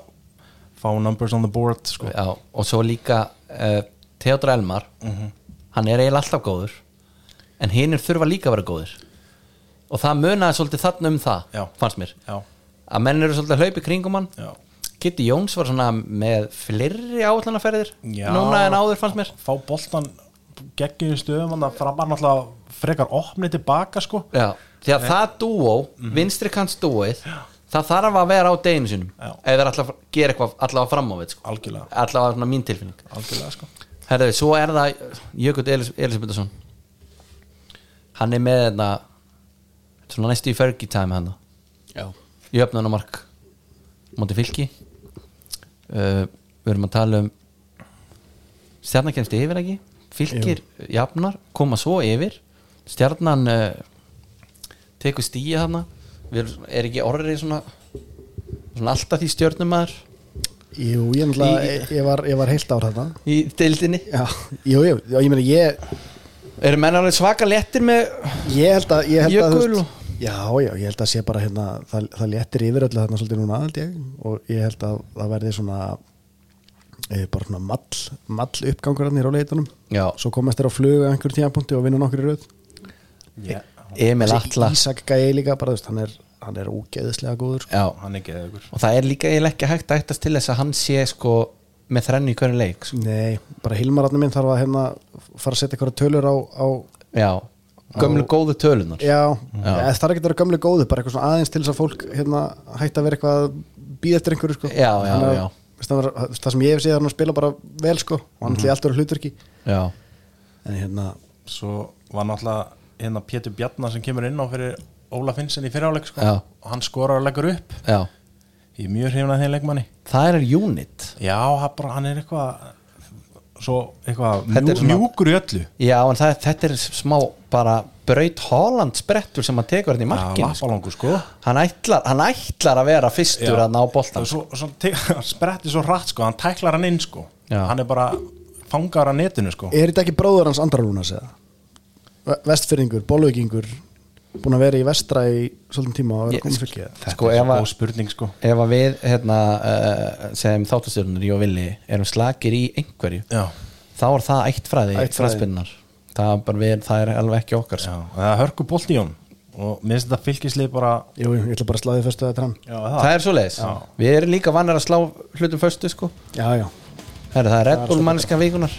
fá numbers on the board sko. Já, og svo líka uh, Theodor Elmar Mhm. hann er eiginlega alltaf góður en hinnir þurfa líka að vera góðir og það munaði svolítið þarna um það Já. fannst mér Já. að menn eru svolítið að hlaupa í kringum hann Já. Kitty Jóns var svona með fleiri áallanaferðir Já. núna en áður fannst mér fá boltan geggjum stöðum hann að framar náttúrulega frekar opni tilbaka sko Já, því að það dúó, Mhm. vinstri kants dúóið það þarf að vera á deginu sínum Já. ef það er alltaf að gera eitthvað allavega fram á við sko. Algjörlega. allavega svona mín tilfinning algjörlega sko Herðu, svo er það Jökull Elis Elisabethsson hann er með þetta svona næstu í Fergie time hann Já. í öfnunamark móti fylki uh, við erum að tala um stjarnan kemst yfir ekki fylgir jafnar, koma svo yfir stjarnan uh, tekur stíja þarna við erum, er ekki orrið svona, svona alltaf því stjörnumæður Jú, ég, náttúrulega- ég, ég, var, ég var heilt ár þarna í deildinni Já, jú, jú, já, ég meina ég, eru menn alveg svaka léttir með ég held að ég held að, þú Jökul veist- Já, já, ég held að sé bara hérna, það, það léttir yfir öllu þarna svolítið núna held ég og ég held að það verði svona eh, bara svona mall, mall uppgangur hann í róleitunum Já. Svo komast þér á flugu einhver tímapunkti og vinna nokkur í röð yeah. Emil Atla Ísak gæði líka bara, þú veist, hann er, hann er ógeðislega góður sko. Já. hann er geðugur og það er líka eiginlega ekki hægt að ættast til þess að hann sé sko með þrennu í hverju leik sko. Nei, bara Hilmararni minn þarf að hérna fara að setja eitthvað tölur á, á já, gömlu góðu tölunar Já, eða það er ekki að vera gömlega góður bara eitthvað svona aðeins til þess að fólk hérna, hætti að vera eitthvað að býða eftir einhverju sko. Já, já, Þannig að, já. veist, Það, var, það sem ég hef séð er hann að spila bara vel sko, og hann Mhm. ætli alltaf að vera hlutverki já, en hérna, svo var náttúrulega hérna Pétur Bjarnar sem kemur inn á fyrir Óla Finnsen í fyriráleik sko Já. og hann skorar og leggur upp já ég er mjög hrifin að þeim leikmanni það er unit já, hann bara- hann er eitthvað svo eitthvað Þetta er mjú, svona- mjúkur í öllu já, en það, þetta er smá bara braut Holland sprettur sem hann tekur þetta í markinu sko. lappalangur sko hann, ætlar, hann ætlar að vera fyrstur Já. að ná boltan Og svo, svo te- hann sprettir svo hratt sko hann tæklar hann inn sko Já. hann er bara fangar að netinu sko er þetta ekki bróður hans andra rúna segja? Vestfyrringur, bolvíkingur búin að vera í vestra í svolítum tíma og Ég- vera komið fylgið þetta sko, er ef svo að- góð spurning sko ef að við hérna, uh, sem þáttastjörnur í og villi erum slakir í einhverju já þá er það ættfræði, Ættfræði. ættfræðspinnar það, er bara við- það er alveg ekki okkar sko. Já, og það er hörku bólt í hún og mér finnst þetta fylgislið bara Jú, jú, ég ætla bara að sláði fyrstu að þetta er hann já, það er svo leiðis við erum líka vannar að slá hlutum föstu sko. Já, já, Herri, það er Red Bull manneska vikunar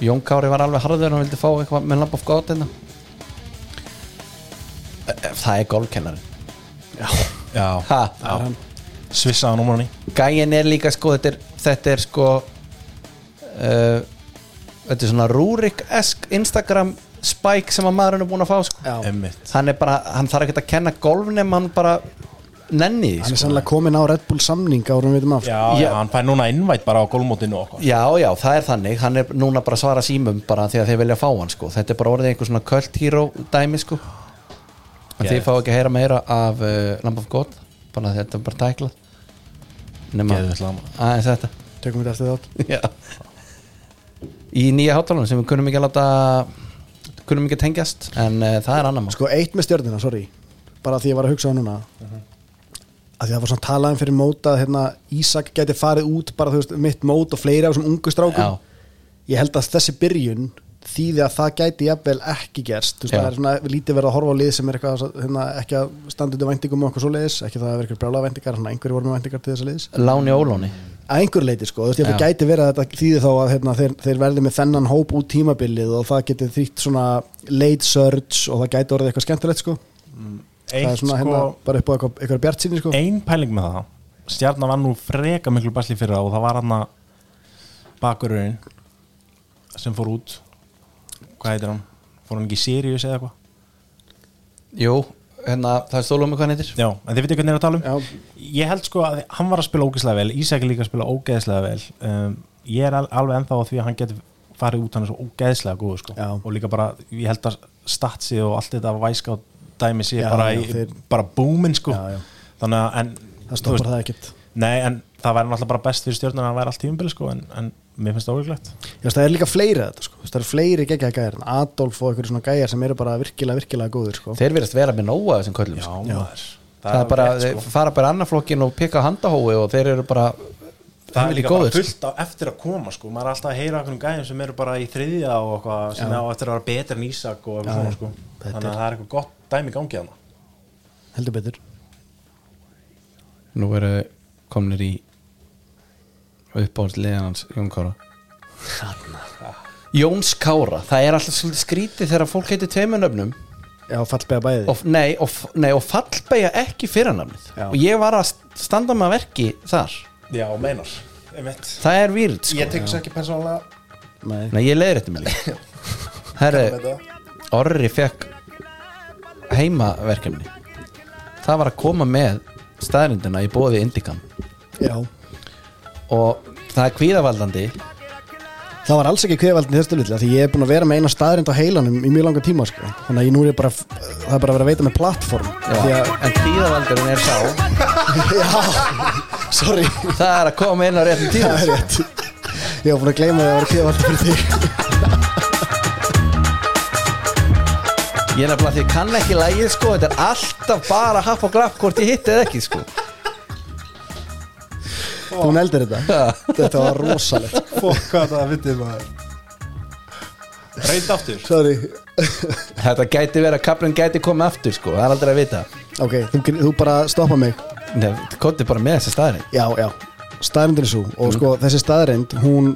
Jón Kári var alveg harður hann vildi fá eitthvað með lamp of god hérna Ef það er golfkennarin já, ha, já. svissaða númurni gæin er líka sko þetta er, þetta er sko uh, þetta er svona Rúrik-esk Instagram spike sem að maðurinn er búin að fá sko. já. emmitt hann er bara, hann þarf ekki að kenna golfnum hann bara nenni því hann er sko. sannlega komin á Red Bull samning árum við um aftur já, Já. já, hann fær núna innvætt bara á gólmótinu og okkur Já, já, það er þannig, hann er núna bara að svara símum bara því að þeir vilja fá hann sko þetta er bara orðið einhver svona cult hero dæmi sko en þið Geðvegt. fá ekki að heyra meira af uh, Lamb of God bara þetta er bara tæklað nema Geðvegt lag, maður. aðeins þetta tökum við þetta eftir þátt já. í nýja hátalanum sem við kunum ekki að láta kunum ekki að tengjast en uh, það er annar mál Sko eitt með stjörnina, sorry bara því ég var að hugsa á núna að því það var svona talaðum fyrir mót að hérna, Ísak gæti farið út bara þú veist mitt mót og fleiri af þessum ungu strákum Já. ég held að þessi byrjun þýði að það gæti jafnvel ekki gerst þú veist Já. það er svona lítið verið að horfa á lið sem er eitthvað hérna, ekki að standa undir væntingum og eitthvað svoleiðis, ekki það að vera eitthvað brjála væntingar svona einhverju voru með væntingar til þessa liðs Láni Ólóni að einhverju leiti sko, þú veist ég Já. það gæti verið að þetta þýði þá að hérna, þeir, þeir verði með þennan hóp út tímabilið og það geti þrýtt svona late surge og það gæti orðið eitthvað skemmtilegt sko það eitt er svona sko, hérna bara upp á eitthvað, eitthvað bjart síni sko ein pæling með það stjarnar var nú freka miklu basli fyrir það og það var hann að bakururinn sem fór út hvað heitir hann, fór hann ekki í Sirius eða eitthvað Jú, hérna, það er stólum með hvað hann heitir Já, en þið veitir hvernig ég er að tala um Já. Ég held sko að hann var að spila ógeðslega vel Ísak er líka að spila ógeðslega vel um, Ég er al- alveg ennþá á því að hann getur farið út hann er svo ógeðslega góð sko. Já. og líka bara, ég held að statsi og allt þetta væska dæmi sé Já, bara, já, í, þeir- bara búmin sko. Já, já. þannig að en, það þú stoppar það ekkert Nei, en það væri náttúrulega bara best fyrir stjórnum að hann væri allt tímbil sko, en, en mér finnst það ógeðslegt Ég veist, það er líka fleiri að þetta sko Þú veist, það er fleiri geggjæða gæjar en Adolf og einhverju svona gæjar sem eru bara virkilega virkilega góðir sko Þeir verðast vera með nóa þessum köllum sko. maður, það er bara, rétt, sko. þeir fara bara annarflokkin og pika handahói og þeir eru bara það er Helviti líka bara góður. fullt á eftir að koma sko. maður er alltaf að heyra okkur um gæðum sem eru bara í þriðja og eitthvað sem á eftir að vera betra en Ísak og eitthvað svona sko. Þetta þannig að er- það er eitthvað gott dæmi í gangi hana heldur betur Nú eru komnir í uppáhaldsliðan hans Jón Kára Jóns Kára, það er alltaf svolítið skrítið þegar fólk heitir tveimur nöfnum já, fallbega bæði og, nei, og, f- nei, og fallbegja ekki fyrranamnið Já. og ég var að st- standa með verki þar já, meinar, einmitt það er výrð sko. ég tek þess ekki persónulega Nei. nei, ég leiðir þetta með líka Eh. Herri, Orri fekk heimaverkefni það var að koma með staðrindina í bóði Indikan já, og það er kvíðavaldandi það var alls ekki kveðvaldin í þessu lilla því ég er búin að vera með eina staðrind á heilanum í mjög langa tíma sko. þannig að ég nú er ég bara það er bara að vera að veita með plattform því Já, að, en kvíðavaldurinn er sá sorry, það er að koma inn á réttum tíma það er rétt ég var búin að gleyma því að það var kveðvaldin fyrir þig ég er nefnilega því ég kann ekki lægið sko þetta er alltaf bara happ og glapp hvort ég hitt eða ekki sko þú neldir þetta, þetta var rosalegt fokk hvað það vitið maður reynd aftur sorry, þetta gæti verið að kaplinn gæti komið aftur sko það er aldrei að vita ok, þú, þú bara stoppa mig Nef, kóti bara með þessa staðin já, já, staðrindin er svo og Mm. sko þessi staðrind, hún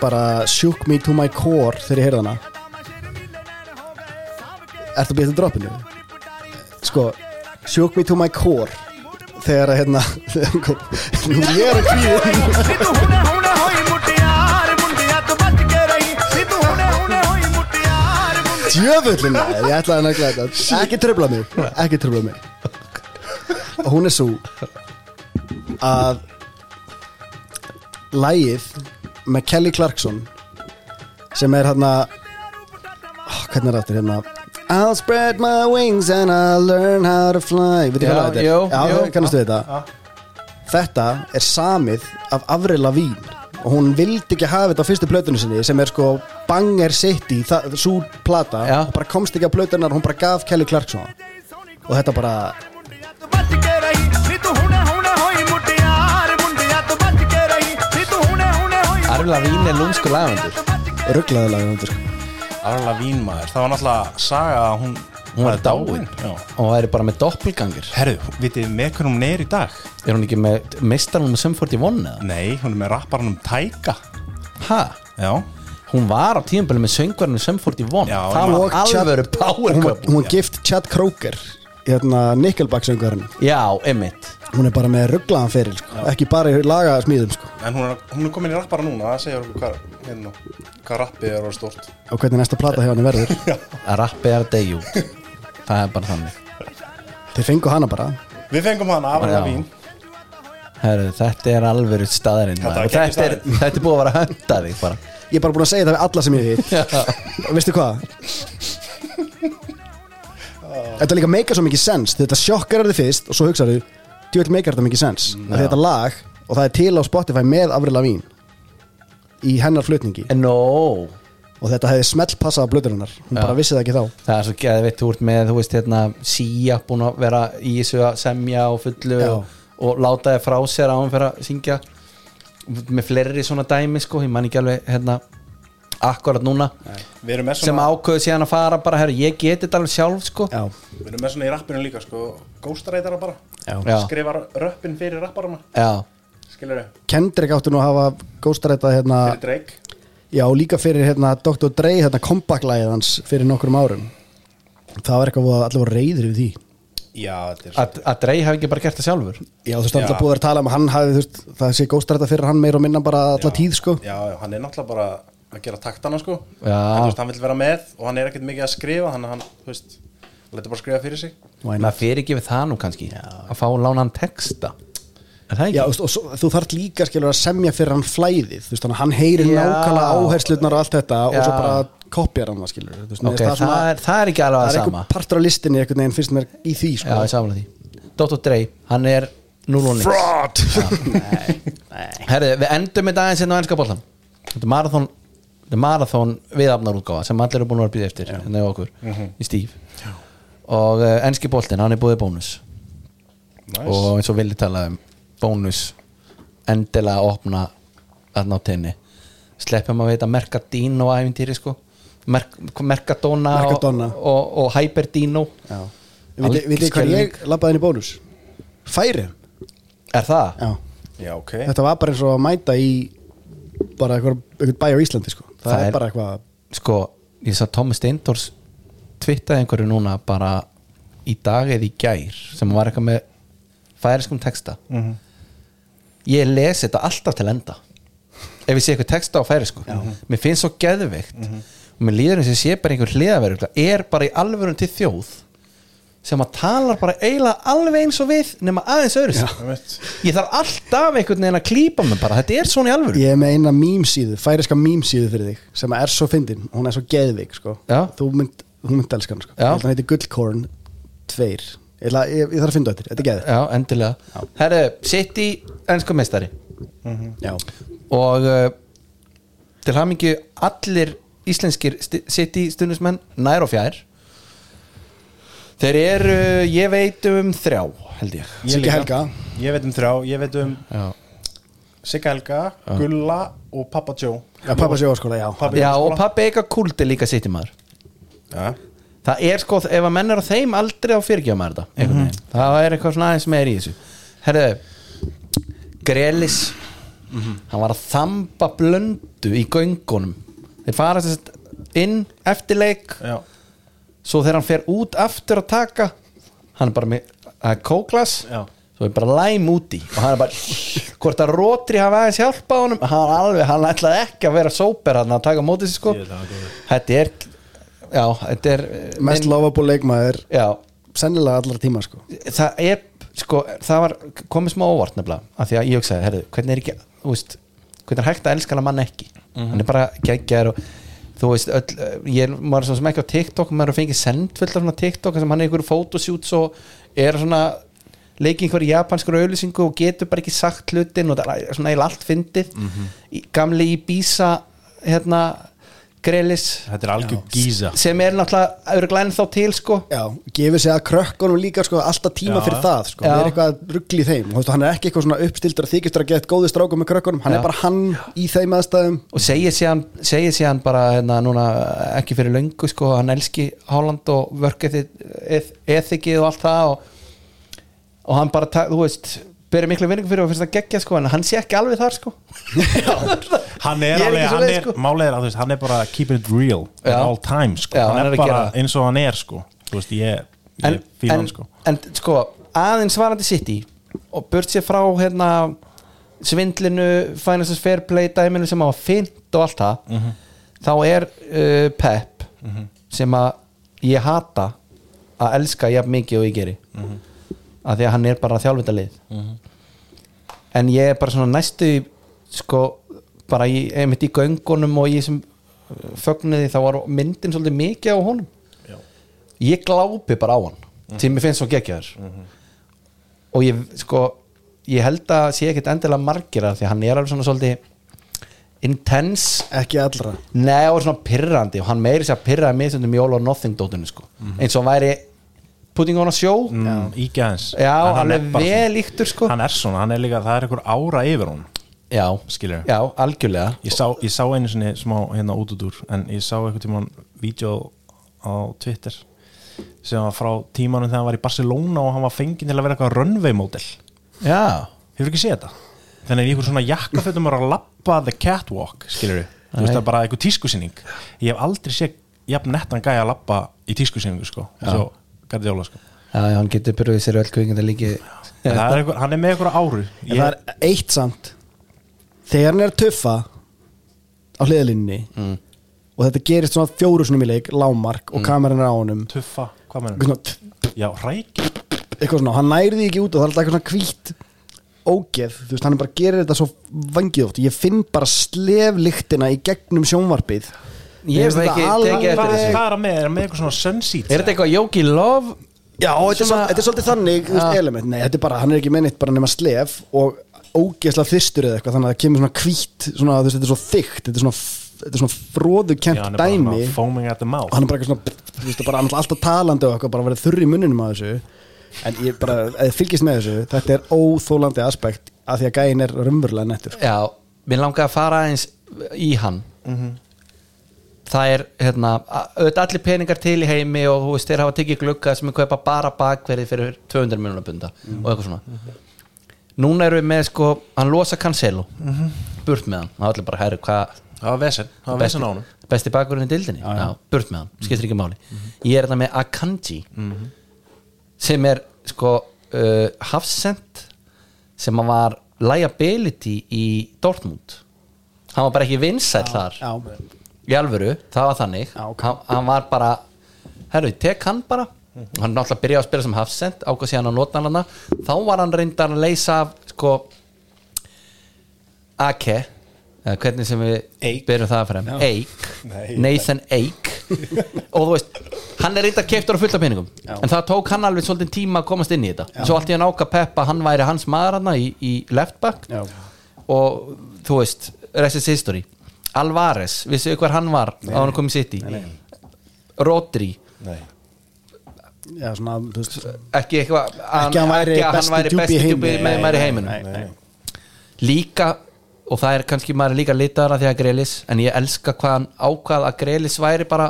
bara shook me to my core þegar ég heyrði hana Ertu að býta droppinu? Sko, shook me to my core þegar að hérna nú ég er að kvíði djöfullin maður, ég ætlaði að nægla þetta ekki tröfla mig, ekki tröfla mig og hún er svo að lægið með Kelly Clarkson sem er hérna oh, hvernig er þetta hérna I'll spread my wings and I'll learn how to fly Vitið Já, hvað lag þetta er? jú, já, jú. kannastu við þetta þetta er samið af Avril Lavigne og hún vildi ekki hafa þetta á fyrstu plötunni sinni sem er sko Banger City það- sú plata, Já. Hún bara komst ekki á plötunar hún bara gaf Kelly Clarkson og þetta bara Arvila Vín er lúmsku lagandur rugglaðilega sko. Arla Vínmaður, það var náttúrulega saga að hún, Hún var væri dáin Já. og það er bara með doppelgangir herru, vitið þið með hvernig hún er í dag er hún ekki með meistarunum sem fórt í vonna nei, hún er með rapparanum Tæka ha? já, hún var á tíðanbæli með söngvarunum sem fórt í vonna Já, það hún var var- alvöru power hún, var- couple hún var gift Chad Kroger hérna Nickelback söngurinn já, emitt hún er bara með rugglaðan fyrir sko. ekki bara í laga smíðum sko. en hún er, hún er komin í rappara núna það segir okkur hvað, hérna, hvað rappið er og stort og hvernig næsta plata hjá henni verður að rappi er að deyja út það er bara þannig þeir fengu hana bara við fengum hana af Já. hana vín Herru, þetta er alvöru staðarinn Þetta maður. var Og þetta, er, geggjum þetta er búið að vera að hönda þig bara ég er bara búin að segja það við alla sem ég hitt Og veistu hvað þetta líka meika svo mikið sens þetta sjokkar þið fyrst og svo hugsaðu djöld meikar þetta mikið sens mm, þetta lag og það er til á Spotify með Avril Lavigne í hennar flutningi En no og þetta hefði smelt passað á blöðurinnar hún bara vissi það ekki þá Það er svo geðið veitt, þú ert með, þú veist, hérna Sía búin að vera í þessu að semja og fullu Já. og, og láta þið frá sér án fyrir að syngja með fleiri svona dæmi, sko, ég man ekki alveg hérna, akkurat núna við erum með sem svona, ákveðu síðan að fara bara, herru, ég geti þetta alveg sjálf, sko já, við erum með svona í rappinu líka sko, ghostwritera bara Já. skrifar röppin fyrir rapparana Já. skilur þau, Kendrick átti nú að hafa góstarætta hérna, fyrir Drake já líka fyrir hérna Dr. Dre, hérna kompaklæðið hans fyrir nokkrum árum það var eitthvað að allir voru reyðir við því já, þetta er Að, að Drey hafi ekki bara gert það sjálfur já þú veist það er Já. alltaf búið að vera að tala um að hann hafi þú veist, það sé góstarætta fyrir hann meira og minna bara alla tíð sko já, já, hann er náttúrulega bara að gera taktana sko Já. hann, þú veist, hann vil vera með og hann er ekkert mikið að skrifa hann, hann, þú veist, hann letur bara skrifa fyrir sig Why not? maður fyrir ekki við það nú kannski að fá lána hann texta Er það ekki? já þú veist, og svo, þú þarft líka skilur að semja fyrir hann flæðið þú veist þannig að hann heyrir Já. nákvæmlega áherslunar og allt þetta Já. og svo bara kopjar hann það skilur þú veist, mér Ok, finnst það, er, það er ekki alveg það að er sama einhver partur á listinni einhvern veginn finnst mér í því Já, sko ég samanlega því Dr. Dre, hann er 0 og 9 Fraud Herðu, við endum þetta aðeins hérna á ennska boltan Þetta er marathon Þetta er marathon viðafnarútgáfa sem allir eru búin að vera býða eftir hérna hjá okkur, í stíf og uh, ennski boltin, hann er búið bónus nice. og eins og villi talaði um bónus endilega að opna að ná tenni sleppum að veita Mercadino æfintýri sko Merk, Mercadona, Mercadona. og, og, og Hyperdino Já Vitið vitið hvað ég labbaði inn í bónus? Færi er það? Já Já, ok Þetta var bara eins og að mæta í bara eitthvað, eitthvað bæ á Íslandi sko Það, Það er, er- bara eitthvað sko, ég sá Thomas Steindors twittaði einhverju núna bara í dag eða í gær sem var eitthvað með færiskum texta ég les þetta alltaf til enda ef ég sé eitthvað texta á færisku mér finnst svo geðveikt og mér líður eins og ég sé bara einhver hliðaverð er bara í alvörun til þjóð sem að talar bara eiginlega alveg eins og við nema aðeins öðru Ég veit. ég þarf alltaf einhvern veginn að klípa mig bara þetta er svona í alvörun Ég er með eina mýmsíðu, færiska mýmsíðu fyrir þig sem er svo fyndin, hún er svo geðvik sko Já. Þú mynd, þú mynd elskan sko Já. Þannig heiti Gullkorn 2 ég, ætla- ég, ég þarf að finna þetta, þetta er geðvik Já, endilega Herru, City, ennska meistari Já, og uh, til hamingju allir íslenskir sti- City stundismenn nær og fjær Þeir eru, ég veit um þrjá, held ég Ég Siggi líka. Helga. Ég veit um þrjá, ég veit um Já, Sigga Helga, Gulla og Pappa Joe já pappa sjóaskóla, já Pabbi Já og Jónsson. pappi eitthvað kúldi líka City maður Já. Það er sko, ef að menn er á þeim aldrei á fyrirgjöfum er þetta mm Mhm. -hmm. Það er eitthvað svona aðeins meir í þessu Herðu Grelis Mhm. Hann var að þamba blöndu í göngunum Þeir fara þess að inn eftir leik Já. Svo þegar hann fer út aftur að taka Hann er bara með að kóklas Já. Svo er bara læm úti Og hann er bara Hvort að rótri hafa aðeins hjálpa honum Hann alveg, hann ætlaði ekki að vera sóper Hann að taka á móti sér sko Ég veit það, góður. Þetta er Já, þetta er eh, Mest lovable leikmaður Já, sennilega allra tíma sko það er sko, það var komið smá óvart nefnilega, af því að ég hugsaði, herðu, hvernig er ekki þú veist, hvernig er hægt að elska hana mann ekki hann er bara geggjar og þú veist, öll, ég er- maður er svona sem ekki á TikTok maður er að fengið sendfullt af svona TikTok sem hann er í einhverju fotosjúts og er svona leikið einhverju japanskur auðlýsingu og getur bara ekki sagt hlutin og það er svona eða allt fyndið í, gamli í Bísa hérna, Grelis Þetta er algjör gísa sem er náttúrulega örglæn þá til sko Já, gefur sig að krökkunum líka sko, alltaf tíma Já. fyrir það sko. Já. það er eitthvað ruggl í þeim Þú veist, hann er ekki eitthvað svona uppstildur að þykistur að geta góði strákum með krökkunum, hann Já. er bara hann í þeim aðstæðum og segir síðan, segir síðan bara hérna, núna, ekki fyrir löngu sko, hann elski Holland og vörkið ethikið og allt það og, og hann bara, ta- þú veist byrja miklu vinningu fyrir og finnst það geggja sko, en hann sé ekki alveg þar sko Hann Ég er ekki er alveg, hann svoleiðis, er, sko. málið er að þú veist, hann er bara keeping it real Já. at all time, sko Já, Hann hann er er að bara gera það. eins og hann er, sko Þú veist, ég, en, ég fíla en, hann, sko en sko aðeins varandi City og burt sér frá hérna, svindlinu, finances fair play dæminu sem hafa fint og allt það Mhm. þá er uh, Pep sem að ég hata að elska jafn mikið og ég geri Mhm. af því að hann er bara þjálfita lið en ég er bara svona næstu í, sko bara í, einmitt í göngunum og ég sem fögnuði þá var myndin svolítið mikið á honum Já. ég glápi bara á hann til mér finnst svo geggjaður og ég sko ég held að sé ekkit endilega margir af því að hann er alveg svona svolítið intense ekki allra Nei, og svona pyrrandi og hann meiri sér að pyrraði mig stundum í All or Nothing dótunni sko. eins og hann væri putting on a show Mm, Ígja hans Já, hann En hann er er bara vel svona- líktur sko. Hann er svona, hann er líka, það er einhver ára yfir hún Já, Skilurðu? Já, algjörlega Ég sá, ég sá einu sinni smá hérna út út úr en ég sá eitthvað tímann vídeo á Twitter sem var frá tímanum þegar hann var í Barcelona og hann var fenginn til að vera eitthvað runway model Já, Hefur ekki séð þetta? Þannig að einhver svona jakkafötum er að lappa the catwalk, skilur við Þú veist Nei. það er bara einhver tískusýning Ég hef aldrei séð jafn nettan gæja að lappa í tískusýningu sko eins og Guardiola sko já, já hann getur pyrruðið sér öll kvinginda líki En það er einhver, Hann er með einhverja áru en það er eitt samt þegar hann er að tuffa á hliðalínni og þetta gerist svona fjóru svona í leik lámark og kameran er á honum Tuffa, eitthvað hvað mennum? svona, tf, Já, rækja eitthvað svona, hann nærði ekki út og það er alltaf eitthvað svona hvítt ógeð, þú veist, hann bara gerir þetta svo vangið oft, ég finn bara sleflyktina í gegnum sjónvarpið Ég Mér finnst hef þetta ekki alveg- tekið eftir Hvað þessu er það með? Er hann með eitthvað svona sunseat? Er þetta eitthvað Jóki Love? Já, þetta er, Svona- svolítið, þetta er svolítið þannig þú veist, element, nei, þetta er bara, hann er ekki mennitt bara nema slef og ógeðslega þyrstur eða eitthvað þannig að það kemur svona hvít, svona, þú veist, þetta er svo þykkt þetta er svona, f- þetta er svona Já, hann fróðukent er bara dæmi svona foaming at the mouth og hann er bara eitthvað svona, þú veist, bara hann er alltaf talandi og eitthvað, bara verið þurr í munninum að þessu en ég bara, eða fylgist með þessu þetta er óþólandi aspekt af því að gæin er raunverulega nettur sko. Já, mér langaði að fara aðeins í hann Það er, hérna, a- auðvitað allir peningar til í heimi og þú veist, þeir hafa tekið glugga sem er kaupa bara bakverði fyrir 200 miljonar punda og eitthvað svona Núna erum við með, sko, hann losa Cancelo Burt með hann, það er allir bara, herri, hvað Það var vesen, það var besti, vesen á honum besti bakverðin í dildinni já, Mhm. burt með hann, skiptir ekki máli ég er þetta með Akanji Mhm. sem er sko uh, hafsend sem að var liability í Dortmund hann var bara ekki vinsæll þar Já, í alvöru, það var þannig Já, ok. hann, hann var bara, herru, tek hann bara hann náttúrulega byrjaði að spila sem hafsend ákvað síðan að nota hann hana þá var hann reyndar að leysa af sko Ake eða eh, hvernig sem við Eik. byrjum það að frem Eik, Nei. Nathan Eik og þú veist, hann er reyndar keiptur á fulla peningum, en það tók hann alveg svolítið tíma að komast inn í þetta, svo allt í hann áka Peppa, hann væri hans maður hann í, í left back Já. og þú veist, rest is history Alvarez, vissu ykkur hver hann var á hann komið sitt í Rodri, Nei. já svona, þú veist ekki eitthvað Ekki hann væri að besti væri djúpi í besti heimi. djúpi Nei, með maður í nei, heiminum nei, nei. líka og það er kannski maður er líka litaðara því að Grelis en ég elska hvað hann ákvað að Grelis væri bara,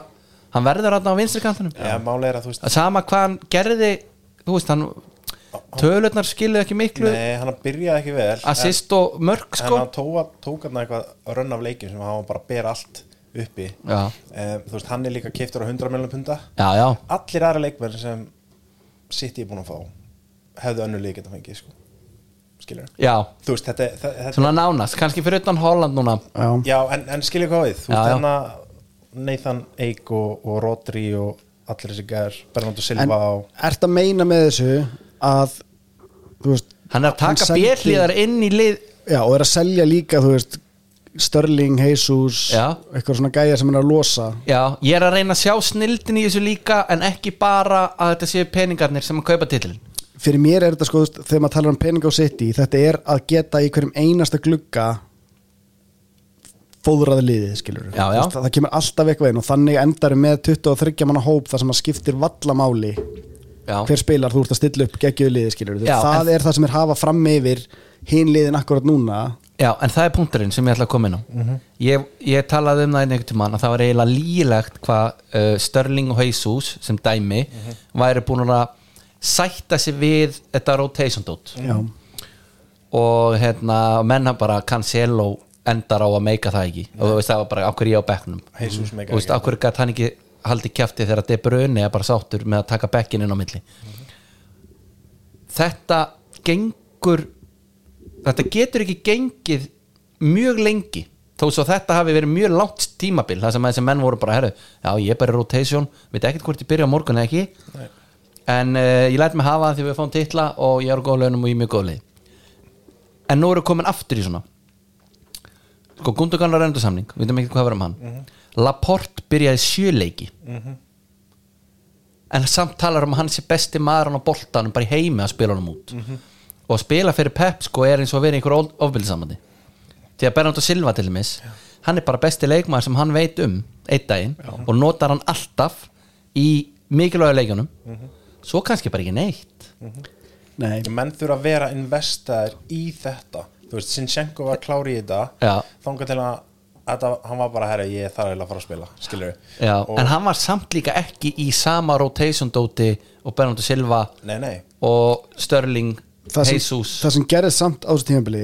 hann verður hann á vinstri kantinum Já, máli er að þú veist Að sama hvað hann gerði þú veist, hann tölurnar skiluð ekki miklu Nei, hann byrjaði ekki vel assist og mörg en, sko en hann tóa, tók hann eitthvað rönn af leikin sem hann var bara að bera allt uppi Já. um, Þú veist, hann er líka keiftur á 100 miljonum punda já, já, Allir aðra leikmenn sem sitt ég búin að fá hefðu önnur leik að fengi, sko Skilur já, Þú veist, þetta, þetta, þetta svona nánast kannski fyrir utan Holland núna Já, Já, en, en skilja hvað við Já, Þú veist já. hann að Nathan Eik og, og Rodri og allir þessi gæðar Bernardo en Silva og ert að meina með þessu að þú veist hann er að Hann taka sendi- björliðar inn í lið Já, og er að selja líka, þú veist Störling, Jesus Já. eitthvað svona gæja sem hann er að losa já, ég er að reyna að sjá snildin í þessu líka en ekki bara að þetta séu peningarnir sem að kaupa titilin fyrir mér er þetta sko, þú veist, þegar maður talar um pening á city, þetta er að geta í hverjum einasta glugga fóðraði liðið, skilur Já, já. það, það kemur alltaf eitthvað inn og þannig endar við með 23 manna hóp þar sem maður skiptir vallamáli já, hver spilar þú ert að stilla upp geggjöðu liðið, skilur Já, það en- er það sem er hafa fram yfir hinn liðin akkurat núna já, en það er punkturinn sem ég ætla að koma inn á Mhm. ég, ég talaði um það einhvern tímann að það var eiginlega lýlegt hvað uh, Störling og Heysús sem dæmi Mhm. væri búin að sætta sig við þetta rotation dot já, og hérna, menn hann bara Cancelo endar á að meika það ekki og þú veist það var bara okkur ég á bekknum Jesus meikar og Mm. veist ekki. okkur gætt hann ekki haldi kjafti þegar De Bruyne er bara sáttur með að taka bekkin inn á milli þetta gengur þetta getur ekki gengið mjög lengi þó svo þetta hafi verið mjög langt tímabil það sem að þessi menn voru bara herru já ég er bara í rotation, veit ekkert hvort ég byrja á morgun eða ekki en uh, ég læt mig hafa það því við fáum titla og ég er á góð launum og ég er mjög góð leið en nú eru komin aftur í svona sko Gundogan var endur samning, við veitum ekki hvað var um hann Laporte byrjaði sjöleiki en samt talar um að hann sé besti maðurinn á boltanum bara í heimi að spila hann út og að spila fyrir Pep sko er eins og að vera í einhver ofbildisamandi því að Bernardo Silva til dæmis hann er bara besti leikmaður sem hann veit um einn daginn og notar hann alltaf í mikilvægu leikjunum svo kannski bara ekki neitt nei, menn þurfa að vera investaðir í þetta Þú veist, Sinchenko var klári í þetta Já. þangað til að Þetta, hann var bara herra, ég þarf eiginlega að fara að spila skilur Já, og, en hann var samt líka ekki í sama rotation dóti og Bernardo Silva nei, nei, og Störling það sem, Jesus það sem gerðist samt á þessu tímabili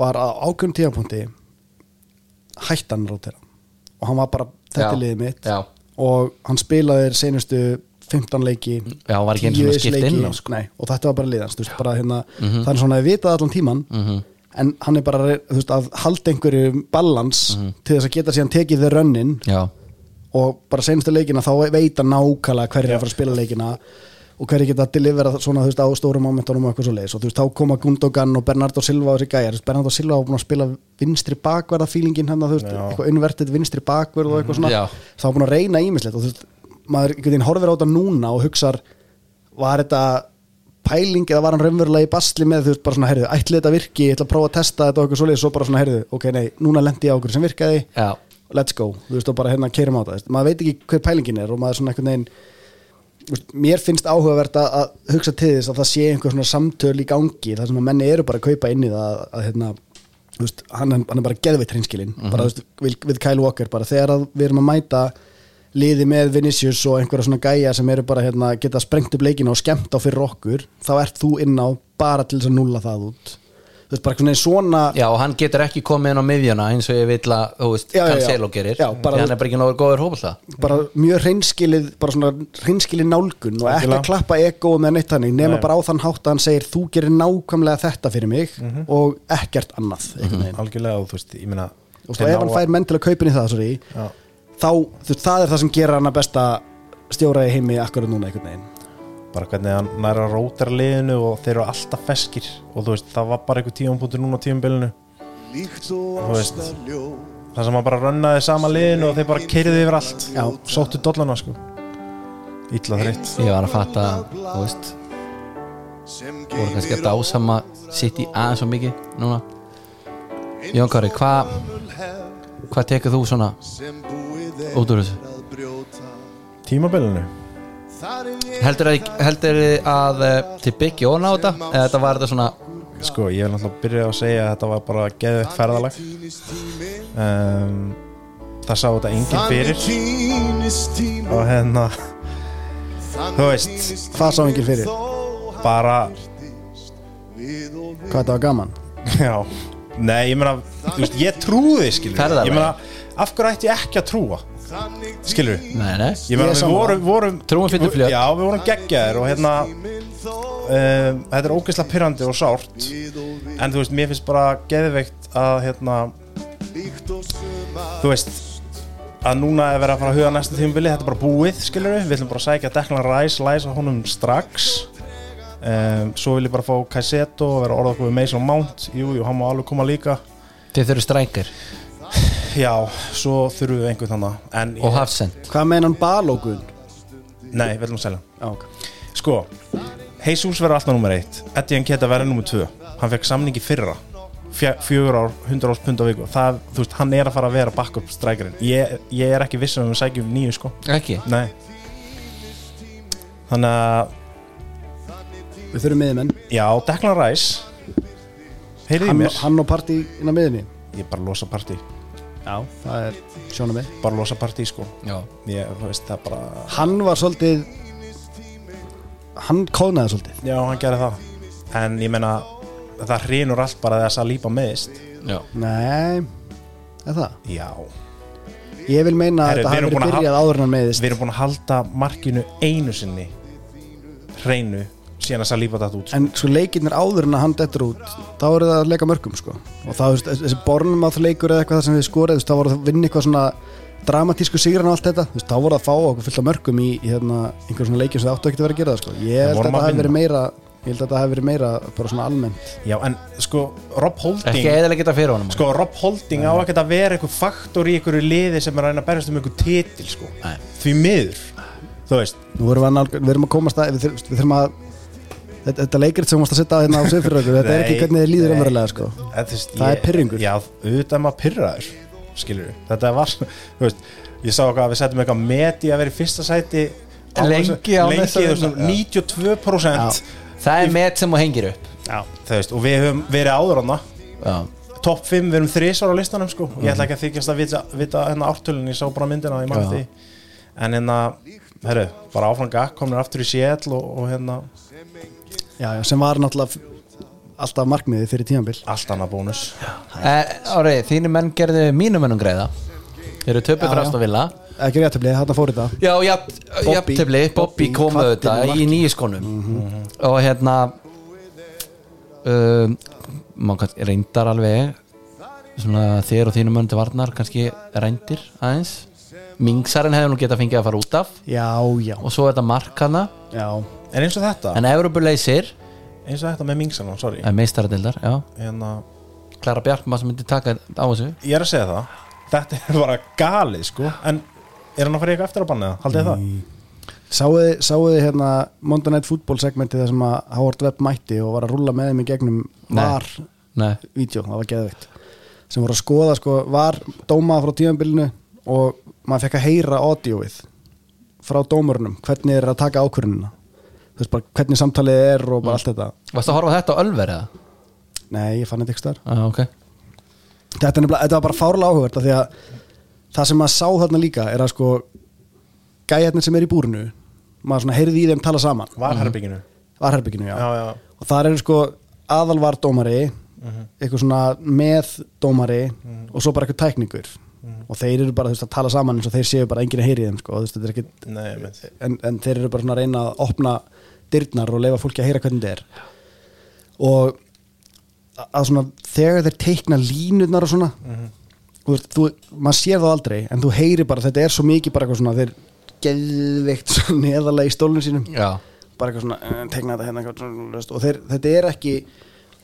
var að ákveðum tímapunkti hættan rótera hérna. og hann var bara þetta Já, er liðið mitt já. og hann spilaði þér seinustu 15 leiki Já, hann var ekki einu 10 sinni skipt leiki, inn á, sko. Mhm. nei, og þetta var bara liðans veist, bara hérna, það er svona að vitað allan tíman en hann er bara að re- þú veist, að halda einhverju balans Mhm. til þess að geta síðan tekið þeir rönnin Já, og bara seinustu leikina þá veit hann nákvæmlega hverju er að fara að spila leikina og hverju geta að delivera svona þú veist á stórum momentunum og eitthvað svo leiðis og þú veist þá koma Gundogan og Bernardo Silva og þessi gæjar Þú veist, Bernardo Silva var búin að spila vinstri bakverða fílingin hennar þú veist eitthvað unnvertið vinstri bakverð og eitthvað svona Já. þá var búin að reyna ímislegt og þú veist maður einhvern veginn horfir á þetta núna og hugsar var þetta pæling eða var hann raunverulega í basli með þú veist bara svona heyrðu, ætli þetta virki, ég ætla að prófa að testa þetta og eitthvað svoleiðis, svo bara svona heyrðu, ok nei, núna lendi ég á okkur sem virkaði já let's go, þú veist, og bara hérna keirum á það, þú veist. maður veit ekki hver pælingin er og maður svona einhvern veginn Úst, mér finnst áhugavert að, að hugsa til þess að það sé einhver svona samtöl í gangi þar sem að menni eru bara að kaupa inn í það að, að hérna, þú veist, hann, hann er bara geðveitt hreinskilin, bara þú veist, við, við Kyle Walker bara þegar að við erum að mæta liði með Vinicius og einhverja svona gæja sem eru bara hérna, geta sprengt upp leikina og skemmt á fyrir okkur, þá ert þú inn á bara til þess að nulla það út þú veist, bara svona svona Já, og hann getur ekki komið inn á miðjuna eins og ég vil að, þú veist, Já, já, já. Cancelo gerir Já, bara- Því hann er bara ekki nógur góður hópa það bara mjög hreinskilið bara svona hreinskilið nálgun og ekki að Algjörlega. klappa ego með neitt hannig nema bara á þann hátt að hann segir þú gerir nákvæmlega þetta fyrir mig og ekkert annað mm -hmm. algjörlega og þú veist, ég meina og þeir ef hann ná- fær menn til að kaupin í það sorry, Já. þá þú, veist, það er það sem gerir hann að besta stjóra í heimi akkurat núna einhvern veginn bara hvernig hann næra rótar liðinu og þeir eru alltaf feskir og þú veist, það var bara einhver tíumpútur núna á tíumbilinu þú veist það sem hann bara rönnaði sama liðinu og þeir bara keiriði yfir allt Já. sóttu dollana sko illa þreytt Ég var að fatta, þú veist voru kannski að dásama sitt í aðeins og mikið núna Jón Kári, hvað hvað tekur þú svona út úr þessu? tímabilinu Heldur þið að eh, þið byggja ón á þetta? Eða þetta var þetta svona sko, ég vil náttúrulega byrja á að segja að þetta var bara geðveitt ferðalag um, það sá þetta enginn fyrir og hérna þú veist, hvað sá enginn fyrir, bara hvað þetta var gaman já, nei, ég meina þú veist, ég trúði, skilur Ferðalag. ég meina, af hverju ætti ég ekki að trúa skilur, Nei, nei, Ég ég meina, er við sammála. vorum, vorum Trúin fyllir fljótt. já, við vorum geggjaðir og hérna um, þetta er ógeðslega pyrrandi og sárt en þú veist, mér finnst bara geðveikt að hérna þú veist að núna er verið að fara að huga að næsta tímubili þetta er bara búið, skilur við, við ætlum bara að sækja Declan Rice, læsa honum strax um, svo vil ég bara fá Kaiseto og vera orða okkur við Mason Mount jú, jú, hann má alveg koma líka þið þurfið strækir já, svo þurfum við einhvern þannig en, og hafsend hvað meina hann balógun nei, við ætlum að selja hann. Já, ok. Sko, Jesus verður alltaf nummer eitt Eddie Nketa verður nummer tvö Hann fekk samningi fyrra Fjö- Fjögur ár, hundra árs pund á viku Það, þú veist, hann er að fara að vera backup strækirinn ég, ég er ekki viss um að við sækjum nýju sko Ekki? Nei Þannig að, við þurfum miðmenn, já, Declan Rice Heyrið í hann, mér hann og partí inn á miðinni, Ég bara losa partí já, það er sjónum við Bara losa partí sko Já Ég, þú veist, það bara hann var svolítið hann kóðnaði svolítið Já, hann gerði það En ég meina, það hrinur allt bara þess að lípa meðist Já Nei, er það? Já Ég vil meina að Herru, þetta við hafi erum verið búin að byrjað áður en hann meiðist Við erum búin að halda markinu einu sinni hreinu síðan að Saliba datt út sko. En svo leikirnir áður en að hann dettur út þá eru það að leika mörgum sko og það, þú veist, þessi bornmátt leikur eða eitthvað þar sem við skorið þú veist, þá voru það að vinna eitthvað svona dramatísku sigran og allt þetta þú veist, þá voru það að fá okkur fullt af mörgum í, í hérna, einhver svona leikir sem það áttu ekki að vera að gera það sko Ég held að vorum þetta að hafi vinna. verið meira ég held að þetta hafi verið meira bara svona almennt Já, en sko Rob Ekki Holding eðalega geta fyrir honum sko, Rob Holding á ekkert að vera einhver faktor í einhverju liði sem er að reyna að berjast um einhver titil sko. Nei. því miður þú veist, Nú erum við, að nálga- við erum að komast að við, þur- við þurfum að þetta, þetta leikrit sem þú mást að setja hérna á sig fyrir okkur þetta er ekki Nei, hvernig þið líður nei. umverulega sko eða, þú veist Það er pirringur. já, auðvitað er maður pyrraður skilur við, þetta var þú veist, ég sá okkar að við settum eitthvað met í að vera í fyrsta sæti á Lengi þessu- á lengi, næsta þú veist, vinna. Já. 92% Það er met sem og hengir upp þú veist, og við höfum verið áður hana Já topp 5, við erum þrísvar á listanum sko. ég ætla ekki að þykjast að vita, vita hérna ártölun ég sá bara myndina, Mhm. Já. ég maður því en hérna, herru, bara áfram gakk komnir aftur í Seattle og, og hérna já, já, sem var náttúrulega f- alltaf markmiðið fyrir tímanbill allt annað bónus Árið, þínu Eh, menn gerðu mínu mennum greiða Þeir eru töpuð frá já. Aston Villa ekki réttöflið, þarna fór þetta Já, jafn- jafntefli, Bobby Bobby kom kvaddi auðvitað með í marki. nýjaskonum og hérna um, mann kannski reyndar alveg svona þér og þínum möndi varnar kannski reyndir aðeins Mingsarinn hefði nú getað fengið að fara út af já, já, og svo þetta markana já en eins og þetta, en Evropuleysir, eins og þetta með Mingsalan, sorry meistaradildar já, hérna, Klara Bjarkma sem myndi taka á þessu ég er að segja það þetta er bara galið sko en er hann að fara í eitthvað eftir að banna það, haldið þið það Sáuði, sáuði hérna Monday Night Football segmentið þar sem að Howard Webb mætti og var að rulla með þeim í gegnum Nei. var Nei, vídeo, það var geðveikt sem voru að skoða sko, var dómað frá tímanbillinu og maður fekk að heyra audioið frá dómurnum hvernig er að taka ákvörunina þú veist bara hvernig samtalið er og bara allt þetta Varst að horfa á þetta á Ölver eða? nei, ég fann þetta ekki star Ah, ok þetta, er nefnilega- þetta var bara fárlega áhugavert af því að það sem maður sá þarna líka er að sko gæjarnir sem er í búrinu maður svona heyrði í þeim tala saman Mhm. Varherbygginu varherbygginu, já. Já, já. og þar eru sko aðalvardómari Mhm. eitthvað svona meðdómari og svo bara eitthvað tækningur Mhm. og þeir eru bara þú veist, að tala saman eins og þeir séu bara enginn að heyri þeim sko, þú veist, þetta er ekki, Nei, ég veit. en, en þeir eru bara svona að reyna að opna dyrnar og leifa fólki að heyra hvernig þetta er og a- að svona þegar þeir teikna línurnar og svona þú veist, þú, maður sér það aldrei en þú heyri bara, þetta er svo mikið bara eitthvað svona þeir geðveikt svo neðalega í stólunum sínum Já, bara eitthvað svona eh, tegna þetta hérna eitthvað, þú veist, og þeir, þetta er ekki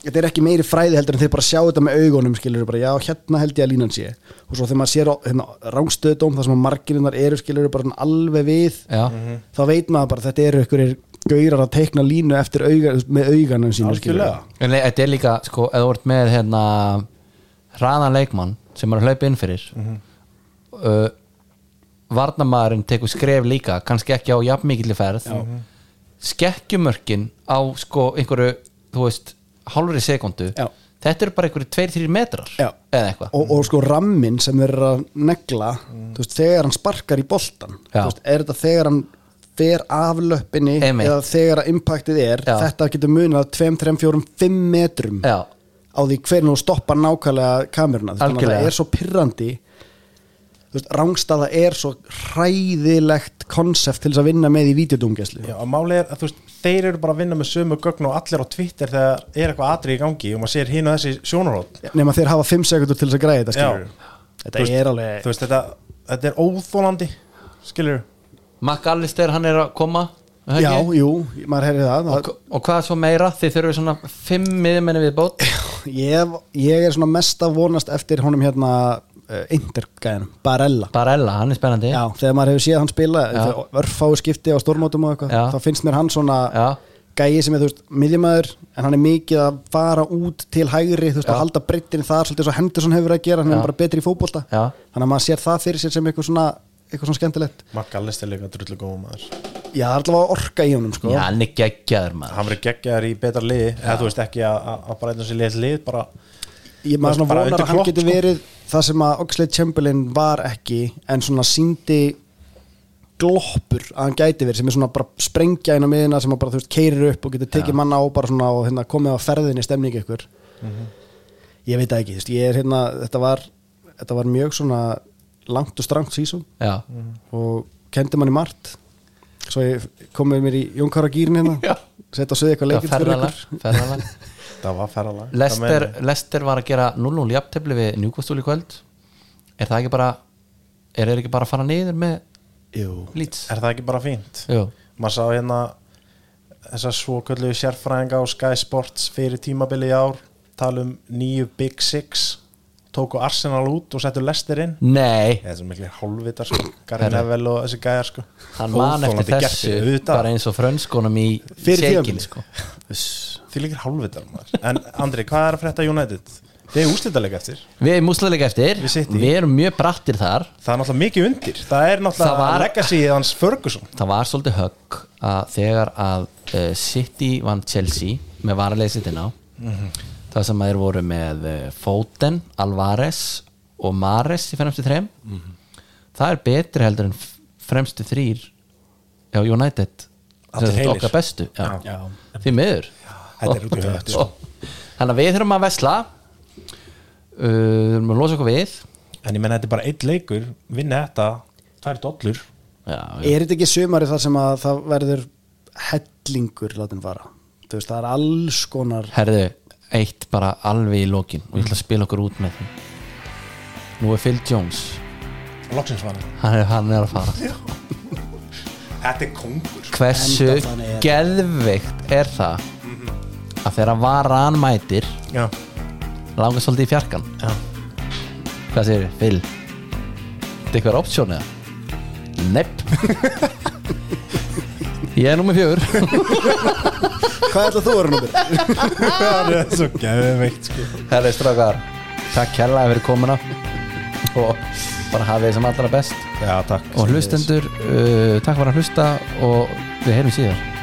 þetta er ekki meiri fræði heldur en þeir bara sjá þetta með augunum skilur bara já hérna held ég að línan sé og svo þegar maður sér á, hérna, rángstöðdóm þar sem að margirinnar eru skilur bara svona alveg við já þá veit maður bara að þetta eru einhverjir gaurar að teikna línu eftir auga, með auganum sínu Algjörlega. En le- þetta er líka, sko, eða þú ert með hérna hraðan leikmann sem er að hlaupa inn fyrir Mhm. uh, varnamaðurinn tekur skref líka, kannski ekki á jafnmikilli ferð Mhm. skekkjumörkin á sko einhverju, þú veist hálfri sekundu, Já. þetta eru bara einhverju 2-3 metrar Já. eða eitthvað og, og sko rammin sem þeir eru að negla Mm. þú veist, þegar hann sparkar í boltan Já. þú veist, er þetta þegar hann fer af löppinni Einmitt. eða þegar að impactið er Já. þetta getur munið að 2, 3, 4, 5 metrum Já, á því hvernig hún stoppar nákvæmlega kameruna Þú veist, þannig að Algjörlega. það er svo pirrandi Þú veist, rángstaða er svo hræðilegt konsept til þess að vinna með í videodumgeslu Já, og máli er að þú veist, þeir eru bara að vinna með sömu gögn og allir á Twitter þegar er eitthvað atrið í gangi og maður sér hinn og þessi sjónarhótt nema þeir hafa 5 sekundur til þess að græða þetta skilur þetta Þú veist- er Eh. alveg Þú veist, þetta, þetta er óþólandi skilur McAllister hann er að koma er það já, ekki? jú, maður heyrði það og, og hvað svo meira, þið þurfum svona 5 miðumenni við bót ég, ég er svona mest að vonast eftir honum hérna uh, intergæðinum, Barella Barella, hann er spennandi já, þegar maður hefur séð hann spila Já. örfáu skipti á stórmótum og Já. eitthvað þá finnst mér hann svona Já. gæi sem er, þú veist, miðjumæður en hann er mikið að fara út til hægri þú veist, að halda breyttin þar, svolítið svo Henderson hefur að gera hann Já. er bara betri í fótbolta Já. þannig að maður sér það fyrir sér sem eitthvað svona eitthvað svona skemmtilegt, Makkallist er líka drullu góðum maður já, það er alltaf að orka í honum sko. Já, hann er geggjaður maður Hann verið geggjaður í betra liði eða þú veist ekki að- að að bara einn og sér lið lið bara ég Þú veist, maður svona bara vonar undir að hann Klopp, geti sko. verið það sem að Oxlade Chamberlain var ekki en svona síndi gloppur að hann gæti verið sem er svona bara sprengja inn á miðina sem að bara þú veist keirir upp og getur tekið manna á bara svona og hérna komið á ferðinni stemningi ykkur Mhm. ég veit það ekki, þú veist, ég er hérna þetta var, þetta var mjög svona langt og strangt sísum Já, Mm. og kendi manni margt svo ég komið mér í Jónkara Já. gýrin hérna setja á sögðu Já eitthvað leikir fyrir ferðalag, ykkur ferðalag. það var ferralag Lester, Lester var að gera 0-0 jafntefli við Newcastle í kvöld Er það ekki bara Er þeir ekki bara að fara niður með Jú. Leeds? Er það ekki bara fínt? Jú, Maður sá hérna þessar svoköllu sérfræðinga á Sky Sports fyrir tímabili í ár tala um nýju Big Six tóku Arsenal út og settu Lester inn nei, eða sem miklu hálfvitar sko Herra. Garin Evel og þessi gæjar sko hann man eftir Óþolandi þessu gerpi, auðvitað. bara eins og frönskunum í Fyrir Shakin tímabilið. sko. Því líkir hálfvitar maður En Andri, hvað er að frétta United? Þið er úslitalega eftir Við erum úsleika eftir, Við City. við erum mjög brattir þar Það er náttúrulega mikið undir Það er náttúrulega Það var- legacyið hans Ferguson Það var svolítið högg að þegar að uh, City vann Chelsea með varalegi sitt inn á það sem að þeir voru með uh, Foden, Alvarez og Mares í fremstu þreim það er betri heldur en f- fremstu þrýr hjá United Sem Allir sagt, heilir. okkar bestu já. Já. því miður Þetta er út í höfðu, sko. Og- þannig að við þurfum að vesla uh, þurfum að losa okkur við En ég menna þetta er bara einn leikur Vinna þetta, tvær dollur já, já. Er þetta ekki sumari þar sem að það verður hellingur látin fara? Þú veist, það er alls konar herðu, eitt bara alveg í lokin og ég ætla að spila okkur út með því nú er Phil Jones Loksins var hann hann er, hann er að fara Þetta er kongur hversu Enda þannig er- geðveikt er það að þegar hann var mætir Já, langar svolítið í fjarkan já hvað segir þið, Phil þetta eitthvað option eða nepp ég er nummer fjögur Hvað ætla þú að vera númur? Það er svo geðveikt sko herri strákar takk kærlega fyrir komuna og bara hafið þið sem allra best Já, takk og hlustendur, uh, takk fyrir að hlusta og við heyrum síðar